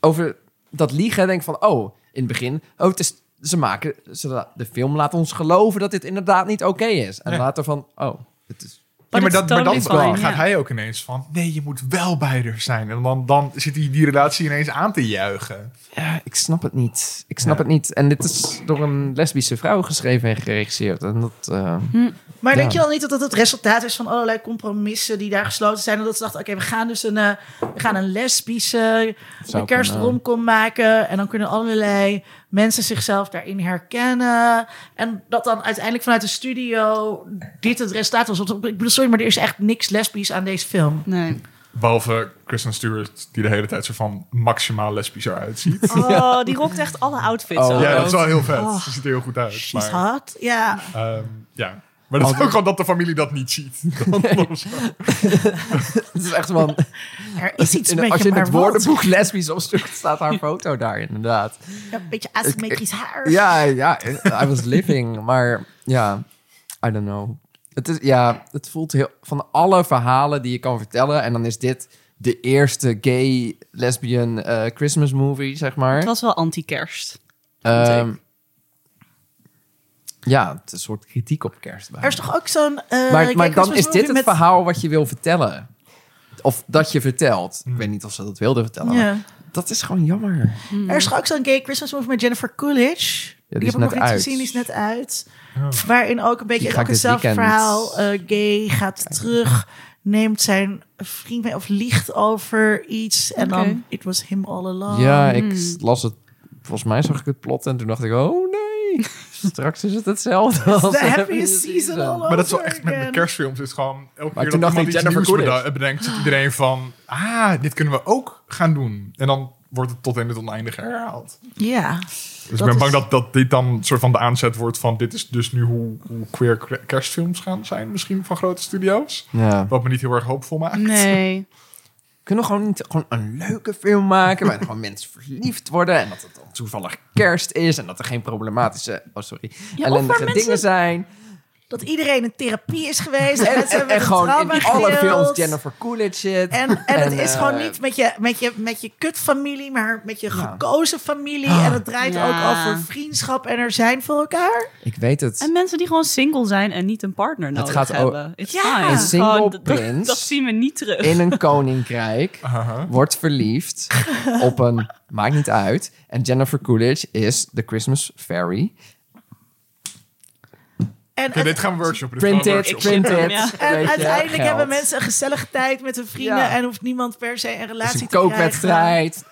S4: Over dat liegen denk ik van, oh, in het begin, oh, het is, ze maken, ze, la- de film laat ons geloven dat dit inderdaad niet oké is. En
S1: Ja.
S4: later van, oh, het is,
S1: Ja, maar,
S2: it's
S1: dat, maar dan
S2: totally fine,
S1: gaat
S2: ja.
S1: hij ook ineens van... Nee, je moet wel bij haar zijn. En dan, dan zit hij die relatie ineens aan te juichen.
S4: ja, ik snap het niet. Ik snap
S1: Ja.
S4: het niet. En dit is door een lesbische vrouw geschreven en geregisseerd. En dat, eh,
S3: Maar
S4: Ja.
S3: denk je dan niet dat dat het resultaat is van allerlei compromissen die daar gesloten zijn? En dat ze dachten, oké, we gaan dus een, eh, we gaan een lesbische
S4: kunnen,
S3: kerstromkom maken. En dan kunnen allerlei mensen zichzelf daarin herkennen. En dat dan uiteindelijk vanuit de studio dit het resultaat was. Want ik bedoel, sorry, maar er is echt niks lesbisch aan deze film.
S2: Nee.
S1: Behalve Kristen Stewart, die de hele tijd zo van maximaal lesbisch eruit ziet.
S2: Oh, die rokt echt alle outfits.
S4: Oh,
S2: ook.
S1: ja, dat is wel heel vet.
S3: Oh.
S1: Ze ziet er heel goed uit.
S3: She's
S1: Maar,
S3: hot, ja.
S1: ehm, ja. maar dat is ook gewoon dat de familie dat niet ziet. Dan of zo.
S4: Het is echt wel...
S3: Er is iets
S4: in-
S3: met
S4: als
S3: je,
S4: je in
S3: maar
S4: het
S3: wat.
S4: woordenboek lesbisch opzoekt, staat haar foto daar inderdaad.
S3: Ja, Een beetje asymmetrisch haar.
S4: Ja, ja, I was living, maar ja, I don't know. Het is, ja, het voelt heel, van alle verhalen die je kan vertellen, en dan is dit de eerste gay lesbian eh, Christmas movie, zeg
S2: Het
S4: maar.
S2: was wel anti-kerst.
S4: Ehm, ja, het is een soort kritiek op kerst. bijna.
S3: Er is toch ook zo'n... eh,
S4: maar maar
S3: kijk,
S4: dan
S3: Christmas
S4: is dit
S3: movie
S4: het
S3: met-
S4: verhaal wat je wil vertellen. Of dat je vertelt. Ik weet niet of ze dat wilden vertellen. maar
S3: Ja.
S4: Dat is gewoon jammer.
S3: Er is toch ook zo'n gay Christmas movie met Jennifer Coolidge.
S4: Mm. die
S3: die heb
S4: is
S3: ik
S4: net
S3: nog niet
S4: uit.
S3: gezien, die is net uit.
S1: Ja.
S3: Waarin ook een beetje
S4: Die
S3: ook
S4: ga ik dit
S3: hetzelfde
S4: weekend-
S3: verhaal. eh, gay gaat terug, neemt zijn vriend mee of liegt over iets. En
S2: Oké.
S3: dan, it was him all along.
S4: Ja, ik las het. Volgens mij zag ik het plot en toen dacht ik, oh nee, straks is het hetzelfde. als
S3: The
S4: Happiest
S3: happiest season all over
S1: Maar dat is wel echt met,
S3: again.
S1: met kerstfilms. Het is gewoon elke
S4: Maar
S1: keer dat
S4: toen dacht ik
S1: iemand iets
S4: Jennifer
S1: nieuws
S4: Coolidge.
S1: beda- bedenkt, zit iedereen van... Ah, dit kunnen we ook gaan doen. En dan wordt het tot in het oneindige herhaald.
S3: Ja.
S1: Dus
S3: Dat
S1: ik ben bang
S3: is-
S1: dat, dat dit dan soort van de aanzet wordt van... dit is dus nu hoe, hoe queer k- kerstfilms gaan zijn misschien van grote studio's.
S4: Ja.
S1: Wat me niet heel erg hoopvol maakt.
S2: Nee.
S4: Kunnen we gewoon niet gewoon een leuke film maken waarin gewoon mensen verliefd worden en dat het dan toevallig kerst is en dat er geen problematische, oh sorry,
S2: waar
S4: ellendige
S2: mensen-
S4: dingen zijn.
S3: Dat iedereen in therapie is geweest. En,
S4: En,
S3: dat ze
S4: en,
S3: met een
S4: gewoon in
S3: trauma
S4: alle
S3: gedeeld.
S4: films Jennifer Coolidge shit.
S3: En, en, het
S4: En,
S3: is
S4: eh,
S3: gewoon niet met je, met je, met je kutfamilie, maar met je gekozen familie.
S4: Ah.
S3: En het draait
S2: Ja.
S3: ook over vriendschap en er zijn voor elkaar.
S4: Ik weet het.
S2: En mensen die gewoon single zijn en niet een partner nodig
S4: gaat o-
S2: hebben. It's
S3: Ja.
S2: fine.
S3: Een
S4: single
S2: Gewoon, dat-
S4: prins.
S2: Dat, dat zien we niet terug.
S4: in een koninkrijk
S1: Aha.
S4: wordt verliefd op een maakt niet uit en Jennifer Coolidge is de Christmas fairy.
S3: En,
S1: Oké, dit gaan we workshoppen. dit gaan we
S4: Print it,
S1: workshoppen.
S4: print it.
S2: Ja.
S3: En
S4: Weet je,
S3: uiteindelijk
S4: geld.
S3: hebben mensen een gezellige tijd met hun vrienden
S4: Ja.
S3: en hoeft niemand per se een
S4: Het is
S3: relatie
S4: Dus een
S3: te krijgen.
S4: kookwedstrijd.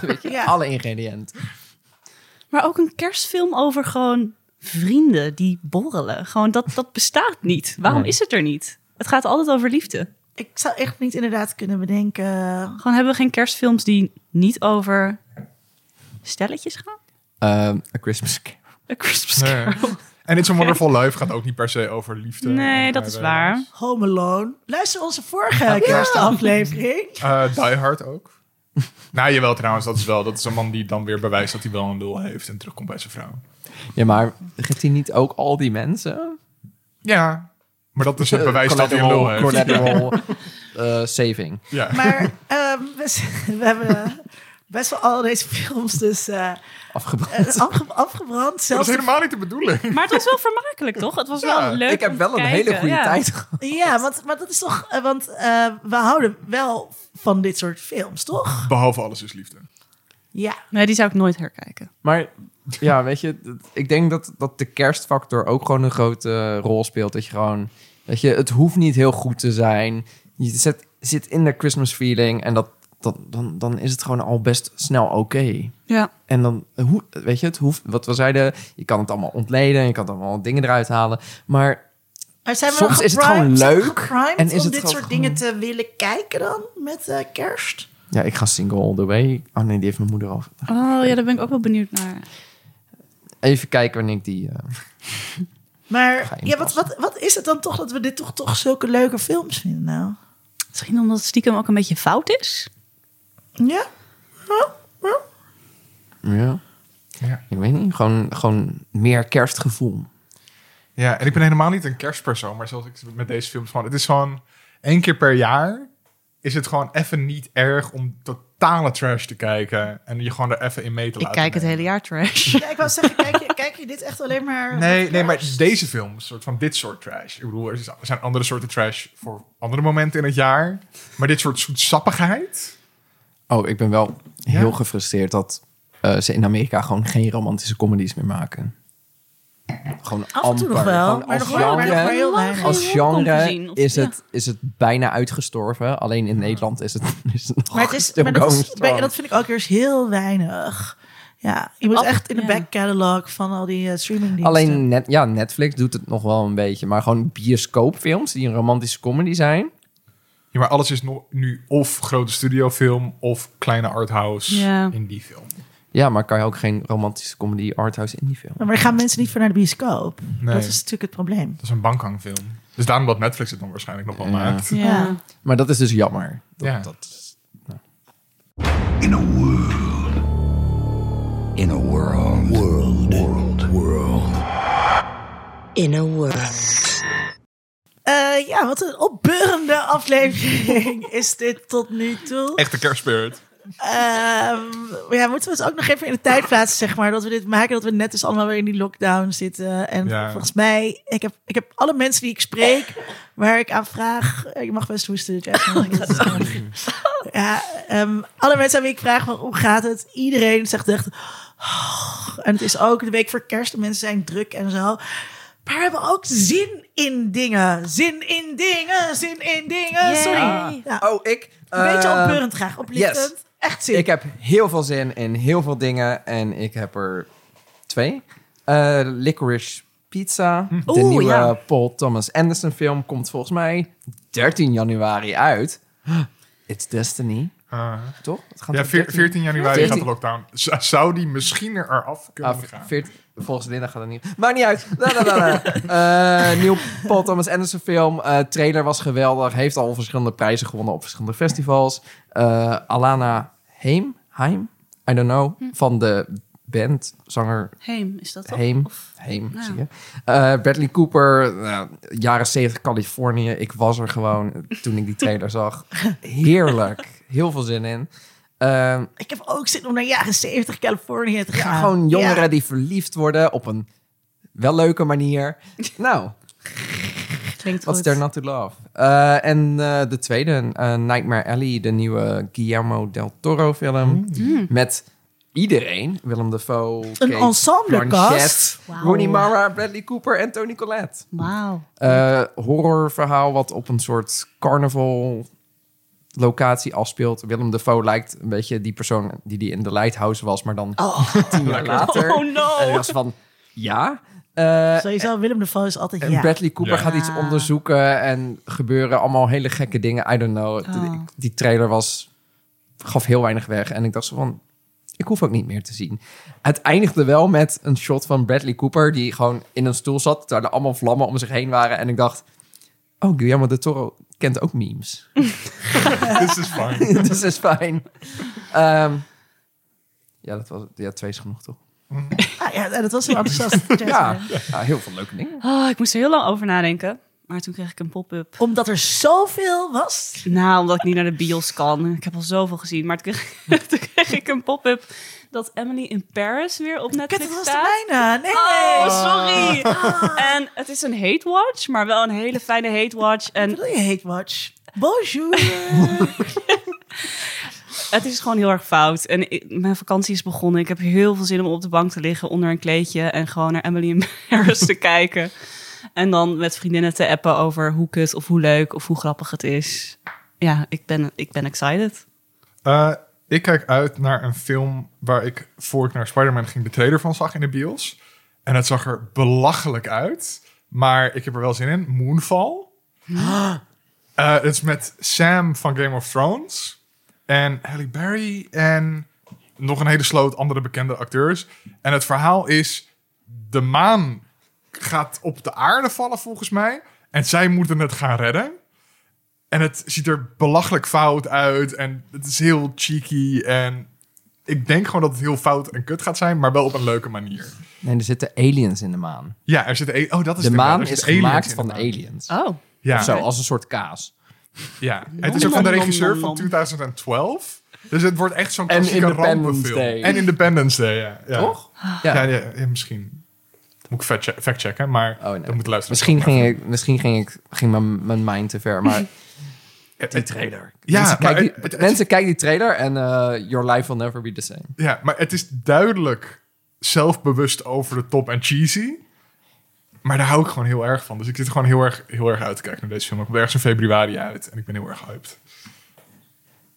S4: Weet je,
S3: Ja.
S4: Alle ingrediënten.
S2: Maar ook een kerstfilm over gewoon vrienden die borrelen. Gewoon dat, dat bestaat niet. Waarom
S4: Nee.
S2: is het er niet? Het gaat altijd over liefde.
S3: Ik zou echt niet inderdaad kunnen bedenken.
S2: Gewoon hebben we geen kerstfilms die niet over stelletjes gaan?
S4: Ehm, A Christmas Carol.
S2: A Christmas
S1: Nee.
S2: Carol.
S1: En It's a Wonderful Life gaat ook niet per se over liefde.
S2: Nee,
S1: Eh,
S2: dat is
S1: eh,
S2: waar.
S3: Home Alone. Luister onze vorige kerstaflevering.
S1: eh, Die Hard ook. nou, jawel trouwens, dat is wel. Dat is een man die dan weer bewijst dat hij wel een lul heeft en terugkomt bij zijn vrouw.
S4: Ja, maar geeft hij niet ook al die mensen?
S1: Ja, maar dat is het
S4: Eh,
S1: bewijs dat hij een lul
S4: collateral-
S1: heeft.
S4: Collateral eh, saving.
S1: Ja.
S3: Maar ehm, we, we hebben best wel al deze films dus eh,
S4: Afgebrand.
S3: eh, afge- afgebrand.
S1: Dat is
S3: Zelfs
S1: helemaal niet de bedoeling.
S2: Maar het was wel vermakelijk, toch? Het was
S1: Ja,
S2: wel
S3: Eh,
S2: leuk.
S4: Ik heb
S2: om
S4: wel
S2: te
S4: een hele
S2: kijken,
S4: goede
S2: ja.
S4: tijd gehad.
S3: Ja, want, maar dat is toch... eh, want eh, we houden wel van dit soort films, toch?
S1: Behalve alles is liefde.
S3: Ja.
S2: Nee, die zou ik nooit herkijken.
S4: Maar ja, weet je, dat- ik denk dat, dat de kerstfactor ook gewoon een grote eh, rol speelt. Dat je gewoon, weet je, het hoeft niet heel goed te zijn. Je zit, zit in de Christmas feeling en dat, dat, dan, dan is het gewoon al best snel oké.
S2: Ja.
S4: En dan, hoe, weet je, het hoeft, wat we zeiden, je kan het allemaal ontleden, je kan het allemaal dingen eruit halen. Maar
S3: Maar zijn we
S4: Soms
S3: dan
S4: is het gewoon
S3: geprimed-
S4: leuk
S3: geprimed
S4: en is
S3: om
S4: het
S3: dit
S4: gewoon-
S3: soort dingen te willen kijken dan met eh, kerst?
S4: Ja, ik ga single all the way. Oh nee, die heeft mijn moeder al.
S2: Oh ja, daar ben ik ook wel benieuwd naar.
S4: Even kijken wanneer ik die... eh, Ga
S3: Maar
S4: je
S3: ja, wat, wat, wat is het dan toch dat we dit toch, toch zulke leuke films vinden nou?
S2: Misschien omdat het stiekem ook een beetje fout is.
S3: Ja? Ja? Ja?
S4: ja.
S1: Ja.
S4: Ik weet niet, gewoon, gewoon meer kerstgevoel.
S1: ja, en ik ben helemaal niet een kerstpersoon, maar zoals ik met deze films gewoon... Het is gewoon één keer per jaar is het gewoon even niet erg om totale trash te kijken. En je gewoon er even in mee te laten nemen.
S2: jaar trash.
S3: Ja, ik wou zeggen, kijk je, kijk je dit echt alleen maar...
S1: Nee, nee, maar deze films, soort van dit soort trash. Ik bedoel, er is- er zijn andere soorten trash voor andere momenten in het jaar. Maar dit soort zoetsappigheid.
S4: Oh, ik ben wel heel
S1: Ja?
S4: gefrustreerd dat eh, ze in Amerika gewoon geen romantische comedies meer maken. Gewoon
S3: Af en toe
S4: amper.
S3: nog wel,
S4: Gewoon
S3: maar
S4: als
S3: nog wel, maar nog maar
S4: genre, Oh,
S3: heel weinig.
S4: als
S2: Geen romcom
S4: genre
S2: gezien, of-
S4: is,
S2: ja.
S4: het, is het bijna uitgestorven. Alleen in Nederland is het, is het nog
S3: Maar het is,
S4: still
S3: maar dat,
S4: going
S3: is,
S4: strong.
S3: maar dat vind ik ook eerst heel weinig. Ja, je moet
S2: Af-
S3: echt in de
S2: ja.
S3: back catalog van al die eh, streamingdiensten.
S4: Alleen net, ja, Netflix doet het nog wel een beetje. Maar gewoon bioscoopfilms die een romantische comedy zijn.
S1: Ja, maar alles is no- nu of grote studiofilm of kleine arthouse
S2: Ja.
S1: in die film.
S4: Ja, maar kan je ook geen romantische comedy arthouse indie film?
S3: Maar daar gaan mensen niet voor naar de bioscoop.
S1: Nee.
S3: Dat is natuurlijk het probleem.
S1: Dat is een bankhangfilm. Dus daarom dat Netflix het dan waarschijnlijk nog wel
S4: Ja.
S1: maakt.
S2: Ja.
S4: Maar dat is dus jammer. Dat,
S1: Ja.
S4: dat is-
S6: In a world. In a world. World. World. World.
S7: in a world.
S3: Eh, ja, wat een opbeurende aflevering is dit tot nu toe.
S1: Echte kerstspirit.
S3: Ehm, ja, moeten we het ook nog even in de tijd plaatsen, zeg maar. Dat we dit maken, dat we net dus allemaal weer in die lockdown zitten. En
S1: Ja.
S3: volgens mij, ik heb, ik heb alle mensen die ik spreek, waar ik aan vraag... eh, Je mag best hoesten, Jasmine. Dat is gewoon- ja, ehm, alle mensen aan wie ik vraag, van, hoe gaat het? Iedereen zegt echt... "Oh." en het is ook de week voor kerst, de mensen zijn druk en zo. Maar we hebben ook zin in dingen. Zin in dingen, zin in dingen.
S2: Yay.
S3: Sorry. Ja,
S4: Oh, ik...
S3: een beetje
S4: eh,
S3: opbeurend graag, oplichtend.
S4: yes.
S3: Echt zin.
S4: Ik heb heel veel zin in heel veel dingen. En ik heb er twee. Eh, Licorice Pizza. De
S2: Oeh,
S4: nieuwe
S2: ja.
S4: Paul Thomas Anderson film komt volgens mij 13 januari uit. It's Destiny.
S1: Eh,
S4: Toch? Het gaat
S1: ja,
S4: op
S1: veer- 14 januari gaat de
S4: 14.
S1: lockdown. Z- zou die misschien eraf kunnen
S4: Ah,
S1: gaan?
S4: 14 volgens Linda gaat het niet. Maakt niet uit. La, la, la, la. Eh, nieuw Paul Thomas Anderson film. Eh, trailer was geweldig. Heeft al verschillende prijzen gewonnen op verschillende festivals. Eh, Alana Heim, Heim, I don't know, van de band, zanger
S2: Heem, is dat Hm. toch?
S4: Heem.
S2: Of-
S4: Heem,
S2: Ja.
S4: zie je. Eh, Bradley Cooper, nou, jaren 70 Californië. Ik was er gewoon toen ik die trailer zag. Heerlijk. Heel veel zin in. Ehm,
S3: Ik heb ook zin om naar jaren 70 Californië te gaan.
S4: ja, gewoon jongeren
S3: Ja.
S4: die verliefd worden op een wel leuke manier. Nou,
S2: Klinkt
S4: what's
S2: goed.
S4: there not to love? Eh, en eh, de tweede, eh, Nightmare Alley, de nieuwe Guillermo del Toro
S2: Mm.
S4: film. Met iedereen. Willem Dafoe,
S3: Een
S4: Kate Blanchett,
S3: ensemblecast.
S2: Wauw.
S4: Rooney Mara, Bradley Cooper en Tony Collette.
S2: Wauw.
S4: Eh, horrorverhaal wat op een soort carnaval locatie afspeelt. Willem Dafoe lijkt een beetje die persoon die die in The Lighthouse was, maar dan tien jaar later.
S2: Oh, no.
S4: En hij was van, ja. Eh,
S3: Sowieso, Willem de Vos is altijd
S4: en
S3: ja.
S4: Bradley Cooper
S1: Ja.
S4: gaat iets onderzoeken en gebeuren allemaal hele gekke dingen. I don't know.
S2: Oh.
S4: Ik- Die trailer was, gaf heel weinig weg. En ik dacht zo van, ik hoef ook niet meer te zien. Het eindigde wel met een shot van Bradley Cooper die gewoon in een stoel zat. Terwijl er allemaal vlammen om zich heen waren. En ik dacht, oh, Guillermo de Toro kent ook memes.
S1: This is fine.
S4: dus is fijn. Ehm, ja, dat was, ja, twee is genoeg toch?
S3: Ah, ja, dat was heel enthousiast.
S4: Ja,
S3: Jasmine.
S4: ja, heel veel leuke dingen.
S2: Oh, ik moest er heel lang over nadenken. Maar toen kreeg ik een pop-up.
S3: Omdat er zoveel was.
S2: Nou, omdat ik niet naar de bios kan. Ik heb al zoveel gezien. Maar toen kreeg, toen kreeg ik een pop-up dat Emily in Paris weer op
S3: Kut,
S2: Netflix
S3: dat was
S2: staat.
S3: de mijne. Nee.
S2: Oh, sorry. En het is een hate watch, maar wel een hele fijne hate watch.
S3: Wat
S2: En
S3: wil je hate watch? Bonjour.
S2: het is gewoon heel erg fout. En ik- mijn vakantie is begonnen. Ik heb heel veel zin om op de bank te liggen onder een kleedje en gewoon naar Emily in Paris te kijken. En dan met vriendinnen te appen over hoe kut of hoe leuk of hoe grappig het is. Ja, ik ben, ik ben excited.
S1: Eh, ik kijk uit naar een film waar ik voor ik naar Spider-Man ging de trailer van zag in de bios. En het zag er belachelijk uit. Maar ik heb er wel zin in. Moonfall. Eh, Het is met Sam van Game of Thrones. en Halle Berry en nog een hele sloot andere bekende acteurs. En het verhaal is, de maan gaat op de aarde vallen volgens mij. En zij moeten het gaan redden. En het ziet er belachelijk fout uit. En het is heel cheeky. En ik denk gewoon dat het heel fout en kut gaat zijn, maar wel op een leuke manier.
S4: Nee, er zitten aliens in de maan.
S1: Ja, er zitten. a- Oh, dat is
S4: De
S1: het, ja,
S4: maan
S1: er
S4: is
S1: zitten aliens
S4: gemaakt
S1: in
S4: van
S1: de maan.
S4: aliens.
S2: Oh,
S1: Ja,
S4: Of zo, als een soort kaas.
S1: ja. Het is ook van de regisseur van 2012. Dus het wordt echt zo'n
S4: En
S1: klassieke
S4: Independence
S1: rampenfilm.
S4: Day.
S1: En Independence Day, ja. ja.
S4: Toch?
S1: Ja, ja, ja, misschien. Moet ik fact- fact-checken, maar
S4: Oh, nee.
S1: dat moet luisteren.
S4: Misschien ging, ik, misschien ging, ik, ging mijn, mijn mind te ver, maar... die trailer.
S1: Ja,
S4: mensen,
S1: maar
S4: kijken die,
S1: het- het-
S4: mensen kijken die trailer en eh, your life will never be the same.
S1: Ja, maar het is duidelijk zelfbewust over de top en cheesy. Maar daar hou ik gewoon heel erg van. Dus ik zit er gewoon heel erg, heel erg uit te kijken naar deze film. Ik kom ergens in februari uit en ik ben heel erg hyped.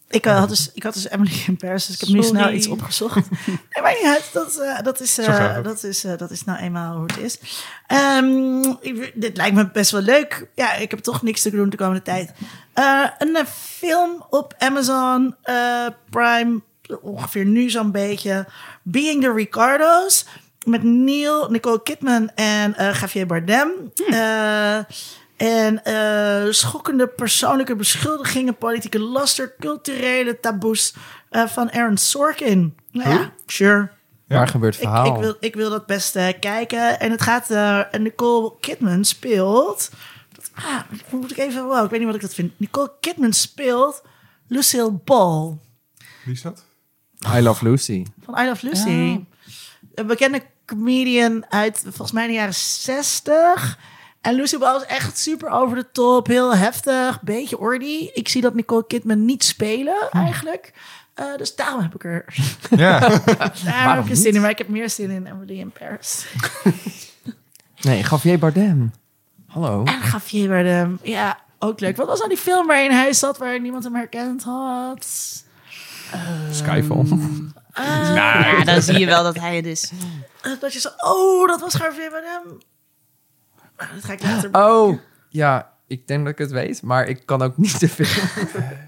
S3: Ik, eh, had dus, ik had dus Emily in Paris, dus ik heb nu
S2: Sorry.
S3: snel iets opgezocht. nee, maar niet uit. Dat, eh, dat, is, eh,
S1: Zo gaat het.
S3: dat, is, eh, dat is nou eenmaal hoe het is. Ehm, ik- dit lijkt me best wel leuk. Ja, ik heb toch niks te doen de komende tijd. Eh, een eh, film op Amazon eh, Prime, ongeveer nu zo'n beetje. Being the Ricardos. Met Neil, Nicole Kidman en eh Javier Bardem. Eh, en eh, schokkende persoonlijke beschuldigingen, politieke laster, culturele taboes eh, van Aaron Sorkin. Nou ja, sure.
S4: Waar gebeurt het verhaal?
S3: Ik, ik, wil, ik wil dat best eh, kijken. En het gaat, eh, en Nicole Kidman speelt. Dat, ah, moet ik even, wow, ik weet niet wat ik dat vind. Nicole Kidman speelt Lucille Ball
S1: Wie is dat?
S4: I Love Lucy.
S3: van I Love Lucy.
S4: Ah.
S3: Een bekende comedian uit volgens mij de jaren 60. En Lucy Ball is echt super over de top, heel heftig, beetje ordy. Ik zie dat Nicole Kidman niet spelen
S4: Hm.
S3: eigenlijk. Eh, dus daarom heb ik er
S1: Ja,
S3: daarom heb ik er zin
S4: niet?
S3: in. Maar ik heb meer zin in Emily in Paris.
S4: Nee, Javier Bardem. Hallo.
S3: En Javier Bardem. Ja, ook leuk. Wat was nou die film waarin hij zat, waar niemand hem herkend had? Ah.
S4: Skyfall.
S2: ja, dan zie je wel dat hij het is.
S3: Eh, Dat je zo, oh, dat was Javier Bardem. Ah, Dat ga ik later
S4: Oh, ja. Ik denk dat ik het weet, maar ik kan ook niet de film.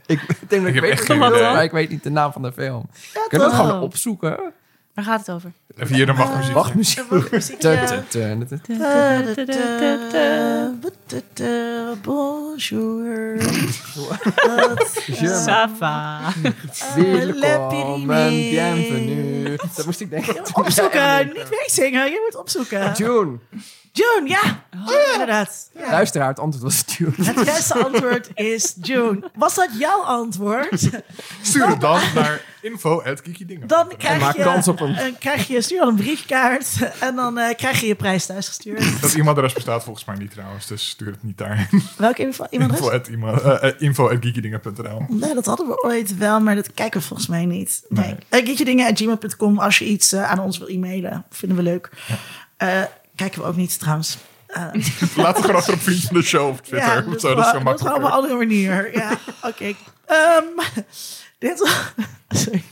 S4: ik denk dat ik,
S1: heb
S4: weet
S1: echt
S4: het
S1: geen
S4: wel,
S1: idee.
S4: maar ik weet niet de naam van de film. Kun je dat
S3: toch?
S4: gewoon opzoeken?
S2: Waar gaat het over?
S1: even hier dan wachtmuziek.
S4: Wachtmuziek.
S3: Muziek,
S4: Dun,
S3: ja.
S4: dun, dun, dun, dun.
S3: Bonjour.
S4: Je
S2: Sava.
S4: Welkom en
S3: Pyrénées.
S4: bienvenue. Dat moest ik denken.
S3: Opzoeken, niet meezingen. Je moet opzoeken.
S4: June.
S3: June, ja. Oh, inderdaad. Ja.
S4: Luisteraar, het antwoord was June.
S3: Het beste antwoord is June. Was dat jouw antwoord?
S1: Stuur het dan naar info.kikidingen.
S3: Dan
S4: maak
S3: krijg je,
S4: kans op hem.
S3: dan krijg je stuur al een briefkaart en dan eh, krijg je je prijs thuisgestuurd.
S1: Dat e-mailadres bestaat volgens mij niet trouwens, dus stuur het niet daarheen.
S3: Welke info? Iemand heeft-
S1: eh, info.geekiedingen.nl
S3: Nou, dat hadden we ooit wel, maar dat kijken we volgens mij niet. Nee. Eh, Gietjedingen.gmail.com als je iets eh, aan ons wil e-mailen. Vinden we leuk. Eh, kijken we ook niet trouwens. Eh,
S1: Laat het gewoon achter op vriend van de show op Twitter.
S3: ja,
S1: of
S3: dus
S1: zo, dat is
S3: wel-
S1: zo
S3: dat is wel op een
S1: makkelijk.
S3: andere manier. Ja, oké. Ehm, dit was... Sorry.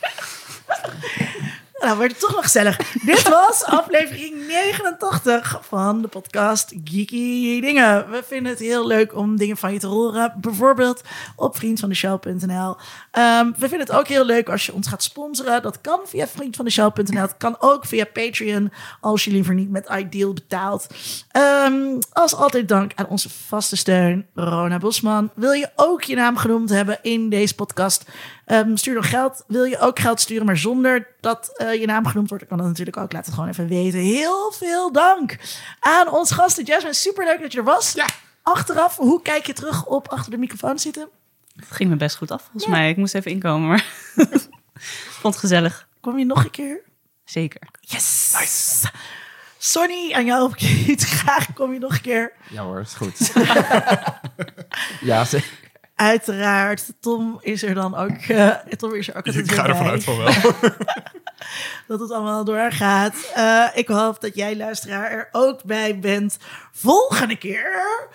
S3: Nou, wordt het toch nog gezellig. Dit was aflevering 89 van de podcast Geeky Dingen. We vinden het heel leuk om dingen van je te horen. Bijvoorbeeld op vriendvandeshow.nl. Ehm, we vinden het ook heel leuk als je ons gaat sponsoren. Dat kan via vriendvandeshow.nl. Het kan ook via Patreon, als je liever niet met Ideal betaalt. Ehm, als altijd dank aan onze vaste steun, Rona Bosman. Wil je ook je naam genoemd hebben in deze podcast? Ehm, stuur dan geld. Wil je ook geld sturen, maar zonder dat eh, je naam genoemd wordt? Dan kan dat natuurlijk ook. Laat het gewoon even weten. Heel veel dank aan ons gasten. Jasmine, superleuk dat je er was. Ja. Achteraf, hoe kijk je terug op achter de microfoon zitten?
S2: Het ging me best goed af, volgens mij. Ik moest even inkomen, maar... Vond het gezellig.
S3: Kom je nog een keer?
S2: Zeker.
S3: Yes! Nice! Sonny, aan jou ook iets. Graag kom je nog een keer.
S4: Ja hoor, is goed. ja, zeker.
S3: Uiteraard. Tom is er dan ook. eh, Tom is er ook altijd
S1: Ik
S3: weer
S1: ga ervan
S3: bij.
S1: uit van wel.
S3: dat het allemaal doorgaat. Eh, ik hoop dat jij, luisteraar, er ook bij bent. Volgende keer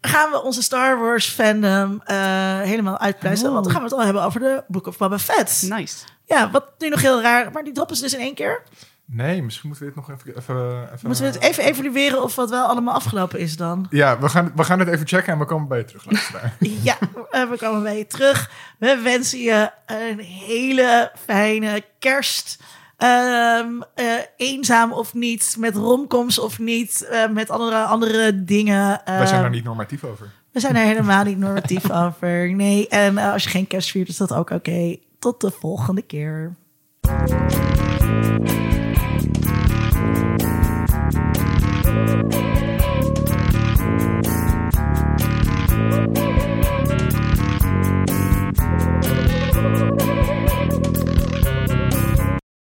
S3: gaan we onze Star Wars fandom eh, helemaal uitpluizen. Want dan gaan we het al hebben over de Book of Boba Fett.
S2: Nice.
S3: Ja, wat nu nog heel raar, maar die droppen ze dus in één keer.
S1: Nee, misschien moeten we dit nog even... even, even
S3: Moeten we het even evalueren of wat wel allemaal afgelopen is dan?
S1: Ja, we gaan, we gaan het even checken en we komen bij je terug. luisteraar.
S3: Ja, eh, we komen bij je terug. We wensen je een hele fijne kerst. Ehm, eh, eenzaam of niet, met romcoms of niet, eh, met andere, andere dingen.
S1: Wij zijn
S3: Ehm,
S1: daar niet normatief over.
S3: We zijn er helemaal niet normatief over. Nee, en eh, als je geen kerst viert, is dat ook oké. Tot de volgende keer.